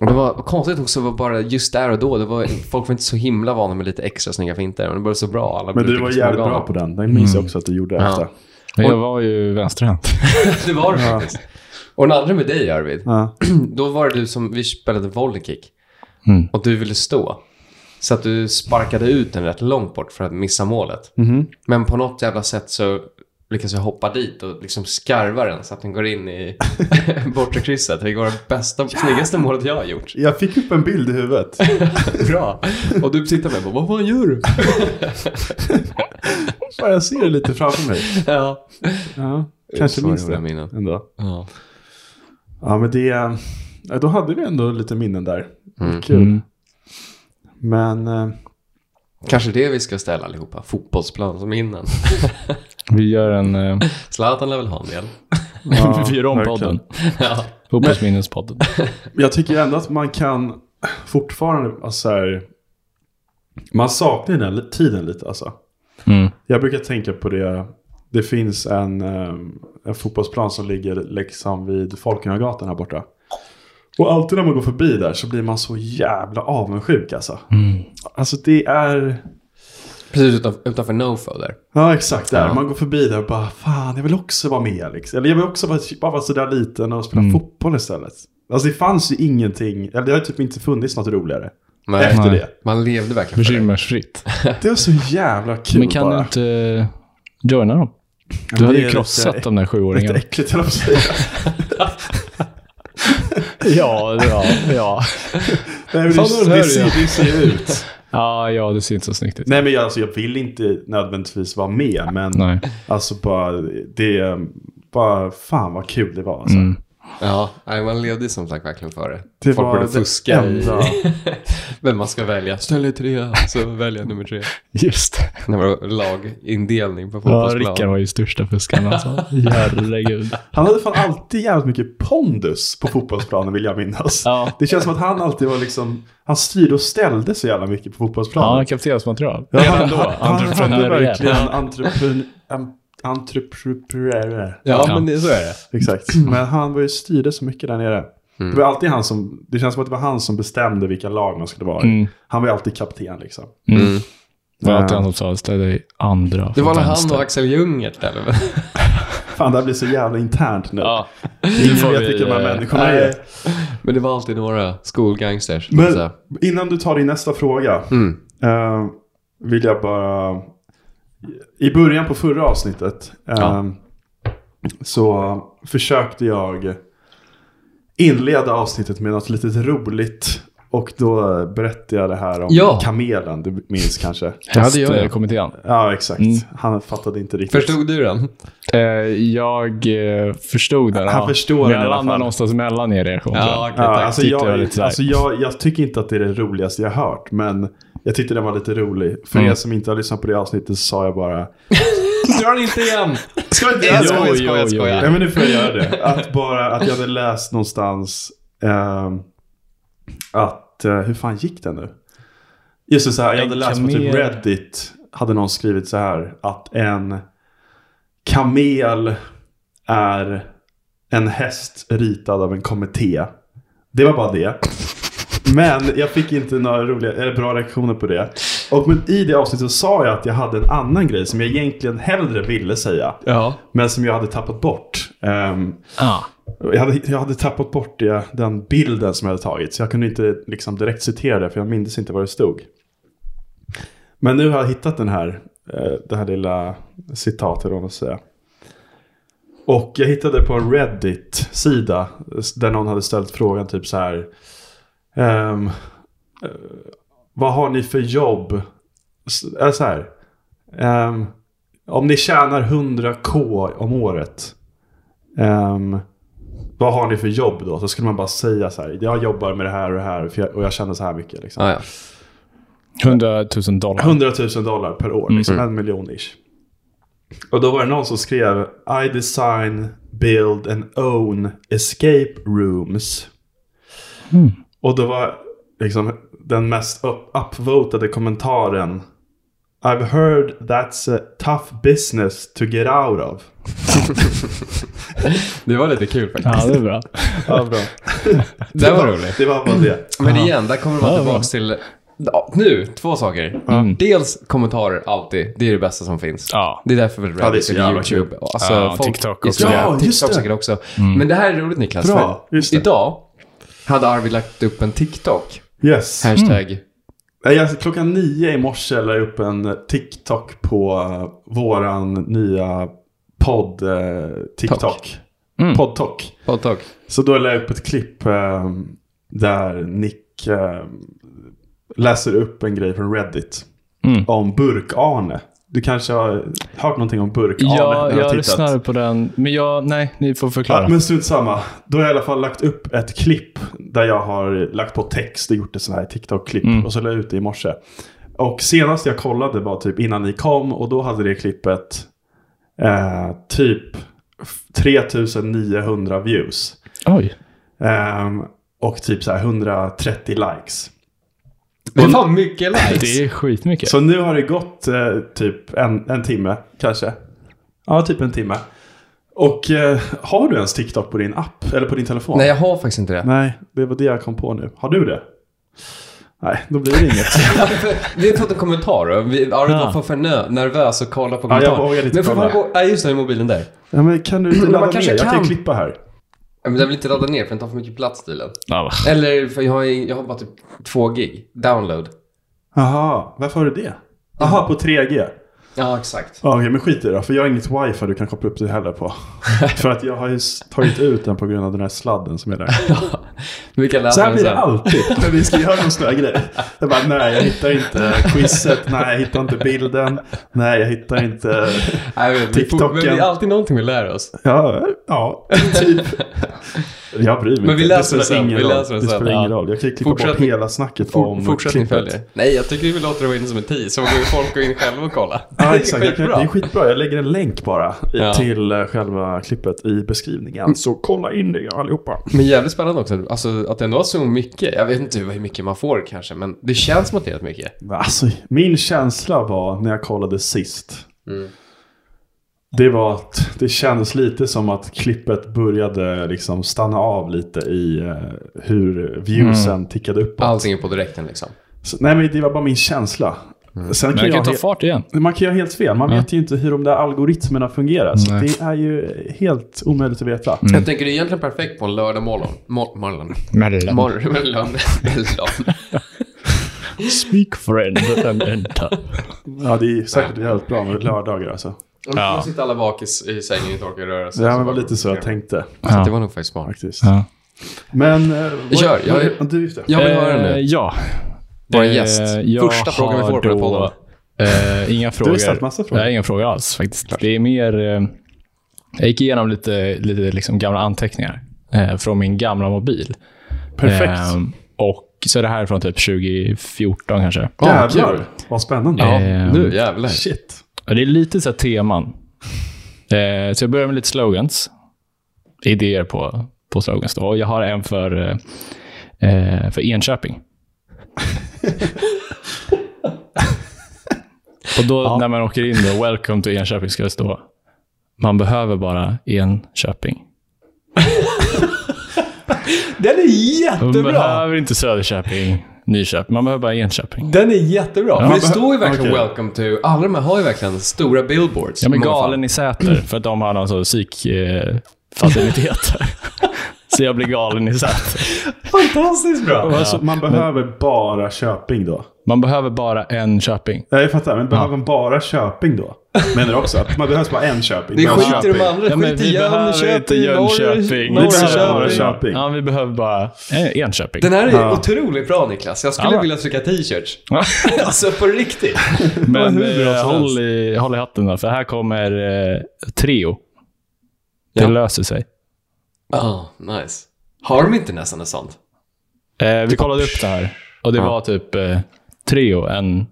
Och det var konstigt också var bara just där och då. Det var, folk var inte så himla vana med lite extra snygga finter. Men det blev så bra. Alla Men blev du var liksom jävligt galna. bra på den. Mm. Den minns jag också att du gjorde Ja. efter. Men jag var ju vänsterhänt. det var du faktiskt. Och den andra med dig Arvid. Ja. Då var det du som, vi spelade volleykick. Mm. Och du ville stå. Så att du sparkade ut den rätt långt bort för att missa målet. Mm-hmm. Mhm. Men på något jävla sätt så lyckas jag hoppa dit och liksom skarva den så att den går in i bortre krysset. Det var det bästa, snyggaste målet jag har gjort. Jag fick upp en bild i huvudet. Bra. Och du tittar på mig och bara, vad fan gör du? Bara jag ser det lite framför mig. Ja. Ja, kanske Så minns roliga det minnen. ändå. Ja. Ja, men det... ja, Då hade vi ändå lite minnen där. Mm. Kul. Mm. Men eh, Kanske det vi ska ställa allihopa. Fotbollsplan som innan. Vi gör en... Eh, Zlatan lär väl ha en del. ja, vi gör om verkligen. podden. Ja. Fotbollsminnespodden. Jag tycker ändå att man kan fortfarande... Alltså, så här, man saknar den li- tiden lite alltså. Mm. Jag brukar tänka på det. Det finns en, eh, en fotbollsplan som ligger liksom vid Folkungagatan här borta. Och alltid när man går förbi där så blir man så jävla avundsjuk alltså. Alltså det är... Precis utanför, utanför Nofo där. Ja exakt där. Ja. Man går förbi där och bara fan jag vill också vara med. Liksom. Eller jag vill också vara, bara vara sådär liten och spela fotboll istället. Alltså det fanns ju ingenting. Eller det har ju typ inte funnits något roligare. Nej. Efter Nej. det. Man levde verkligen för det. Bekymmersfritt. Det var så jävla kul Men kan bara. du inte eh, joina dem? det Du hade är ju krossat lite- de där Lite sjuåringarna. äckligt höll jag på att säga. Ja, ja, ja. Nej, men Fan, vad den det, här det, är jag. ser, det ser ut. Ja, ja, det ser inte så snyggt ut. Nej men jag, alltså, jag vill inte nödvändigtvis vara med men Nej. alltså bara det, bara fan vad kul det var alltså. Mm. Ja, nej, man levde som sagt verkligen för det. Det Folk var borde det fuska i enda. vem man ska välja. Ställ dig trea, så välja nummer tre. Just det. Det var lagindelning på Ja, fotbollsplan. Rickard var ju största fuskaren alltså. Herregud. Han hade fan alltid jävligt mycket pondus på fotbollsplanen vill jag minnas. Ja. Det känns som att han alltid var liksom, han styrde och ställde så jävla mycket på Ja, fotbollsplanen. kaptensmaterial. Ja, han, ändå. han, han hade Entreprenöriell. verkligen entreprenör, entreprenör. Ja, Ja. men det, så är det. Exakt. Mm. Men han var ju styrde så mycket där nere. Det var alltid han som, det känns som att det var han som bestämde vilka lag man skulle vara i. Mm. Han var ju alltid kapten liksom. Det Mm. var alltid han som sa ställ dig andra Mm. Det från var väl han vänster." och Axel Ljungert eller? Fan, det här blir så jävla internt nu. Ja. Nu Ingen får vet vi, vilka de här eh, människorna nej. är. Men det var alltid några skolgangsters. Men Så. innan du tar din nästa fråga Mm. eh, vill jag bara... I början på förra avsnittet eh, Ja. så försökte jag inleda avsnittet med något litet roligt. Och då berättade jag det här om Ja. kamelen, du minns kanske? Det hade jag Häst, ju. eh, kommit igen. Ja, exakt. Mm. Han fattade inte riktigt. Förstod du den? Eh, Jag eh, förstod den. Han ja. förstår Men den i jag alla landade fall. någonstans mellan er reaktion. tror jag. okej, Ja, tack. alltså Tyckte jag var jag, lite så här. alltså jag, jag tycker inte att det är det roligaste jag hört, men jag tyckte den var lite rolig. För Mm. er som inte har lyssnat på det avsnittet så sa jag bara... Dra den inte igen! Ska jag inte Jag Jo, skojar, jo, jag skojar, jag jo. skojar. Nej, men nu får jag göra det. Att bara att jag hade läst någonstans ehm, att... eh, hur fan gick det nu? Just det, så här, jag hade En läst på kamel. typ Reddit hade någon skrivit så här att en Kamel är en häst ritad av en kommitté. Det var bara det. Men jag fick inte några roliga, eller bra reaktioner på det. Och men i det avsnittet så sa jag att jag hade en annan grej som jag egentligen hellre ville säga. Ja. Men som jag hade tappat bort. Ehm, jag, hade, jag hade tappat bort det, den bilden som jag hade tagit. Så jag kunde inte liksom direkt citera det för jag mindes inte vad det stod. Men nu har jag hittat den här, eh, det här lilla citatet om att säga. Och jag hittade på en Reddit-sida eh, där någon hade ställt frågan typ så här. ehm, eh, vad har ni för jobb? S- Eller så här. ehm, om ni tjänar 100k om året. ehm, vad har ni för jobb då? Så skulle man bara säga så här. Jag jobbar med det här och det här för jag, och jag tjänar så här mycket. Liksom. Ah, ja. 100 000 dollar. 100 000 dollar per år, liksom en miljon ish. Och då var det någon som skrev I design, build and own escape rooms. Och då var liksom den mest upp- upvotade kommentaren I've heard that's a tough business to get out of. Det var lite kul faktiskt. Ja, det är bra. Ja, bra. Det var roligt. Det var bara det. Men igen, där kommer man Ja, tillbaka till... Ja, nu, två saker. Mm. Dels kommentarer, alltid. Det är det bästa som finns. Ja. Det är därför väl det är Reddit så och jävla YouTube. och Alltså, Ja, TikTok också. Ja, Ja, just TikTok det. säkert också. Men det här är roligt Niklas. Bra, för just det. Idag hade Arvid lagt upp en TikTok. Yes. Hashtag. Nej, alltså, klockan nio i morse la jag upp en TikTok på eh, våran nya podd eh, TikTok. Mm. Podd-tok. TikTok. Så då la jag upp ett klipp eh, där Nick eh, läser upp en grej från Reddit. Mm. Om Burk-Arne. Du kanske har hört någonting om Burk-Arne? när Ja, du har jag tittat? lyssnade på den. Men jag, nej, ni får Ja, förklara. men strunt samma. Då har jag i alla fall lagt upp ett klipp där jag har lagt på text och gjort ett sånt här TikTok-klipp. Och så la jag ut det i morse. Och senast jag kollade var typ innan ni kom och då hade det klippet eh, typ 3900 views. Oj. Ehm, och typ så här 130 likes. Det är fan mycket likes. Det är skitmycket. Så nu har det gått eh, typ en, en timme kanske. Ja, typ en timme. Och eh, har du ens TikTok på din app eller på din telefon? Nej, jag har faktiskt inte det. Nej, det var det jag kom på nu. Har du det? Nej, då blir det inget. Vi har fått en kommentar. då. Vi- Arvid Ja. var för nö- nervös och kolla på jag kommentarer. vågar inte men får man kolla. gå... Nej, just det, i mobilen där. ja, men kan du inte Men man ladda ner? kanske Jag kan kan. ju klippa här. Ja, Men den vill inte ladda ner för den tar för mycket plats stilen. Ja, va. Eller, för jag har, jag har bara typ två gig. Download. Jaha, varför har du det? Jaha, på 3G. Ja, exakt. Ja, Okej, men skit i det då. För jag har inget wifi du kan koppla upp det heller på. för att jag har ju s- tagit ut den på grund av den här sladden som är där. Vi kan läsa Så här den blir det sen. alltid när vi ska göra någon sån här grej. Jag bara, nej, jag hittar inte quizet. Nej, jag hittar inte bilden. Nej, jag hittar inte... Nej, men vi får- TikToken. Men det är alltid någonting vi lär oss. Ja, ja typ. Jag bryr mig Men vi inte. läser det spelar sen. ingen Vi roll. läser det det sen. spelar ingen Ja. roll. Jag kan ju klippa bort Fortsättning- hela snacket om Fortsättning klippet. följer. Nej, jag tycker vi låter det vara inne som en tease, så går folk gå in själva och kolla. Ja, exakt. Jag kan, det Skitbra. är skitbra. Jag lägger en länk bara i, Ja. Mm. till eh, själva klippet i beskrivningen. Så kolla in det allihopa. Men jävligt spännande också, alltså att det ändå var så mycket. Jag vet inte hur mycket man får kanske, men det känns som att det är rätt mycket. Alltså, min känsla var när jag kollade sist. Mm. Det var att det kändes lite som att klippet började liksom stanna av lite i eh, hur viewsen Mm. tickade uppåt. Allting är på direkten liksom. Så, nej, men det var bara min känsla. Sen Men jag jag kan ta he- fart igen. Man kan ju ha helt fel. Man vet ju inte hur de där algoritmerna fungerar. Så det är ju helt omöjligt att veta. Jag tänker det är egentligen perfekt på en lördag morgon. Mor- morgon. Mellan. Morgon. Mellan. Mellan. Speak friend and enter. Ja, det är säkert jävligt bra med lördagar alltså. Och Ja. då sitter alla bakis i sängen i torkad röra sig. Det här var lite så jag tänkte Så att det var nog faktiskt smart. faktiskt. Ja. Men... eh, vad- Kör, jag- vad- Du, just det. Jag vill höra Eh, nu. Ja. Vår Eh, gäst. jag Första frågan vi får på den här har då, eh, Inga frågor. ställt massa frågor. Nej, inga frågor alls faktiskt. Det är mer... Eh, jag gick igenom lite, lite liksom gamla anteckningar eh, från min gamla mobil. Perfekt. Ehm, och så är det här från typ 2014 kanske. Jävlar, vad spännande. Ja, Ehm, nu jävlar. Shit. Ja, det är lite så här teman. Eh, så jag börjar med lite slogans. Idéer på, på slogans. Då. Och jag har en för, eh, eh, för Enköping. Och då när man åker in då, “Welcome to Enköping” ska det stå Man behöver bara en Köping. Den är Man jättebra! behöver inte Söderköping, Nyköping. Man behöver bara en Köping. Den är jättebra. Men Men det står ju verkligen Okej. “Welcome to”. Alla de här har ju verkligen stora billboards. Ja, men Många fall. galen i Säter, för att de har någon sorts psykfacilitet. eh, Så jag blir galen i Säter. Fantastiskt bra! Alltså, man behöver bara Köping då. Man behöver bara en Köping. Nej, jag fattar. Men behöver man bara Köping då? Menar du också att man behöver bara en Köping? Det Bara skiter i de Köping. andra. Ja, men Skit i vi behöver inte Jönköping, Jönköping. Norr- Vi behöver bara Norrköping. Köping. Ja, vi behöver bara eh, en Köping. Den här är Ja. otroligt bra Niklas. Jag skulle Ja. vilja trycka t-shirts. alltså på riktigt. Men hur bra eh, som helst. håll, i, håll i hatten då, för här kommer eh, Trio. Det Ja. löser sig. Ah, nice. Har de inte nästan något sånt? Eh, vi kollade upp det här och det Typ. Ja. var typ eh, Trio, en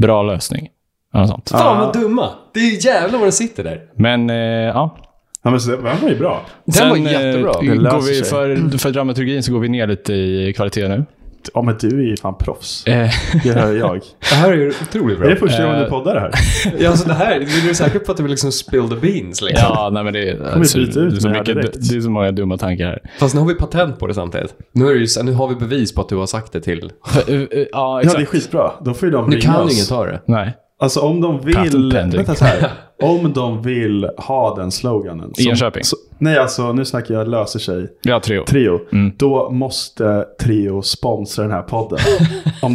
bra lösning. Eller något sånt. Fan vad dumma. Det är ju jävlar vad de sitter där. Men eh, ja. Ja, men så det den var ju bra. Den var jättebra. Eh, löser går vi sig. för, för dramaturgin så går vi ner lite i kvalitet nu. Ja, men du är ju fan proffs. Eh, Det hör jag. Det här är ju otroligt Är bra. det första gången Eh. du poddar det här? Ja, alltså det här, är du säker på att du vill liksom spill the beans liksom? ja, nej men det, är- alltså, byta ut det, är så mig här mycket, direkt. det är så många dumma tankar här. Fast nu har vi patent på det samtidigt. Nu, är det ju, så- nu har vi bevis på att du har sagt det till... Eh, eh, ja, Ja, det är exakt. skitbra. Då får ju de Nu ringa kan oss. ju ingen ta det. Nej, Alltså om de vill... Patent pending. Vänta så här. Om de vill ha den sloganen. I Enköping. så- nej, alltså nu snackar jag löser sig. vi har Trio. Trio. Mm. Då måste Trio sponsra den här podden. om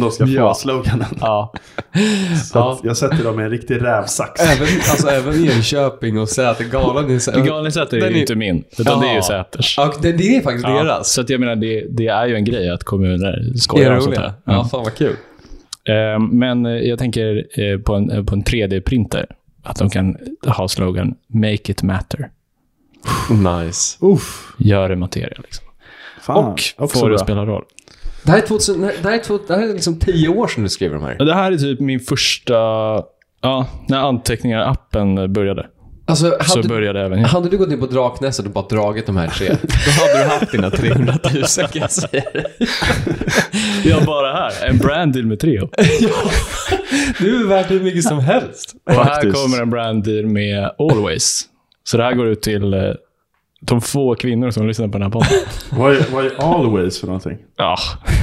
de ska få Ja. Alltså. sloganen. Ja. Så att jag sätter dem i en riktig rävsax. Eh. Även, alltså, även Enköping och Säter, galan i Säter. Galen Säter är Den ju inte min, utan det är Ja. ju Säters. Ja, det, det är faktiskt Ja, deras. Så att jag menar, det, det är ju en grej att kommuner Det skojar är om sånt här. roliga. Ja, fan vad kul. Eh, Men eh, jag tänker eh, på en, eh, på en 3D-printer. Att de kan ha slogan “Make it matter”. Nice. Uff, Gör det materia. Liksom. fan. Och Också får det bra. spela roll. Det här är, 2000, det här är, 2000, det här är liksom tio år sedan du skrev de här. Det här är typ min första... Ja, när anteckningar-appen började. Alltså, Så hade, började även jag. hade du gått ner på Draknässet och bara dragit de här tre, då hade du haft dina 300 000 kan jag säga dig. Jag bara här. En brand deal med Trio. Du är värt hur mycket som helst. Och här Faktiskt. kommer en brand deal med Always. Så det här går ut till eh, de få kvinnor som lyssnar på den här podden. Vad är, vad är always för någonting? Ja.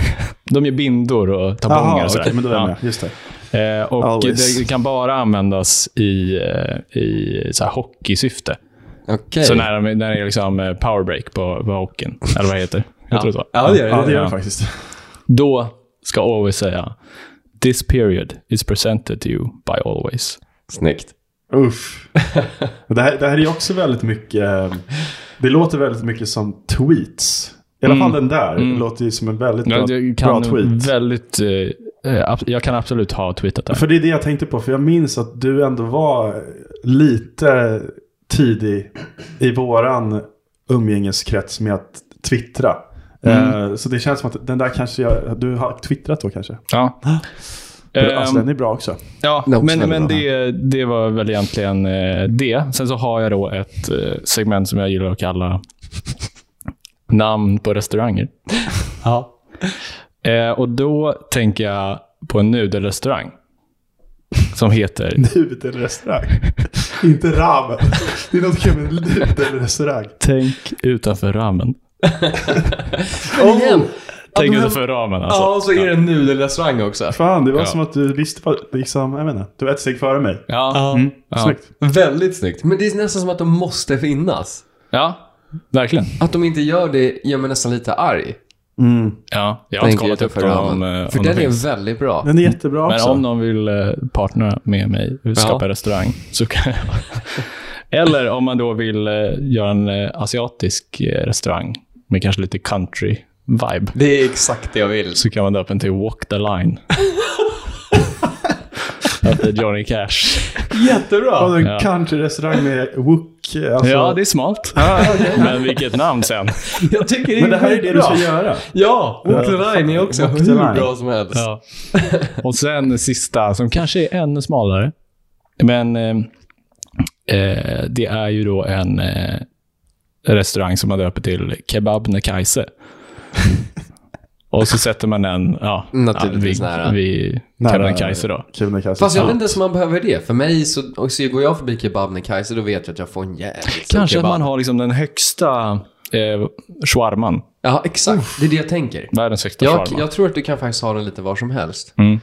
De gör bindor och tamponger Jaha, och okej, sådär. men då är jag Ja. med. Just det. Eh, och Always. det kan bara användas i, eh, i så här hockeysyfte. Okej. Så när, de- när det är liksom eh, powerbreak på, på hockeyn, eller vad det heter. Jag tror det var. Ja, det gör det. Ja, det gör Ja. jag faktiskt. Då ska Always säga This period is presented to you by Always. Snyggt. Uff. Det här, det här är ju också väldigt mycket... eh, Det låter väldigt mycket som tweets. I alla fall Mm. den där. låter ju som en väldigt bra, Jag, jag bra kan tweet. väldigt... eh, eh, ab- Jag kan absolut ha tweetat det. För det är det jag tänkte på. För jag minns att du ändå var lite tidig i våran umgängeskrets med att twittra. Mm. Eh, Så det känns som att den där kanske jag, du har twittrat då kanske. Ja. alltså Ehm, den är bra också. Ja, Det är också men, väldigt men bra. det, det var väl egentligen eh, det. Sen så har jag då ett eh, segment som jag gillar att kalla namn på restauranger. Ja. Eh, och då tänker jag på en nudelrestaurang som heter Nudelrestaurang. Inte ramen. Det är något kul med nudelrestaurang. Tänk utanför ramen. igen. Tänk de här- utanför ramen alltså. Ja, och så är det en nudelrestaurang också. Fan, det var Ja. som att du visste vad, liksom, jag menar, du var ett steg före mig. Ja, Mm. Ja. Snyggt. Väldigt snyggt. Men det är nästan som att de måste finnas. ja verkligen. Att de inte gör det gör mig nästan lite arg. Ja, jag har inte Tänker kollat upp utanför dem ramen. om, eh, För om de den är finns. väldigt bra. Den är jättebra Men också. om någon vill eh, partnera med mig och skapa en restaurang så kan jag. Eller om man då vill eh, göra en eh, asiatisk eh, restaurang med kanske lite country-vibe Det är exakt det jag vill. så kan man döpa den till Walk the Line. Efter Johnny Cash. Har Jättebra! du en Ja. countryrestaurang med wok? Alltså, Ja, det är smalt. Men vilket namn sen. Jag tycker det är men det här är det du ska göra. Ja, Walk the Line är också Walk the hur Line. bra som helst. Ja. Och sen sista, som kanske är ännu smalare. Men eh, eh, det är ju då en eh, restaurang som man döper till Kebab Nekaise. Och så sätter man en ja, Naturligtvis ja, nära. vid, vid Nära- Kebnekaise då. Kebnekaise. Fast jag Ja. vet inte ens om man behöver det. För mig så, och så går jag förbi Kebnekaise då vet jag att jag får en jävligt stor Kanske att kebab. man har liksom den högsta eh, shawarman. Ja, exakt. Det är det jag tänker. Världens högsta Jag, shawarma. jag tror att du kan faktiskt ha den lite var som helst. Mm.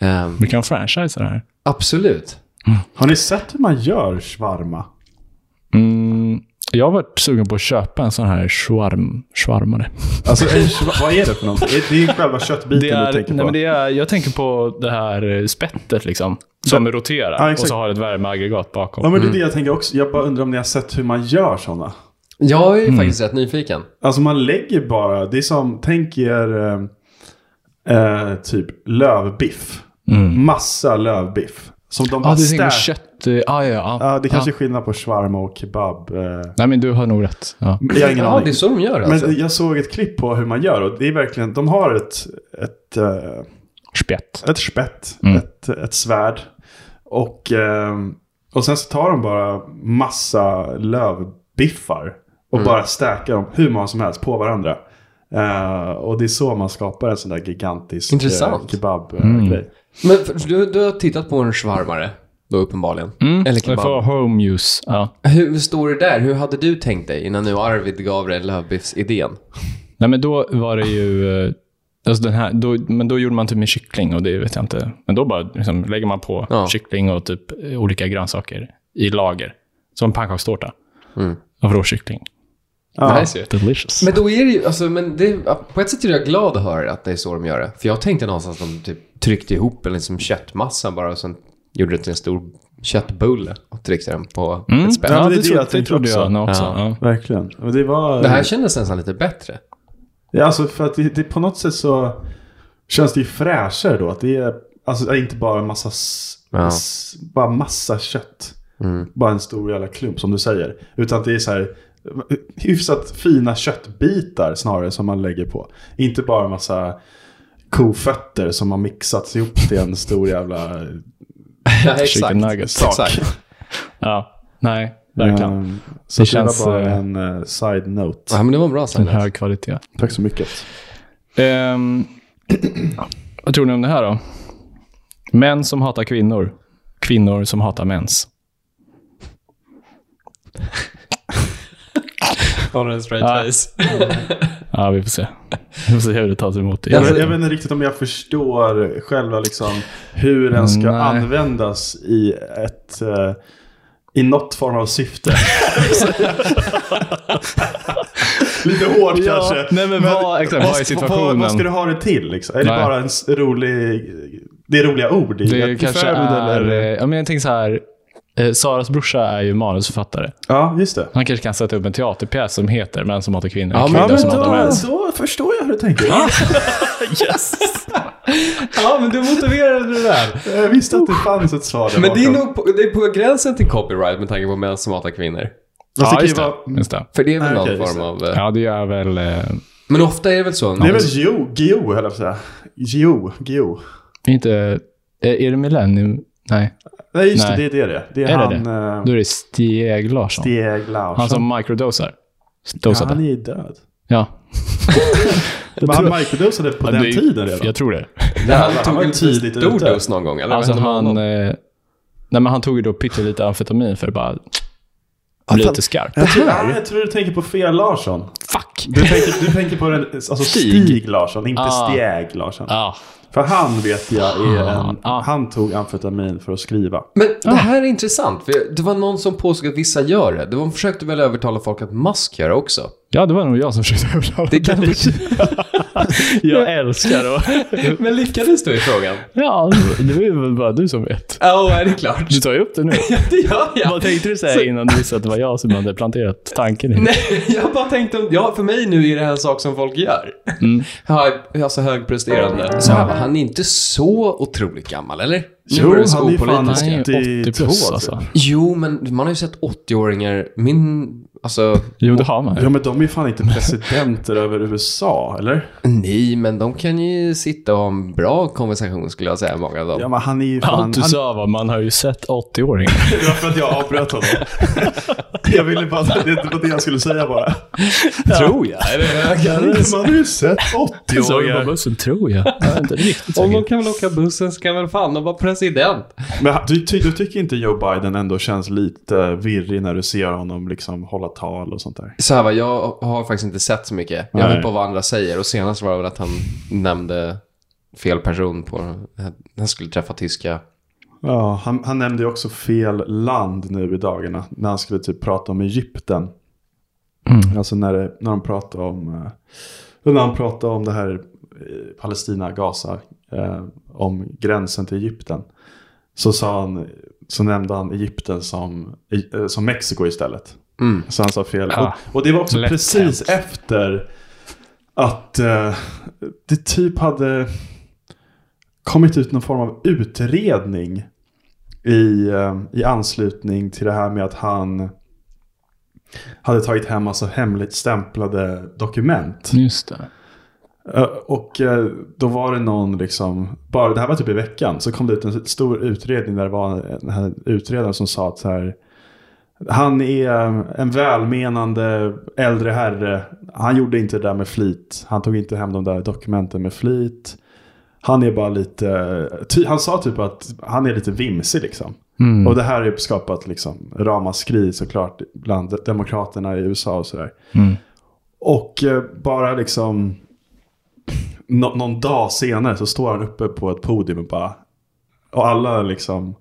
Ehm, Vi kan franchisa det här. absolut. Har ni sett hur man gör shawarma? Mm, jag har varit sugen på att köpa en sån här shawarm, shawarmare. Alltså, en shwa- vad är det för någonting? Är- Det är själva köttbiten Det är, du tänker på. nej, men det är, jag tänker på det här eh, spettet liksom. Som roterar Ja, och exakt. så har ett värmeaggregat bakom. Ja, men det är det jag tänker också. Jag bara undrar om ni har sett hur man gör sådana. Jag är ju faktiskt rätt nyfiken. Alltså man lägger bara, det är som, tänk er eh, eh, typ lövbiff. Mm. Massa lövbiff. Som de bara ah, du tänker stär- kött... eh, Ah, ja, ja. Ja, det kanske är skillnad på shawarma och kebab. eh. Nej, men du har nog rätt. Ja. Jag har ingen Ja, aning. det är så de gör alltså. Men jag såg ett klipp på hur man gör och det är verkligen, de har ett, ett, eh, Spett. ett spett, Mm. ett, ett svärd. Och, ehm, och sen så tar de bara massa lövbiffar och Mm. bara stäkar dem hur många som helst på varandra. Eh, och det är så man skapar en sån där gigantisk eh, Intressant. Mm. kebabgrej. Men för- för du, du har tittat på en shawarmare, då uppenbarligen. Eller Jag får kebab. home use. Ja. Hur står det där? Hur hade du tänkt dig innan nu Arvid gav dig lövbiffsidén? Nej, men då var det ju... eh, Alltså den här, då, men då gjorde man typ med kyckling och det vet jag inte. Men då bara liksom, lägger man på Ja. kyckling och typ eh, olika grönsaker i lager. Som pannkakstårta. Av råkyckling. Ja. Nice ju. Delicious. Men då är det ju, alltså, men det, på ett sätt är jag glad att höra att det är så de gör det. För jag tänkte någonstans att de typ tryckte ihop en liksom köttmassa bara och sen gjorde det till en stor köttbulle och tryckte den på ett spett. Ja, Mm. Ja, det, det är det tro, jag det tänker trodde också. jag nog också. Ja. Ja. Verkligen. Och Det var... Det här kändes nästan lite bättre. Ja, alltså för att det, det på något sätt så känns det ju fräschare då. Att det är alltså, inte bara en massa, s- Ja. s- bara massa kött. Bara en stor jävla klump som du säger. Utan att det är så här hyfsat fina köttbitar snarare som man lägger på. Inte bara en massa kofötter som har mixats ihop till en stor jävla Ja, exakt. Chicken nuggets. sak. Exakt. Ja. Nej, verkligen. Ehm, så det, Det känns, känns, var bara eh, en eh, side note. Ja, men det var en bra En sign. hög kvalitet. Tack så mycket. Ehm, vad tror ni om det här då? Män som hatar kvinnor. Kvinnor som hatar mäns. Håller en straight Ja. Ja, vi får se. Vi får se hur det tas emot. Jag, Jag, vet- jag vet inte riktigt om jag förstår själva liksom hur den ska Mm, Nej. användas i ett... eh, I något form av syfte. Lite hårt Ja, kanske. nej, men vad- exakt, vad är Vad, situationen? vad ska du ha det till liksom? Är det Nej. bara en s- rolig... Det är roliga ord i det ett kanske förbud är... eller- eh, Ja, men jag tänker så här. eh, Saras brorsa är ju manusförfattare. Ja, just det. Han kanske kan sätta upp en teaterpjäs som heter Män som hatar kvinnor. Ja, men- kvinnor Ja, men som hatar då, män. då förstår jag hur du tänker. Ja, men du motiverade det där. Jag visste att det fanns ett svar där Men det är bakom. nog på, det är på gränsen till copyright med tanke på män som hatar kvinnor. Fast det Ja, kan ju just det. vara- Just Alltså, det. För det är väl Nej, någon Ah, okej, just form det. av... eh, Ja, det är väl... eh, Men ofta är det väl så. Det är väl Geo, Geo höll jag på att säga. Geo, Geo. Inte... eh, Är det Millennium? Nej. Nej, just Nej. det. Det är det det är. Det är, Är det han... eh, Då är det Stieg Larsson. Stieg Larsson. Han som microdosar. ja, Dosade. han är ju död. Ja, Men han microdosade på den det- tiden redan. jag tror det. han, Han han tog var en tidigt stor ute. dos någon gång, eller? Alltså Vad hände med han... honom? Eh, nej, men han tog ju då pyttelite amfetamin för att bara bli lite skarp. Jag tror, ah, jag tror du tänker på fel Larsson. Fuck! Du tänker, du tänker på den, alltså Stig, Stig. Larsson, inte Ah. Stieg Larsson. Ja, För han vet jag är en... Ah. Han tog amfetamin för att skriva. Men det här är intressant, för det var någon som påstod att vissa gör det. De försökte väl övertala folk att mask gör det också. ja, det var nog jag som försökte övertala Det kan bli... Jag älskar det. Men lyckades du i frågan? Ja, det är väl bara du som vet. Ja, oh, är det klart? Du tar ju upp det nu. Det gör Vad tänkte du säga innan du visste att det var jag som hade planterat tanken? i Nej, jag bara tänkte om... Ja, för mig nu är det här en sak som folk gör. Mm. Alltså högpresterande. Så här, va, han är inte så otroligt gammal, eller? Nu Jo, börjar det så han är ju fan opolitiskt. Han är 80 82, plus alltså. alltså. Jo, men man har ju sett 80-åringar. Min... Alltså, Jo, det har man. Ja men de är ju fan inte presidenter över USA, eller? nej, men de kan ju sitta och ha en bra konversation skulle jag säga, många av dem. Ja men han är ju fan... Allt du han- sa var man har ju sett 80-åringar. Det var för att jag avbröt honom. jag ville bara... Det var det han skulle säga bara. Tror jag. Man har ju sett 80 Sa du på bussen, tror jag? Jag är inte riktigt säker. kan väl åka bussen så kan väl fan de vara president. Men han- du, ty, du tycker inte Joe Biden ändå känns lite virrig när du ser honom liksom hålla tal och sånt där? Så här va, jag har faktiskt inte sett så mycket. Jag Nej. vet bara vad andra säger. Och senast var det väl att han nämnde fel person på... Han skulle träffa tyska. Ja, han, han nämnde ju också fel land nu i dagarna när han skulle typ prata om Egypten. Alltså när, det, när de pratade om eh, när han pratade om det här eh, Palestina, Gaza, eh, om gränsen till Egypten. Så, sa han, så nämnde han Egypten som, eh, som Mexiko istället. Mm. Så han sa fel. Ja. Och, och det var också Lätt precis efter att eh, det typ hade kommit ut någon form av utredning i, eh, i anslutning till det här med att han hade tagit hem alltså hemligt stämplade dokument. Just det. Eh, Och eh, då var det någon, liksom, bara det här var typ i veckan, så kom det ut en stor utredning där det var den här utredaren som sa att så här, han är en välmenande äldre herre. Han gjorde inte det där med flit. Han tog inte hem de där dokumenten med flit. Han är bara lite, ty, han sa typ att han är lite vimsig liksom. Och det här har ju skapat liksom ramaskri såklart bland demokraterna i USA och sådär. Och eh, bara liksom nå- någon dag senare så står han uppe på ett podium och bara... Och alla liksom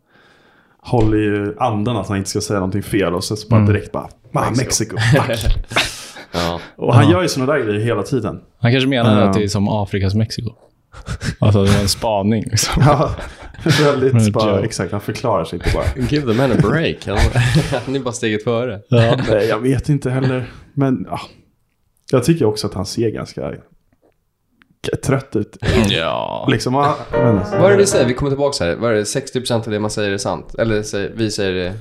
håller ju andan att han inte ska säga någonting fel. Och så bara Mm. direkt bara... "Man, Mexiko. fuck." Ja. och han gör ju sådana där grejer hela tiden. Han kanske menade Ja. att det är som Afrikas Mexiko. Alltså, det var en spaning. Liksom. Ja, väldigt Mm, bara, Joe. exakt. Han förklarar sig inte bara. Give the man a break. Han, han är bara steget före. Nej, jag vet inte heller. Men ja. Jag tycker också att han ser ganska trött ut. Ja. Liksom, han, Vad är det vi säger? Vi kommer tillbaka här. Vad är det? 60% av det man säger är sant. Eller säger, vi säger det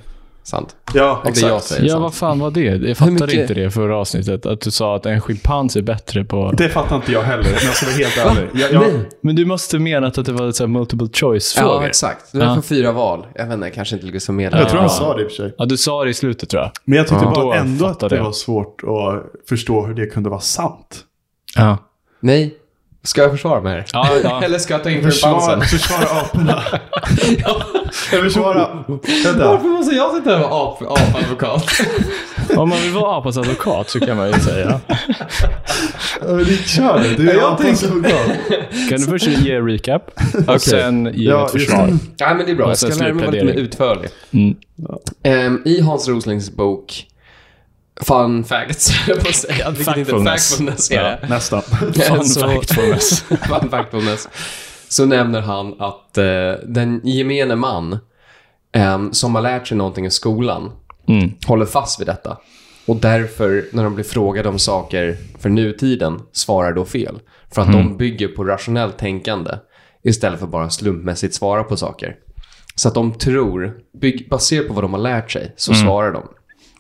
sant. ja, Av det jag exakt. säger är Ja, sant. vad fan var det? Jag fattade mycket- inte det i förra avsnittet. Att du sa att en schimpans är bättre på... Det fattar inte jag heller, om jag ska vara helt ärlig. Jag, jag, Men du måste menat att det var så här multiple Ja, choice-frågor. exakt. Du har för fyra val. Jag vet inte, kanske inte ligger så med. jag tror han sa det i och för sig. Ja, du sa det i slutet tror jag. Men jag tyckte Ja. Då bara ändå att fattar det jag. var svårt att förstå hur det kunde vara sant. Ja. Nej. Ska jag försvara mig? Ja, ja. Eller ska jag ta in Försvara, schimpansen? försvara aporna. försvara... Vänta. måste jag sitta här och vara ap- apadvokat? Om man vill vara apas advokat så kan man ju säga. Ja, men det- Kör nu, du är Jag apan som Kan du först ge en recap och sen ge Ja, ett försvar? just Nej, men det är bra. Och Jag sen ska lära mig vara lite mer slutplädering. utförlig. Mm. Ehm, I Hans Roslings bok Fun facts, höll jag på att säga. Vilket inte Factfulness. factfulness är det. det. Nästan. Fun Så- factfulness. Alltså, Fun factfulness. Så nämner han att eh, den gemene man ehm, som har lärt sig någonting i skolan Mm. håller fast vid detta. Och därför, när de blir frågade om saker för nutiden, svarar då fel. För att Mm. de bygger på rationellt tänkande istället för bara slumpmässigt svara på saker. Så att de tror, bygg, baserat på vad de har lärt sig, så Mm. svarar de.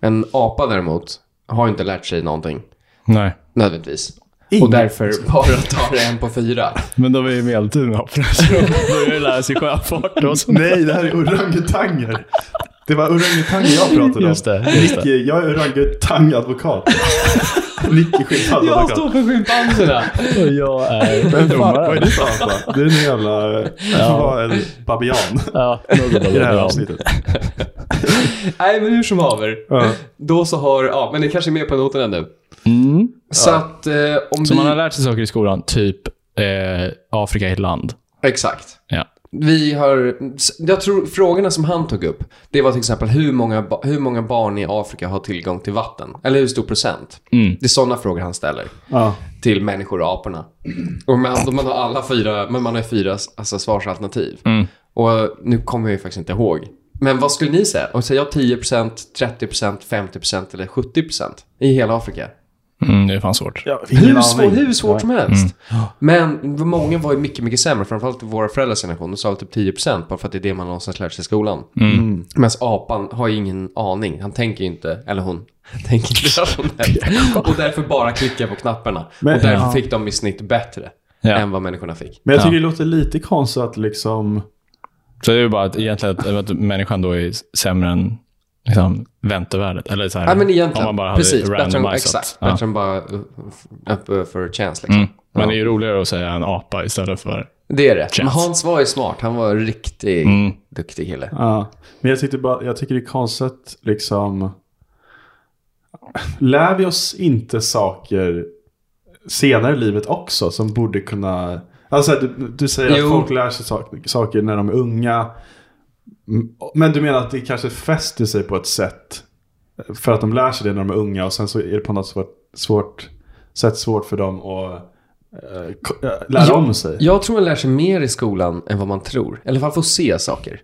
En apa däremot har inte lärt sig någonting, Nej. nödvändigtvis. Och därför bara tar det en på fyra. Men de är ju medeltiden apor. Så de börjar lära sig sjöfart och sånt. Nej, det här är orangutanger. Det var orangutanger jag pratade om. Just det, just det. Nicky, jag är orangutangadvokat. Nicky schimpansadvokat. för schimpanserna. Och jag är Vem fan, vad är domaren. du för apa? Du är en jävla... Du var en babian Ja, något av i det här det. avsnittet. Nej, men hur som haver. Ja. Då så har, ja, men det kanske är med på noterna nu. Så att eh, om Mm. Så vi... man har lärt sig saker i skolan, typ eh, Afrika är ett land. Exakt. Ja. Vi har, jag tror frågorna som han tog upp, det var till exempel hur många, ba- hur många barn i Afrika har tillgång till vatten? Eller hur stor procent? Mm. Det är sådana frågor han ställer Ja. till människor och aporna. Och man, man har alla fyra, men man har fyra alltså, svarsalternativ. Och nu kommer jag ju faktiskt inte ihåg. Men vad skulle ni säga? Om säger jag 10%, 30%, 50% eller 70% i hela Afrika? Mm, det är fan svårt. Ja, Hur, svår, hur svårt som helst. Mm. Men många var ju mycket, mycket sämre. Framförallt våra föräldrars generation. De sa typ 10% bara för att det är det man någonstans lär sig i skolan. Mm. Medan apan har ju ingen aning. Han tänker ju inte, eller hon, tänker inte rationellt. Och därför bara klickar på knapparna. Men- och därför ja. fick de i snitt bättre Ja. än vad människorna fick. Men jag tycker det låter lite konstigt att liksom... Så det är ju bara att, egentligen att, att människan då är sämre än liksom, väntevärdet. Eller så här, Ja, men egentligen. om man bara hade precis. Bättre än, randomisat. exakt. Ja. Bättre än bara uh, up uh, for a chance. Liksom. Mm. Men det är ju roligare att säga en apa istället för... Det är det. Men Chance. Hans var ju smart. Han var en riktigt Mm. duktig kille. Ja. Men jag, tyckte bara, jag tycker det är konstigt att liksom... Lär vi oss inte saker senare i livet också som borde kunna... Alltså du, du säger Jo. att folk lär sig sak, saker när de är unga. Mm, Men du menar att det kanske fäster sig på ett sätt för att de lär sig det när de är unga och sen så är det på något svårt, svårt sätt svårt för dem att eh, ko- eh, lära Ja. om sig. Jag tror man lär sig mer i skolan än vad man tror. Eller i alla fall får se saker.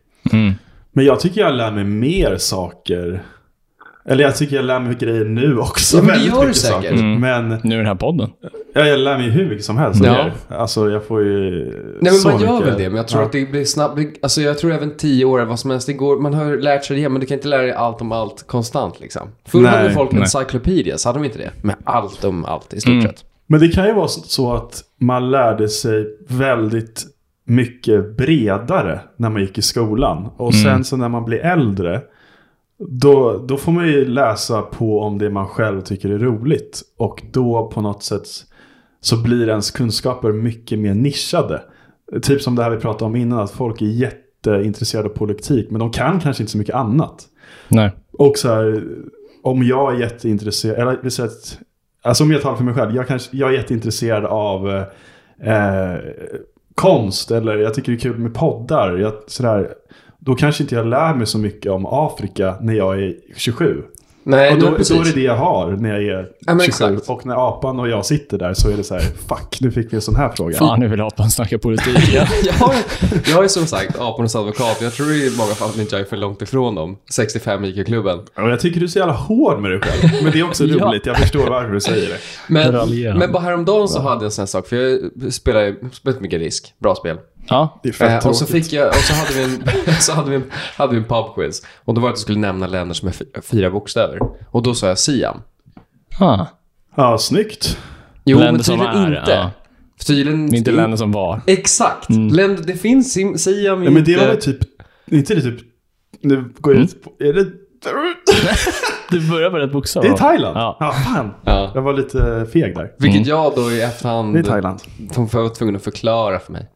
Men jag tycker jag lär mig mer saker. Eller jag tycker jag lär mig grejer nu också. Ja, men det Väldigt gör du mycket säkert. Mm. saker. Men Nu i den här podden. ja, jag lär mig hur mycket som helst. Ja. Ja. Alltså jag får ju Nej men så man gör mycket. väl det, men jag tror Ja. att det blir snabbt. Alltså jag tror även tio år, vad som helst, det går, man har lärt sig det, men du kan inte lära dig allt om allt konstant liksom. Förr Nej, Mm. hade folk en nej. encyclopedia, så hade de inte det. Med allt om allt i stort sett. Men det kan ju vara så att man lärde sig väldigt mycket bredare när man gick i skolan. Och sen så när man blir äldre. Då, då får man ju läsa på om det man själv tycker är roligt. Och då på något sätt så blir ens kunskaper mycket mer nischade. Typ som det här vi pratade om innan, att folk är jätteintresserade av politik. Men de kan kanske inte så mycket annat. Nej. Och så här, om jag är jätteintresserad, eller vi säger att, alltså om jag talar för mig själv, jag, kanske, jag är jätteintresserad av eh, eh, konst eller jag tycker det är kul med poddar. Jag, så där, då kanske inte jag lär mig så mycket om Afrika när jag är 27. Nej, Och då, då, precis. då är det det jag har när jag är Ja, men 27. exakt. Och när apan och jag sitter där så är det så här, fuck, nu fick vi en sån här fråga. Fan, nu vill apan snacka politik. jag, jag, jag är som sagt apornas advokat. Jag tror i många fall att inte jag är för långt ifrån dem. 65 IQ-klubben. Och jag tycker du är så jävla hård med dig själv. Men det är också Ja. roligt, jag förstår varför du säger det. Men, Raljerande. men bara häromdagen så hade jag en sån här sak, för jag spelar ju spelat mycket risk. Bra spel. ja. Det är fett Eh, och så tråkigt. fick jag, och så hade vi en, så hade vi en, hade vi en pubquiz. Och då var det att jag skulle nämna länder som är fy- fyra bokstäver. Och då sa jag Siam. Ah. Ja, snyggt. Jo, Länder men som tydligen är, inte. ja. Tydligen Inte länder Mm. som var. Exakt. Länder, det finns Sim- Siam Ja, men det var inte. Mm. väl typ, inte det typ, nu går jag ut på, är det, Du börjar med rätt bokstav. det är Thailand? Ja, Ja. fan. Ja. Jag var lite feg där. Vilket Mm. jag då i Det är efterhand Thailand. de var tvungen att förklara för mig.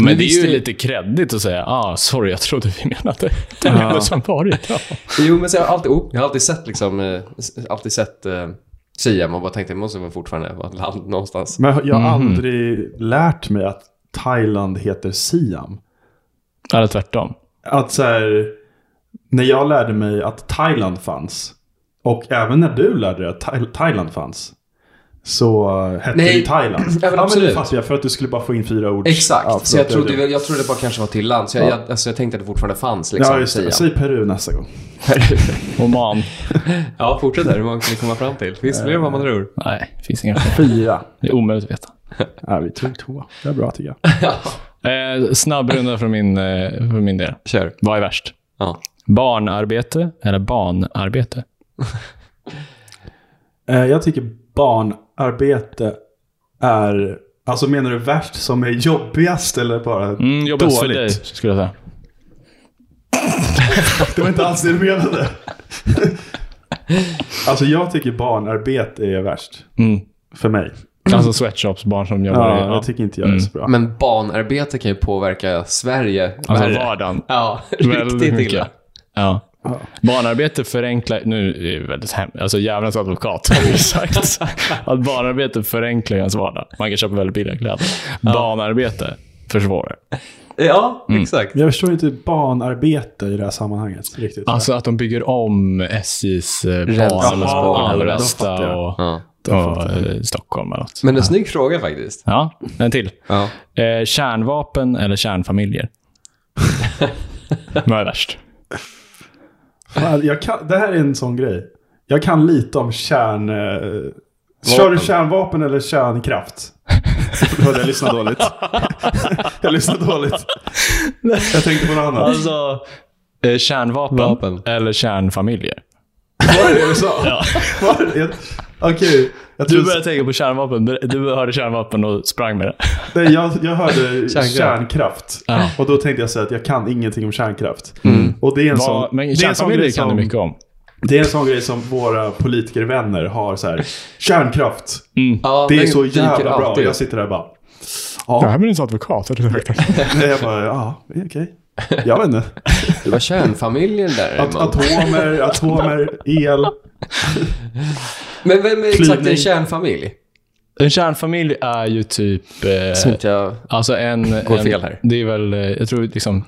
Men, Men det visst är ju är- lite kreddigt att säga ah, sorry, jag trodde vi menade det länder som varit. Ja. Jo, men så jag har alltid, oh, jag har alltid sett liksom, eh, s- alltid sett eh, Siam och bara tänkte, det måste väl fortfarande vara ett land någonstans. Men jag har Mhm. aldrig lärt mig att Thailand heter Siam. Eller tvärtom. Att så här, när jag lärde mig att Thailand fanns, och även när du lärde dig att Thail- Thailand fanns, så eh, hette Nej. det Thailand. Ja, men ja, men absolut. det fattar jag, för att du skulle bara få in fyra ord. Exakt, Ja, så jag förlåt, trodde, gjorde- väl- jag trodde det bara kanske var till land. Så jag, jag, alltså jag tänkte att det fortfarande fanns liksom. Ja, just det. Siam. Säg Peru nästa gång. Oman. ja fortsätt där. Hur många kan ni komma fram till? Finns det fler än vad man tror? Nej, det finns inga skäl. Fyra. Det är omöjligt att veta. Ja, vi tog två. Det är bra tycker jag. Eh, snabb runda från min, eh, för min del. Kör. Vad är värst? Ja. Barnarbete eller barnarbete? Eh, Jag tycker barnarbete är... Alltså menar du värst som är jobbigast eller bara Mm, jobbigast för dåligt? dig, skulle jag säga. Det var inte alls det du menade. alltså jag tycker barnarbete är värst. Mm. För mig. Alltså sweatshopsbarn som jobbar Ja, i... Ja. Mm. Jag tycker inte jag är så bra. Men barnarbete kan ju påverka Sverige Alltså värre. vardagen. Ja, Väldigt riktigt mycket. illa. Ja. Barnarbete förenklar... Nu är det väldigt hem... Alltså djävulens advokat har ju sagt att barnarbete förenklar ens vardag. Man kan köpa väldigt billiga kläder. Barnarbete försvårar. Ja, exakt. Jag förstår inte barnarbete i det här sammanhanget riktigt. Alltså att de bygger om SJs eh, banor Jaha, mellan då Avesta fattar jag. och, Ja. och eh, Stockholm eller något. Men en snygg fråga faktiskt. Ja, en till. Ja. Eh, kärnvapen eller kärnfamiljer? Vad är värst? Fan, Jag kan, det här är en sån grej. Jag kan lite om kärn... eh, Kör du kärnvapen eller kärnkraft? Hörde jag lyssnade dåligt. jag lyssnade dåligt. Jag tänkte på något annat. Alltså, eh, kärnvapen Vapen. eller kärnfamiljer? Var det det du sa? Var det det? Okej. Jag, Du trodde- började tänka på kärnvapen. Du- Du hörde kärnvapen och sprang med det. nej, jag, jag hörde kärnkraft. Kärnkraft. Ja. Mm. Och då tänkte jag säga att jag kan ingenting om kärnkraft. Och det är en Vad- sån, men det är en sån kärnfamiljer grej kan som, du mycket om. Det är en sån grej som våra politikervänner har så här. Kärnkraft. Ja, Det är den så dyker jävla bra. alltid Jag upp. sitter där och bara. Det här blir ens advokat. Eller hur? Nej, Jag bara, ja, okej. Jag vet inte. Det var kärnfamiljen där. At- man. atomer, atomer, el. Men vem är exakt Klyvning. en kärnfamilj? En kärnfamilj är ju typ... Eh, Inte jag... alltså en... Går en, fel här. Det är väl, eh, jag tror liksom...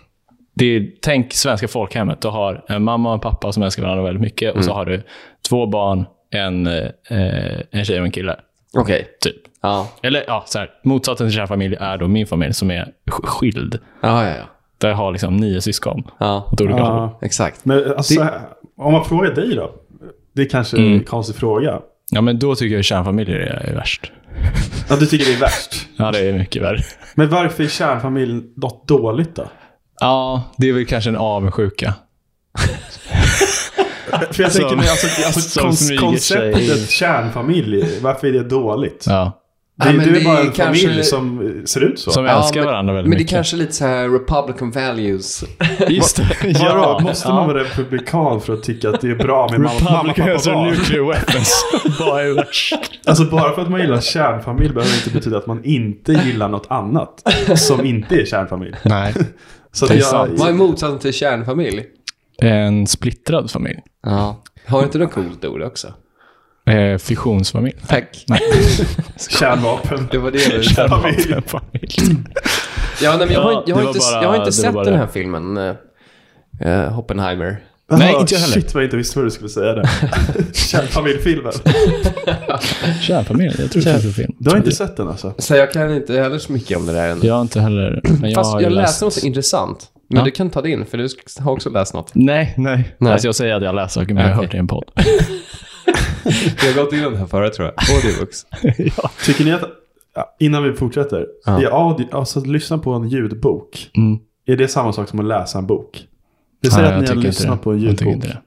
Det är, tänk svenska folkhemmet. Du har en mamma och en pappa som älskar varandra väldigt mycket. Och så har du två barn, en, eh, en tjej och en kille. Okej. Typ. Ja. Eller ja, så här, motsatsen till kärnfamilj är då min familj som är sk- skild. Ja, ja, ja. Där jag har liksom nio syskon. Ja, Åt olika håll. Ja. exakt. Men alltså, så här, om man frågar dig då? Det är kanske är en konstig fråga. Ja, men då tycker jag kärnfamiljer är värst. Ja, du tycker det är värst. Ja, det är mycket värre. Men varför är kärnfamiljen något dåligt då? Ja, det är väl kanske en avundsjuka. För jag tänker Som- mig, alltså, alltså som kon- smyger sig in. konceptet kärnfamilj, varför är det dåligt? Ja. Det, är Ja, men du är det bara är en kanske- familj som eh, ser ut så. Som Ja, älskar men- varandra väldigt Men det är mycket. kanske lite så här Republican values. Just det. Vadå, ja. måste man vara republikan för att tycka att det är bra med mamma, mamma pappa Republicans barn? och nuclear weapons. Vad är värst? Alltså bara för att man gillar kärnfamilj behöver det inte betyda att man inte gillar något annat som inte är kärnfamilj. Nej. Så att Det är jag, sant. Vad är motsatsen till kärnfamilj? En splittrad familj. Ja. Har inte något coolt ord också? Eh, fissionsfamilj. Tack. kärnvapen. Det var det du Kärnvapenfamilj. Ja, nej, men jag, Ja, har, jag, har det var inte, bara- jag har inte det sett var bara den det. här filmen, eh, eh, Oppenheimer. Nej, Ah, inte jag heller. Shit vad jag inte visste vad du skulle säga där. Kärnfamiljfilmen. Kärnfamilj. Jag tror det finns en film. Du har inte sett den alltså? Så jag kan inte heller så mycket om det där än. Jag har inte heller... Men jag Fast har jag, ju läst- läste något intressant. Men Ja. du kan ta det in, för du sk- har också läst något. Nej, nej. Nej. Alltså jag säger att jag läser saker, men jag har hört det i en podd. Jag har gått igenom det här förut tror jag. Audiobooks. ja. Tycker ni att, ja, innan vi fortsätter, ja. audio, alltså att lyssna på en ljudbok, Mm. är det samma sak som att läsa en bok? Vi säger Nej, jag att ni har tycker inte lyssnat det. på en Jag tycker ljudbok. inte det.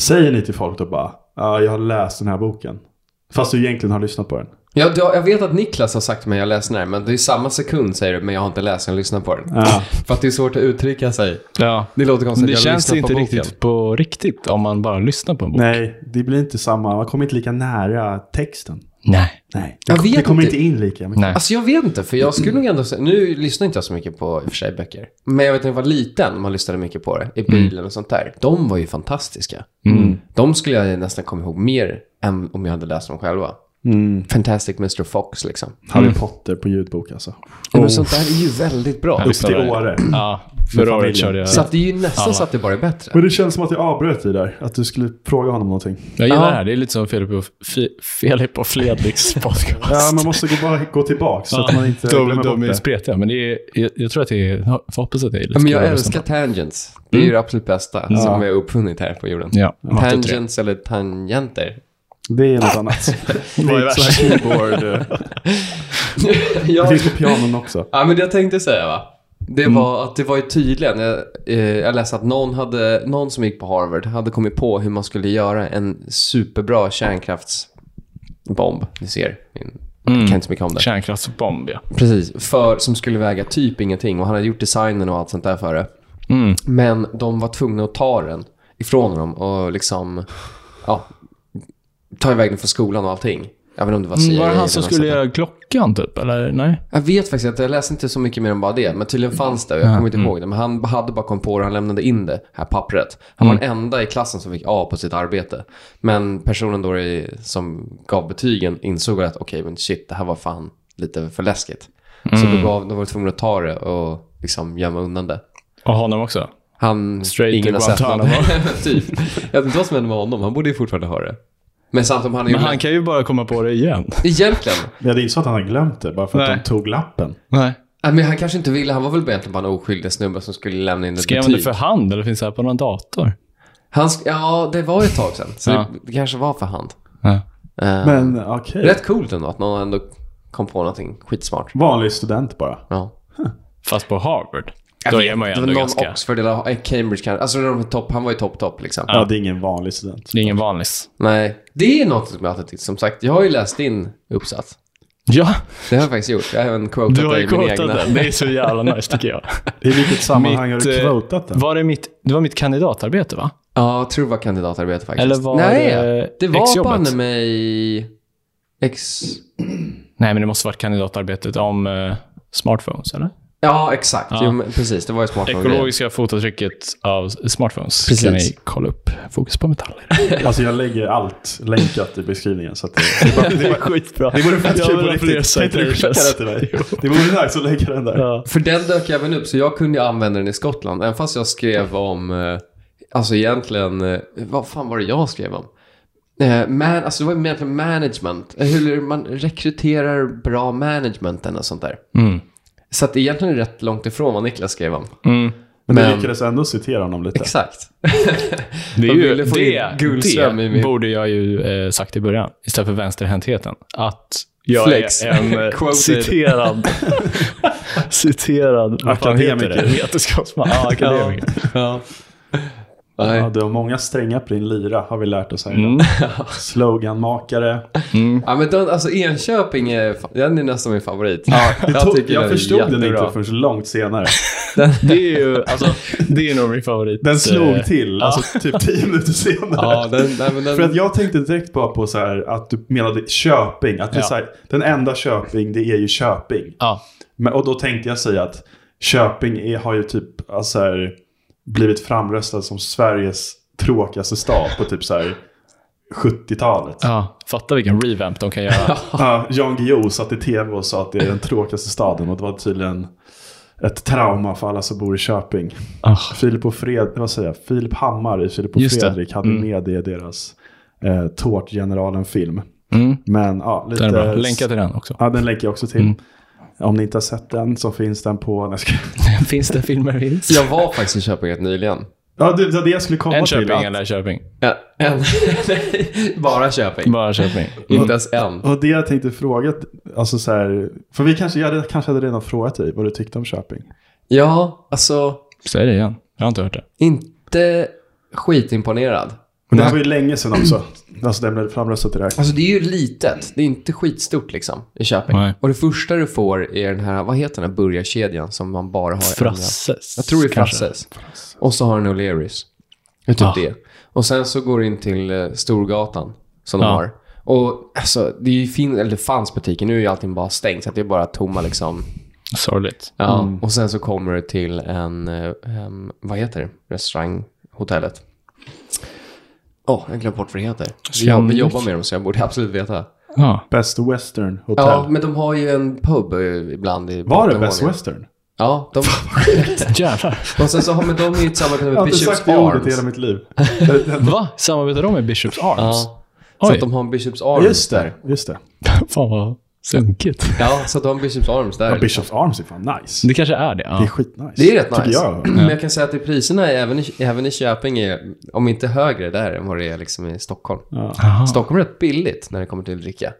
Säger ni till folk då bara, ja, jag har läst den här boken. Fast du egentligen har lyssnat på den. Jag, jag vet att Niklas har sagt till mig jag läste den här, men det är samma sekund säger du, men jag har inte läst den, jag lyssnar på den. Ja. För att det är svårt att uttrycka sig. Ja. Det låter konstigt. Men det jag känns lyssnar på inte boken. riktigt på riktigt om man bara lyssnar på en bok. Nej, det blir inte samma, man kommer inte lika nära texten. Nej. Nej, Jag det vet kommer inte. inte in lika mycket. Nej. Alltså jag vet inte, för jag skulle nog ändå säga, nu lyssnar inte jag så mycket på i och för sig böcker. Men jag vet när jag var liten, man lyssnade mycket på det i Mm. bilen och sånt där. De var ju fantastiska. De skulle jag nästan komma ihåg mer än om jag hade läst dem själva. Mm. Fantastic Mr Fox liksom. Harry Potter på ljudbok alltså. Oh. Men sånt där är ju väldigt bra. Upp till Åre. Ja, förra året familjen. körde jag. Så att det är ju nästan så att det bara är bättre. Men det känns som att jag avbröt dig där. Att du skulle fråga honom någonting. Jag gillar Ja. det här. Det är lite som Filip och, Fi- Filip och Fredriks podcast. Ja, man måste gå, bara gå tillbaka så att man inte de, glömmer de bort är det. spretiga, men det är, jag, jag tror att det är... Jag hoppas att det är lite Men jag kul att älskar lyssna på. Mm. tangents. Det är ju det absolut bästa som vi har uppfunnit här på jorden. Ja, matte tre. Tangents eller tangenter. Det är något annat. det Vad är är ett sånt här keyboard. eh. Det Ja, finns på pianon också. Ja, men det jag tänkte säga va. Det Mm. var att det var ju tydligen, jag, eh, jag läste att någon, hade, någon som gick på Harvard hade kommit på hur man skulle göra en superbra kärnkraftsbomb. Ni ser, min, jag Mm. kan inte så mycket om det. Kärnkraftsbomb, ja. Precis, för, som skulle väga typ ingenting och han hade gjort designen och allt sånt där för det. Mm. Men de var tvungna att ta den ifrån honom och liksom, ja, ta iväg den från skolan och allting. Jag vet inte om det var CIA Mm, Var det eller han som något skulle sånt där. göra klockan, typ? Eller nej? Jag vet faktiskt inte, jag läste inte så mycket mer än bara det. Men tydligen fanns det och jag kommer inte Mm. ihåg det. Men han hade bara kommit på det, han lämnade in det här pappret. Han Mm. var den enda i klassen som fick A på sitt arbete. Men personen då i, som gav betygen insåg att okej, men shit, det här var fan lite för läskigt. Mm. Så då, gav, då var de tvungna att ta det och liksom gömma undan det. Och honom också? Han, Straight ingen har to sett Guantanamo. någon- typ. Jag vet inte vad som hände med honom, han borde ju fortfarande ha det. Men samtidigt, han är ju... Men han kan ju bara komma på det igen. Egentligen. Ja, det är inte så att han har glömt det bara för att Nej. de tog lappen. Nej. Nej, Men han kanske inte ville, han var väl egentligen bara en oskyldig snubbe som skulle lämna in ett Skrev han det betyg. för hand eller finns det här på någon dator? Han sk- ja, det var ju ett tag sedan. Så Ja. det, det kanske var för hand. Ja. Eh, Men okej. Rätt coolt ändå att någon ändå kom på någonting skitsmart. Vanlig student bara. Ja. Fast på Harvard, då är man ju Det var ändå någon ganska... Oxford eller eh, Cambridge kanske. Alltså de var topp, han var ju topp-topp liksom. Ja, det är ingen vanlig student. Det är ingen vanlis. Nej, det är något som jag har tagit till. Som sagt, jag har ju läst din uppsats. Ja, Det har jag faktiskt gjort. Jag har även quotat du har dig ju i min quotat egna. den. Det är så jävla nice tycker jag. I vilket sammanhang har Mitt, du eh, kvotat den? Var det, mitt, det var mitt kandidatarbete va? Ja, jag tror det var kandidatarbete faktiskt. Eller var Nej, det det var exjobbet? banne mig... Ex... Nej, men det måste varit kandidatarbetet om eh, smartphones, eller? Ja, exakt. Ja. Jo, men precis. Det var ju smart. av grejer. Ekologiska fotavtrycket av smartphones Precis. kan ni kolla upp. Fokus på metaller. Alltså jag lägger allt länkat i beskrivningen. Så att det, det, bara- det, bara- Skitbra. det vore fett Jag kul vill på ha fler riktigt. Kan inte du skicka det citations. till mig? Det vore nice att lägga den där. Ja. För den dök även upp, så jag kunde ju använda den i Skottland. Även fast jag skrev om, eh, alltså egentligen, eh, vad fan var det jag skrev om? Eh, man, alltså det var ju egentligen management. Eh, Hur man rekryterar bra management eller sånt där. Mm. Så att egentligen är det rätt långt ifrån vad Niklas skrev om. Mm. Men, Men- du lyckades ändå citera honom lite. Exakt. Det, är Jag ju, ville få in Gullström det, i det min- borde jag ju eh, sagt i början, istället för vänsterhäntheten. Att jag Flex. är en eh, Quoted. citerad, citerad vad fan heter det? Akademiker. vetenskapsman. Ja, akademiker. Nej. Ja, du har många strängar på din lyra har vi lärt oss här idag. Mm. Sloganmakare. Ja, men den, alltså Enköping är, fa- den är nästan min favorit. Jag, jag tycker jag den är förstod den jättebra. inte förrän långt senare. Det är ju alltså, det är nog min favorit. Den eh, slog till, alltså typ tio minuter senare. Ja, den, nej, men den, För att jag tänkte direkt bara på så här att du menade Köping. Att det är Ja. så här, den enda Köping, det är ju Köping. Ja, Men, och då tänkte jag säga att Köping är, har ju typ alltså här, blivit framröstad som Sveriges tråkigaste stad på typ så här 70-talet. Ja. ja. Fatta vilken revamp de kan göra. Jan Guillou satt i tv och sa att det är den tråkigaste staden och det var tydligen ett trauma för alla som bor i Köping. Ah. Filip och Fred, vad säger jag, Filip Hammar i Filip och Just det. Fredrik hade Mm. med det i deras eh, Tårtgeneralen-film. Mm. Men ja, lite... Den är bra. Mm. Länka till den också. Ja, den länkar jag också till. Om ni inte har sett den så finns den på... Nej, ska- Finns det filmer finns? jag var faktiskt i Köping rätt nyligen. Ja, det var det jag skulle komma En till. Köping att- eller Köping? Ja, en, nej, bara Köping. Bara Köping. Inte ens en. Och det jag tänkte fråga, alltså så här, för vi kanske, jag hade- kanske hade redan frågat dig vad du tyckte om Köping. Ja, alltså Säg det igen. Jag har inte hört det. inte skitimponerad. Men det här var ju länge sedan också. Alltså den blev framröstad till det här. Alltså det är ju litet, det är inte skitstort liksom i Köping. Nej. Och det första du får är den här, vad heter den här burgarkedjan som man bara har i andra- Frasses. Jag tror det är kanske. Frasses. Och så har den O'Learys. Det är typ Ah. det. Och sen så går du in till eh, Storgatan som Ja. de har. Och alltså, det, är ju fin- eller det fanns butiker, nu är ju allting bara stängt så att det är bara tomma liksom. Sorgligt. Ja, Mm. och sen så kommer du till en, eh, em, vad heter det, restauranghotellet. Åh, oh, jag glömde bort vad det heter. Jag Scandic. jobbar med dem så jag borde absolut veta. Ja. Best Western Hotel. Ja, men de har ju en pub eh, ibland i var det bottenvåningen. Best Western? Ja, de, Jävlar. och sen så har men de är ju ett samarbete Jag med har inte Bishops sagt det ordet i hela Arms. mitt liv. Va? Samarbetar de med Bishops Arms? Ja. Så Oj. att de har en Bishops Arms Just det, just det. Fan vad sunkigt. Ja, så att de har en Bishops Arms där. Ja, Bishops Arms är fan nice. Det kanske är det. Det är Ja. skitnice. Det är rätt nice. Tycker jag. Men jag kan säga att i priserna är även i, även i Köping är, om inte högre där än vad det är liksom i Stockholm. Ja. Aha. Stockholm är rätt billigt när det kommer till dricka.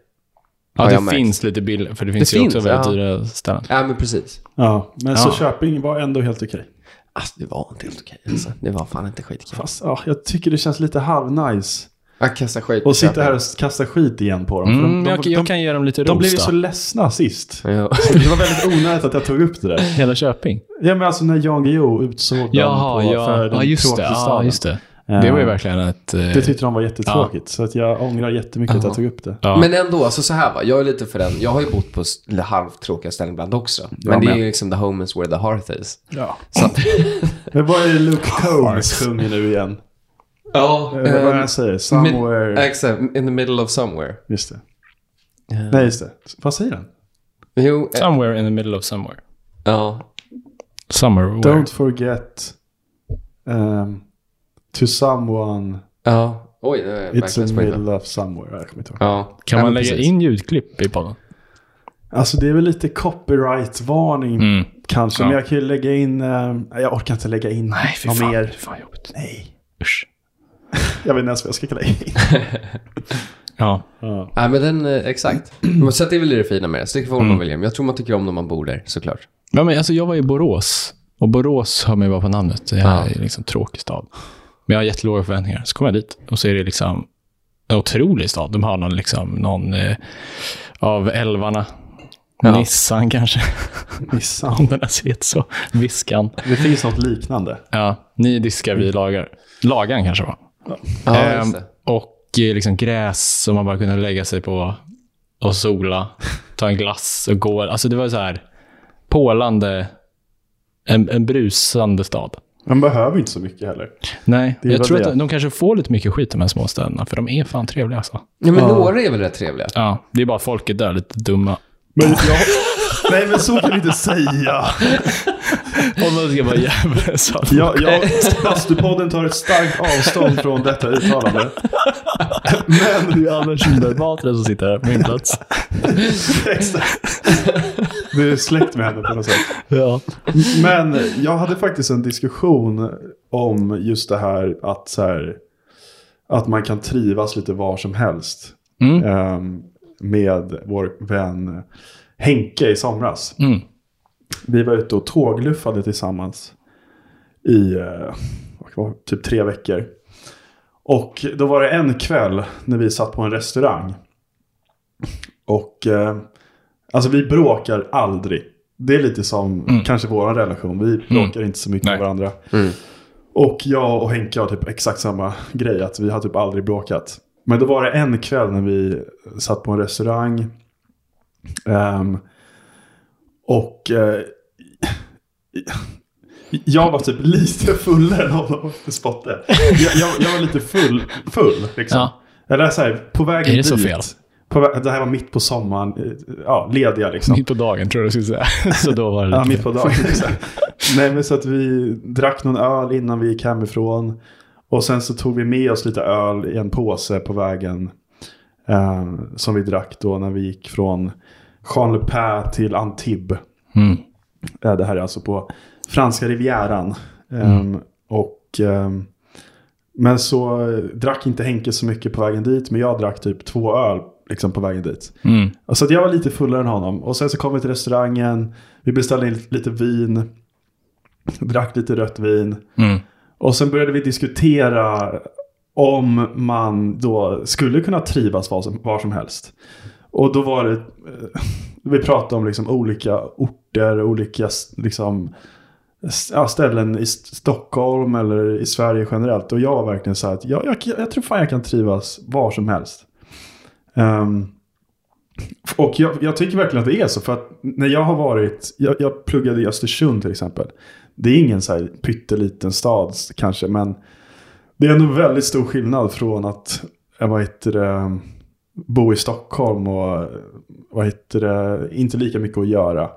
Ja, har jag det märkt. finns lite bilder. För det finns ju finns, också väldigt ja. dyra ställen. Ja, men precis. ja, men så Ja. Köping var ändå helt okej. Alltså, det var inte helt okej. Alltså. Det var fan inte skitkul. Fast ja, jag tycker det känns lite halvnice. Jag kastar skit på Och sitta Köping. här och kasta skit igen på dem. för Mm, de, jag, de, jag de, kan ge dem lite de blev ju ros så då. ledsna sist. Ja. Det var väldigt onödigt att jag tog upp det där. Hela Köping. Ja men alltså när Jan Guillou utsåg Jaha, dem på, ja. för den ja, just det. tråkigaste Ja, staden. just det. Det var ju verkligen ett... eh, Det tyckte de var jättetråkigt. Så att jag ångrar jättemycket att jag Ja. tog upp det. ja. Men ändå, alltså så här va. Jag är lite för den. Jag har ju bott på s- lite halvtråkiga ställen ibland också. Men det är men- ju liksom the home is where the hearth is. Ja. Så att, Men vad är det Luke Combs sjunger nu igen? ja. Eh, vad är det han alltså säger? Somewhere... Ehm, Eh, Exakt, in the middle of somewhere. just det. Nej, just det. Vad säger den? Jo, eh, Somewhere in the middle of somewhere. ja. Somewhere Don't forget ehm, to someone Ja. Oj, nu är jag it's verkligen in spriten. middle of somewhere. Jag kommer inte ihåg. Ja. Kan Ja, man men lägga precis. in ljudklipp i podden? Alltså det är väl lite copyright-varning Mm. kanske. Ja. Men jag kan ju lägga in... ehm, jag orkar inte lägga in något mer. fan jobbigt. Nej. Usch. Jag vet inte ens vad jag ska kalla in. Ja. Ja. Nej, men den, eh, exakt. Men Så att det är väl det fina med det. Stick for mm. William. Jag tror man tycker om dem man bor där, såklart. Ja, men alltså, jag var i Borås och Borås hör mig bara på namnet. Det här Ja. är liksom en tråkig stad. Men jag har jättelåga förväntningar. Så kommer jag dit och så är det liksom en otrolig stad. De har någon, liksom, någon eh, av älvarna. Ja. Nissan kanske. Nissan. Om den har sett så. Viskan. Det finns något liknande. Ja, ni diskar, vi lagar. Lagan kanske var. Ja, Ehm, just det. och eh, liksom gräs som man bara kunde lägga sig på och sola, ta en glass och gå. Alltså det var så här pålande, en, en brusande stad. Man behöver inte så mycket heller. Nej, är jag väl tror det. att de, de kanske får lite mycket skit de här små städerna, för de är fan trevliga alltså. Ja, men några är väl rätt trevliga? Ja, det är bara att folk är där lite dumma. Men jag... Nej men så kan du inte säga. Om man ska vara jävla så. Jag, jag, Bastupodden tar ett starkt avstånd från detta uttalande. Det är Anders Kindberg Batra som sitter här på min plats. Exakt. Du är släkt med henne på något sätt. Ja. Men jag hade faktiskt en diskussion om just det här att, så här, att man kan trivas lite var som helst. Mm. Ehm, med vår vän Henke i somras. Mm. Vi var ute och tågluffade tillsammans i eh, vad var, det, typ tre veckor. Och då var det en kväll när vi satt på en restaurang. Och eh, alltså vi bråkar aldrig. Det är lite som kanske vår relation. Vi bråkar inte så mycket Mm. Nej. med varandra. Och jag och Henke har typ exakt samma grej. Att vi har typ aldrig bråkat. Men då var det en kväll när vi satt på en restaurang. ehm, och eh, jag var typ lite fullare än honom. Spotte. Jag, jag, jag var lite full. full liksom. Ja. Eller så här, på vägen Är det så dit. fel? På, vä- det här var mitt på sommaren. eh, Ja, lediga liksom. Mitt på dagen tror jag du skulle säga. Så då var det Ja, lite mitt på dagen. exakt. Nej, men så att vi drack någon öl innan vi gick hemifrån. Och sen så tog vi med oss lite öl i en påse på vägen. Eh, som vi drack då när vi gick från Jean Le Pen till Antibes. Mm. Eh, Det här är alltså på franska rivieran. Ehm, Och, ehm, men så eh, drack inte Henke så mycket på vägen dit, men jag drack typ två öl liksom, på vägen dit. Mm. Och Så att jag var lite fullare än honom. Och sen så kom vi till restaurangen, vi beställde in lite vin, drack lite rött vin. Mm. Och sen började vi diskutera om man då skulle kunna trivas var som, var som helst. Och då var det, eh, vi pratade om liksom olika orter, olika s- liksom, s- ja, ställen i S- Stockholm eller i Sverige generellt. Och jag var verkligen så här att jag, jag, jag tror fan jag kan trivas var som helst. Ehm, och jag, jag tycker verkligen att det är så. För att när jag har varit, jag, jag pluggade i Östersund till exempel. Det är ingen så här pytteliten stad kanske, men det är ändå väldigt stor skillnad från att, eh, vad heter det, bo i Stockholm och, eh, vad heter det, inte lika mycket att göra.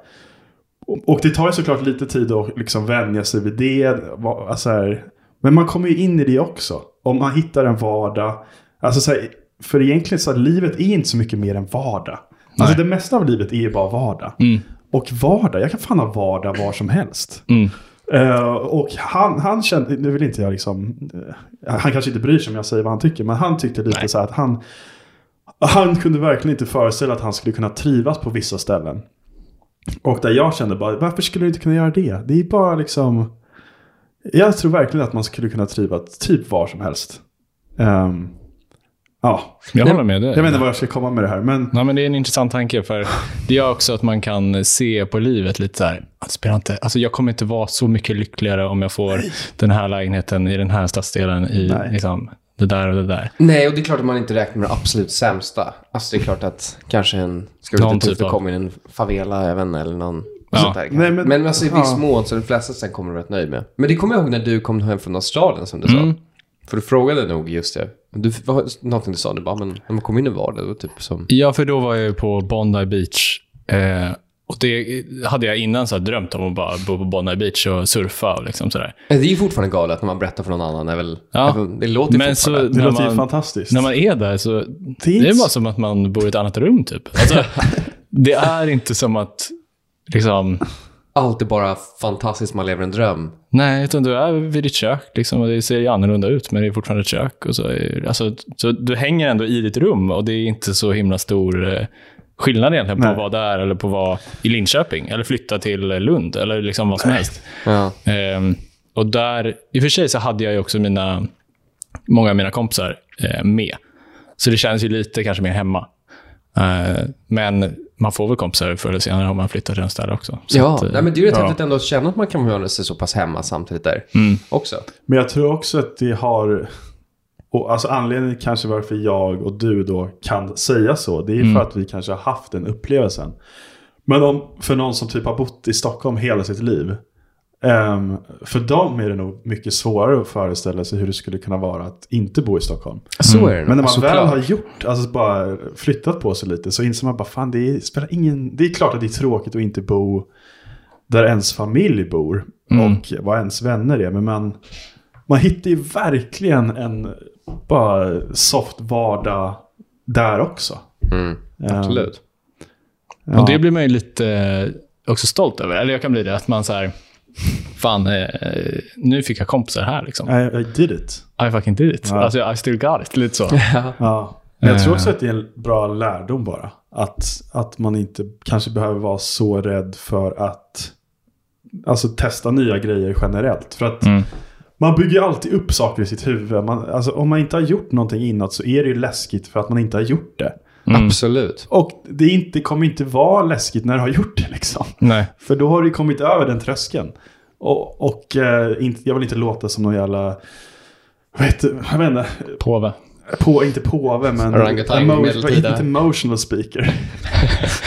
Och- Och det tar ju såklart lite tid att liksom vänja sig vid det. va- Alltså här, men man kommer ju in i det också. Om man hittar en vardag. Alltså så här, för egentligen så här, livet är inte så mycket mer än vardag. Alltså det mesta av livet är ju bara vardag. Och vardag, jag kan fan ha vardag var som helst. Mm. Eh, och han, han kände, nu vill inte jag liksom, eh, han kanske inte bryr sig om jag säger vad han tycker, men han tyckte lite så här att han, han kunde verkligen inte föreställa att han skulle kunna trivas på vissa ställen. Och där jag kände bara, varför skulle du inte kunna göra det? Det är bara liksom, jag tror verkligen att man skulle kunna trivas typ var som helst. Ehm, ja, Jag håller med dig. jag vet inte vad jag ska komma med det här, men Nej, men det är en intressant tanke, för det gör också att man kan se på livet lite så här, "Det spelar inte, alltså jag kommer inte vara så mycket lyckligare om jag får den här lägenheten i den här stadsdelen i Nej. liksom, det där och det där. Nej, och det är klart att man inte räknar med det absolut sämsta. Alltså det är klart att kanske en... Ska vara Någon lite tufft typ av- att komma in i en favela även eller någon... Ja. Sånt där, kanske. Nej, men- men, alltså i viss ja. mån så de flesta sen kommer vara rätt nöjd med. Men det kommer jag ihåg när du kom hem från Australien som du Mm. sa. För du frågade nog just det. Du, vad, någonting du sa, du bara, men när man kom in i vardag, det var typ som... Ja, för då var jag ju på Bondi Beach. Eh, och det hade jag innan så här drömt om att bara bo på Bondi Beach och surfa och liksom sådär. Nej, Eh, Det är ju fortfarande galet när man berättar för någon annan. Är väl, Ja. är väl- Det låter ju Men så- fortfarande... det När låter ju man- fantastiskt. När man är där så det är inte det bara så- som att man bor i ett annat rum typ. Alltså, det är inte som att liksom, allt är bara fantastiskt, man lever en dröm. Nej, utan du är vid ditt kök liksom, och det ser ju annorlunda ut, men det är fortfarande ett kök. Och så, är, alltså, så du hänger ändå i ditt rum och det är inte så himla stor eh, skillnad egentligen på Nej. att vara där eller på att vara i Linköping eller flytta till eh, Lund eller liksom vad som helst. Ja. Ehm, och där, i och för sig så hade jag ju också mina, många av mina kompisar eh, med. Så det känns ju lite kanske mer hemma. Eh, men man får väl kompisar förr eller senare om man flyttar till en ställe också. Så ja, att, eh, nej, men det är ju rätt ja. Mm. häftigt ändå att känna att man kan göra sig så pass hemma samtidigt där också. Men jag tror också att det har... Och alltså anledningen kanske varför jag och du då kan säga så. Det är för att vi kanske har haft den upplevelsen. Men om, för någon som typ har bott i Stockholm hela sitt liv. ehm, för dem är det nog mycket svårare att föreställa sig hur det skulle kunna vara att inte bo i Stockholm. Så Mm. är det nog, Men när man väl såklart. har gjort, alltså bara flyttat på sig lite så inser man bara fan det är, spelar ingen, det är klart att det är tråkigt att inte bo där ens familj bor och vad ens vänner är. Men man, man hittar ju verkligen en bara soft vardag där också. Mm, Eh, absolut. Ja. Och det blir man ju lite eh, också stolt över. Eller jag kan bli det, att man så här, fan, eh, nu fick jag kompisar här liksom. I, I did it. I fucking did it. Ja. Alltså, I still got it. Lite så. Ja. Men jag tror Eh. också att det är en bra lärdom bara. Att, att man inte kanske behöver vara så rädd för att alltså, testa nya grejer generellt. För att Mm. man bygger ju alltid upp saker i sitt huvud. Man, alltså, om man inte har gjort någonting innan så är det ju läskigt för att man inte har gjort det. Mm. Absolut. Och det är inte, kommer inte vara läskigt när du har gjort det liksom. Nej. För då har du kommit över den tröskeln. Och, och eh, inte, jag vill inte låta som någon jävla... Vad heter, jag vet inte, Påve. på, inte påve, men... Orangutang, emo- medeltida. Inte emotional speaker.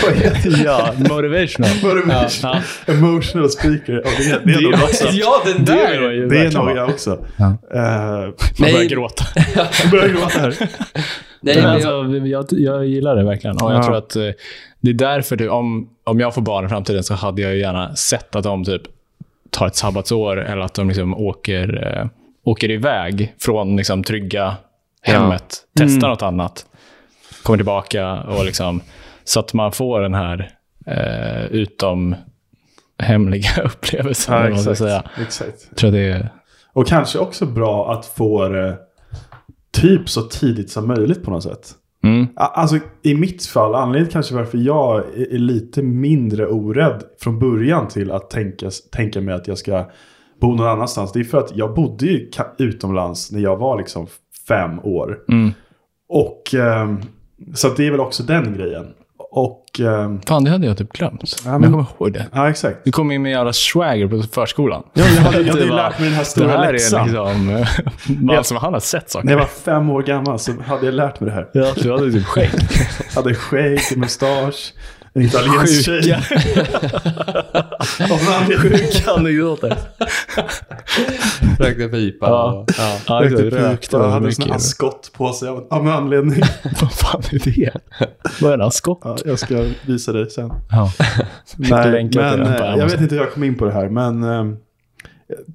Vad heter det? Ja, motivational. Motivation. Emotional speaker. Ja, det, är- det är nog också. Ja, den Det är jag ju Det är verkligen nog vara. jag också. Ja. Eh, Man börjar Nej. gråta. jag börjar gråta här. Nej, Men men jag, alltså, jag, jag gillar det verkligen. Och jag Ja. tror att eh, det är därför, typ, om, om jag får barn i framtiden, så hade jag ju gärna sett att de typ, tar ett sabbatsår eller att de liksom åker, eh, åker iväg från liksom, trygga hemmet, testar Mm. något annat, kommer tillbaka och liksom, så att man får den här eh, utom hemliga upplevelsen. Ja, eller vad man ska exakt. säga. exakt. Jag tror att det är... Och kanske också bra att få det typ så tidigt som möjligt på något sätt. Mm. A- Alltså i mitt fall, anledningen kanske varför jag är är lite mindre orädd från början till att tänka, tänka mig att jag ska bo någon annanstans. Det är för att jag bodde ju ka- utomlands när jag var liksom fem år. Mm. Och ehm, så att det är väl också den grejen. Och ehm, Fan, det hade jag typ glömt. Ja, men- Jag kommer ihåg det. ja, exakt. Du kom in med jävla swagger på förskolan. Ja, men jag hade, jag hade Det ju var- lärt mig den här Det stora här är läxan. liksom... Man som han har sett saker. När jag var fem år gammal så hade jag lärt mig det här. Ja, du hade typ skägg. Hade skägg, mustasch, en italiensk tjej. Sjuka, Av någon anledning. sjuka anekdoter. rökte pipa. Ja. Ja. Ja, Rökte exakt. pipa, Rökte hade en sån här mycket. askott på sig av av någon anledning. Vad fan är det? Vad är en askott? Ja, jag ska visa dig sen. Ja. Nej, länka men till den på eh, jag Amazon. vet inte hur jag kom in på det här, men eh,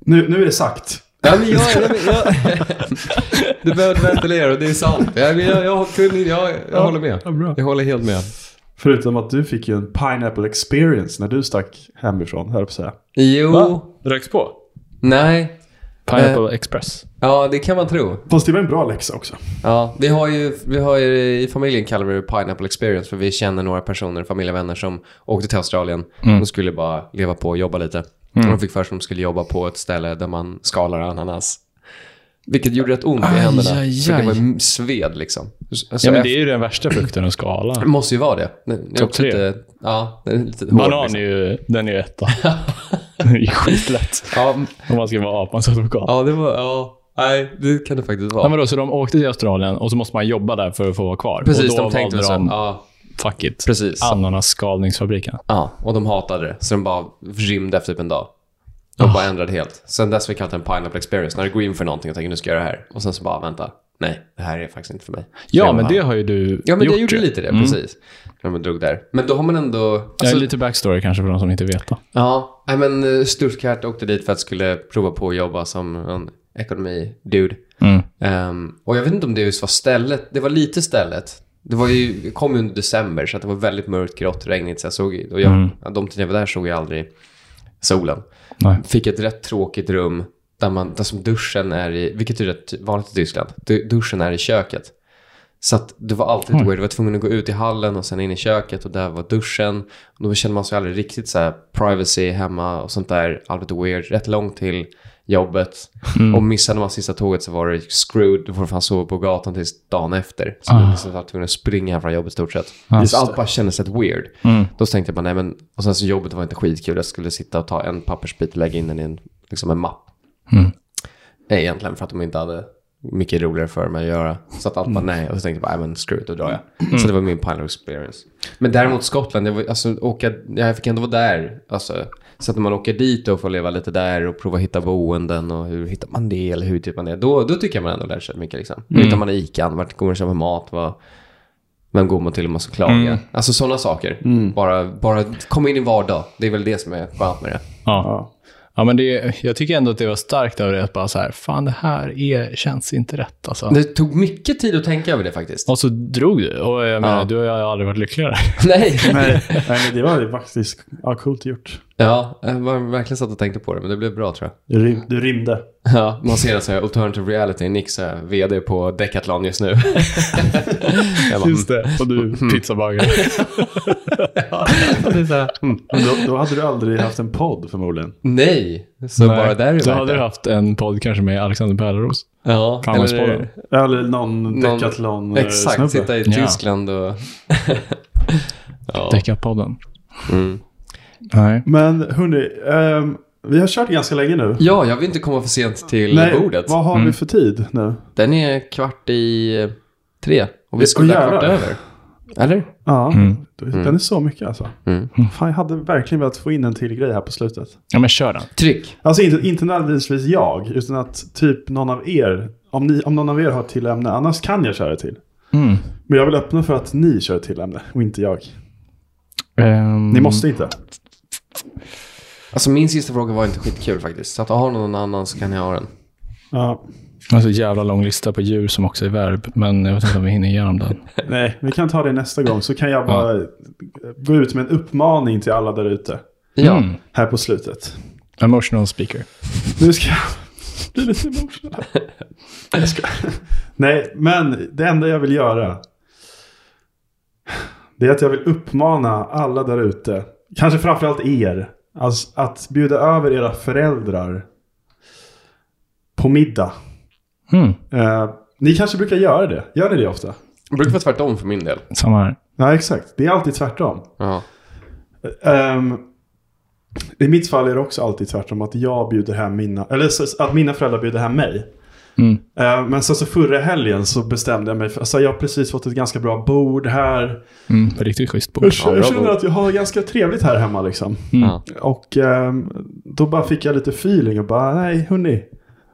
nu, nu är det sagt. Ja, men jag, jag, jag, du behövde ventilera och det är sant. Jag, jag, jag, kunde, jag, jag håller med. bra. Jag håller helt med. Förutom att du fick ju en pineapple experience när du stack hemifrån, höll jag på att säga. Jo, Röks på? nej. Pineapple Express. Ja, det kan man tro. Fast det var en bra läxa också. Ja, vi har ju, vi har ju i familjen kallar vi det Pineapple Experience för vi känner några personer, familjevänner som åkte till Australien. Mm. De skulle bara leva på och jobba lite. De fick för sig att de skulle jobba på ett ställe där man skalar ananas. Vilket gjorde rätt ont i Aj, händerna. aj, För det var aj. m- sved liksom. Så Ja, men Mm. efter- det är ju den värsta frukten att skala. det måste ju vara det. Den är Topp också tre. Lite, ja, den är lite hård. Banan är liksom. ju, den är ju etta. Den är ju skitlätt. ja, m- Om man ska vara apans advokat. ja, det var... Ja, nej, det kan det faktiskt Ja, vara. men då, så de åkte till Australien och så måste man jobba där för att få vara kvar. precis, och då de tänkte valde så. de, Ja, fuck it, precis. ananasskalningsfabriken. Ja, och de hatade det. Så de bara rymde efter typ en dag. De bara ändrade helt. Sen dess har vi kallat det en pineapple experience. När du går in för någonting och tänker nu ska jag göra det här. Och sen så bara vänta. Nej, det här är faktiskt inte för mig. Så Ja, jag men bara, det har ju du Ja, men gjort. jag gjorde ju. lite det, precis. När man drog där. Men då har man ändå... Ja, Alltså, lite backstory kanske för de som inte vet. Då. ja, nej men eh, Stuttgart åkte dit för att skulle prova på att jobba som en ekonomi-dude. Ehm, och jag vet inte om det just var stället. Det var lite stället. Det var ju, det kom ju under december, så att det var väldigt mörkt, grått, regnigt. Så jag såg, och jag, de tiden jag var där såg jag aldrig solen. Nej. Fick ett rätt tråkigt rum där, man, där som duschen är i, vilket är rätt vanligt i Tyskland, du, duschen är i köket. Så att det var alltid weird. Du var tvungen att gå ut i hallen och sen in i köket och där var duschen. Och då kände man sig aldrig riktigt så här privacy hemma och sånt där. Alltid weird. Rätt långt till jobbet. Och missade man sista tåget så var det screwed. Du får fan sova på gatan tills dagen efter. Så man liksom var tvungen att springa från jobbet i stort sett. så allt bara kändes rätt weird. Då tänkte jag bara, nej men. Och sen så jobbet var inte skitkul. Jag skulle sitta och ta en pappersbit och lägga in den i en, liksom en mapp. Nej, egentligen för att de inte hade mycket roligare för mig att göra. Så att allt bara nej. Och så tänkte jag bara, nej men screw it, då drar jag. Så det var min pilot experience. Men däremot Skottland, jag, var, alltså, åka, jag fick ändå vara där. Alltså, så att när man åker dit och får leva lite där och prova hitta boenden och hur hittar man det eller hur typ man det. Då, då tycker jag man ändå lär sig mycket. Liksom. Hur hittar man Ican? Vart går man och köper mat? Vad, vem går man till om man ska klaga? Alltså sådana saker. Bara, bara komma in i vardag. Det är väl det som är skönt med det. Ja. Ja, men det, jag tycker ändå att det var starkt av dig att bara så här, fan det här är, känns inte rätt alltså. Det tog mycket tid att tänka över det faktiskt. Och så drog du. Och jag menar, du och jag har aldrig varit lyckligare. Nej. Nej, nej, men det var ju faktiskt ja, coolt gjort. Ja, jag Eh, var verkligen satt och tänkte på det, men det blev bra tror jag. Du, rym, du rymde. Ja, man ser det så här, alternative reality, Nick så här, vd på Decathlon just nu. jag bara, Just det. Och du pizzabagare. Men Då, då hade du aldrig haft en podd förmodligen. nej, så bara där är Då värt hade du det. haft en podd kanske med Alexander Pärleros. Ja, Kammarspodden. Eller någon Någon- decathlon eh, Exakt, snubbe. sitta i Ja. Tyskland och... ja. Deckarpodden. Mm. Nej. Men hörni, ehm, vi har kört ganska länge nu. ja, jag vill inte komma för sent till bordet. vad har vi för tid nu? Den är kvart i eh, tre och vi Åh, skulle ha kvart jävlar. över. Eller? Ja, den är så mycket alltså. Mm. Fan, jag hade verkligen velat få in en till grej här på slutet. Ja, men kör den. Tryck. Alltså inte, inte nödvändigtvis jag, utan att typ någon av er, om, ni, om någon av er har ett till ämne, annars kan jag köra till. Mm. Men jag vill öppna för att ni kör ett till ämne och inte jag. Ehm, Ni måste inte. Alltså min sista fråga var inte skitkul faktiskt. Så att har någon annan så kan jag ha den. Ja, Jag har så jävla lång lista på djur som också är verb, men jag vet inte om vi hinner igenom den. nej, vi kan ta det nästa gång så kan jag bara gå ut med en uppmaning till alla där ute Ja. Mm. här på slutet. Emotional speaker. Nu ska jag bli lite emotional. Jag ska. Nej, men det enda jag vill göra. Det är att jag vill uppmana alla där ute. Kanske framförallt er. Alltså att bjuda över era föräldrar. På middag. Mm. Eh, ni kanske brukar göra det. Gör ni det ofta? Det brukar vara tvärtom för min del. Samma här. Ja, exakt. Det är alltid tvärtom. Ja. Ehm, I mitt fall är det också alltid tvärtom att jag bjuder hem mina, eller så- att mina föräldrar bjuder hem mig. Mm. Ehm, men sen så förra helgen så bestämde jag mig för, alltså jag har precis fått ett ganska bra bord här. Mm. Riktigt schysst bok. Jag, k- jag känner bord. att jag har ganska trevligt här hemma liksom. Ja. Och ehm, då bara fick jag lite feeling och bara, nej hörni,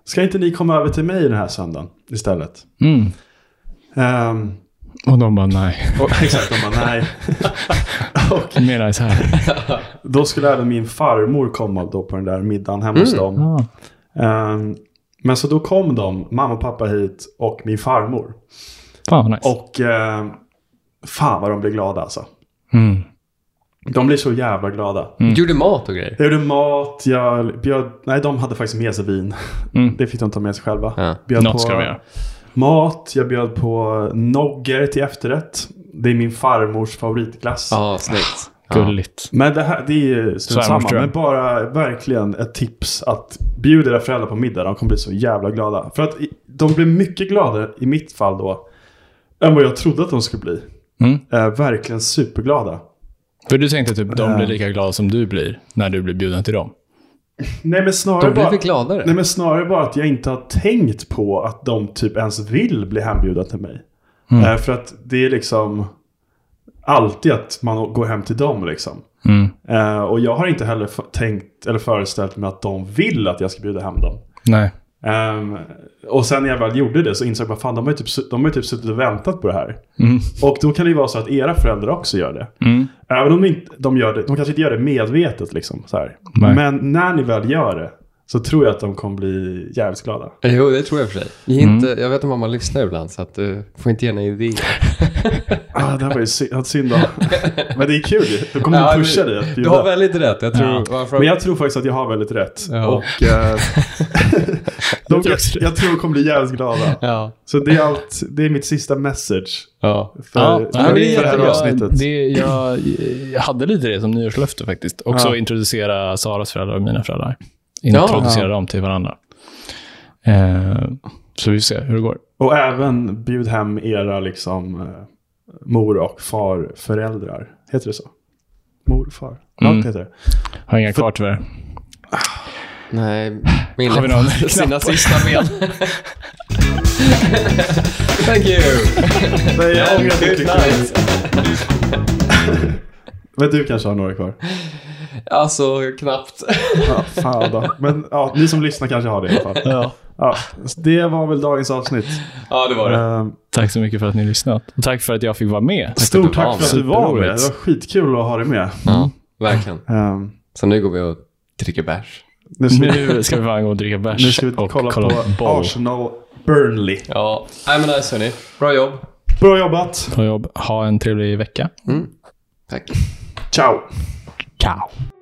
ska inte ni komma över till mig den här söndagen istället? Mm. Ehm, Och de bara nej. och, exakt, de bara nej. och Mer nice här. Då skulle även min farmor komma då på den där middagen hemma hos dem. Ja. Ehm, men så då kom de, mamma och pappa hit och min farmor. Fan vad nice. Och ehm, fan vad de blev glada alltså. Mm. De blev så jävla glada. Du gjorde mat och grejer. Jag gjorde mat, jag bjöd... Nej, de hade faktiskt med sig vin. Mm. Det fick de ta med sig själva. Ja. Bjöd Något ska de göra. mat, jag bjöd på nogger till efterrätt. Det är min farmors favoritglass. Ja, snyggt. Ja. Gulligt. Men det här, det är ju strunt samma. Svärmorsdröm. Men bara verkligen ett tips att bjuda era föräldrar på middag. De kommer bli så jävla glada. För att i- de blir mycket gladare i mitt fall då. Än vad jag trodde att de skulle bli. Mm. Eh, verkligen superglada. För du tänkte typ de blir lika glada som du blir när du blir bjuden till dem. Nej men snarare Då blir bara... vi gladare. Nej men snarare bara att jag inte har tänkt på att de typ ens vill bli hembjudna till mig. Eh, för att det är liksom alltid att man går hem till dem liksom. Mm. Eh, och jag har inte heller f- tänkt eller föreställt mig att de vill att jag ska bjuda hem dem. Nej. Ehm, och sen när jag väl gjorde det så insåg jag bara fan de har ju typ, su- de har ju typ suttit och väntat på det här. Och då kan det ju vara så att era föräldrar också gör det. Även om de, inte, de, gör det, de kanske inte gör det medvetet liksom. Så här. Nej. Men när ni väl gör det så tror jag att de kommer bli jävligt glada. Mm. Jo, det tror jag för sig. Ge Inte, jag vet att mamma lyssnar ibland, så att du får inte ge henne idéer. Ah, det här var ju synd, ja, synd då. Men det är kul ju. Då kommer Ja, du pusha men- dig att Du har bjuda. väldigt rätt. Jag tror... Ja. Varför... Men jag tror faktiskt att jag har väldigt rätt. Ja. Och eh, de, tror också det. jag tror de kommer bli jävligt glada. Ja. Så det är, allt, det är mitt sista message ja. för, Ja, för, nej, men det, för det här jag, avsnittet. Det, jag, jag hade lite det som nyårslöfte faktiskt. Också introducera Saras föräldrar och mina föräldrar. Introducera dem till varandra. Eh, så vi får se hur det går. Och även bjud hem era liksom, eh, mor och farföräldrar. Heter det så? Mor och far? Ja, Mm. det heter det. Har inga kvar tyvärr. Nej, Har vi någon Mille sina knapp? sista ben. Thank you. Nej, jag ångrar att jag good klickade. Men du kanske har några kvar? Alltså, knappt. Ja, fan då. Men ja, ni som lyssnar kanske har det i alla fall. Ja. Ja, så det var väl dagens avsnitt. Ja, det var det. Ehm, Tack så mycket för att ni har lyssnat. Och tack för att jag fick vara med. Stort tack var för att du med. var med. Det Superroligt. var skitkul att ha dig med. Ja, verkligen. Ehm, Så nu går vi och dricker bärs. nu ska vi, Nu ska vi fan gå och dricka bärs nu ska vi och kolla på boll. Arsenal Burnley. Ja, nej men nice hörni. Bra jobb. Bra jobbat. Bra jobb. Ha en trevlig vecka. Tack. Ciao. Ciao.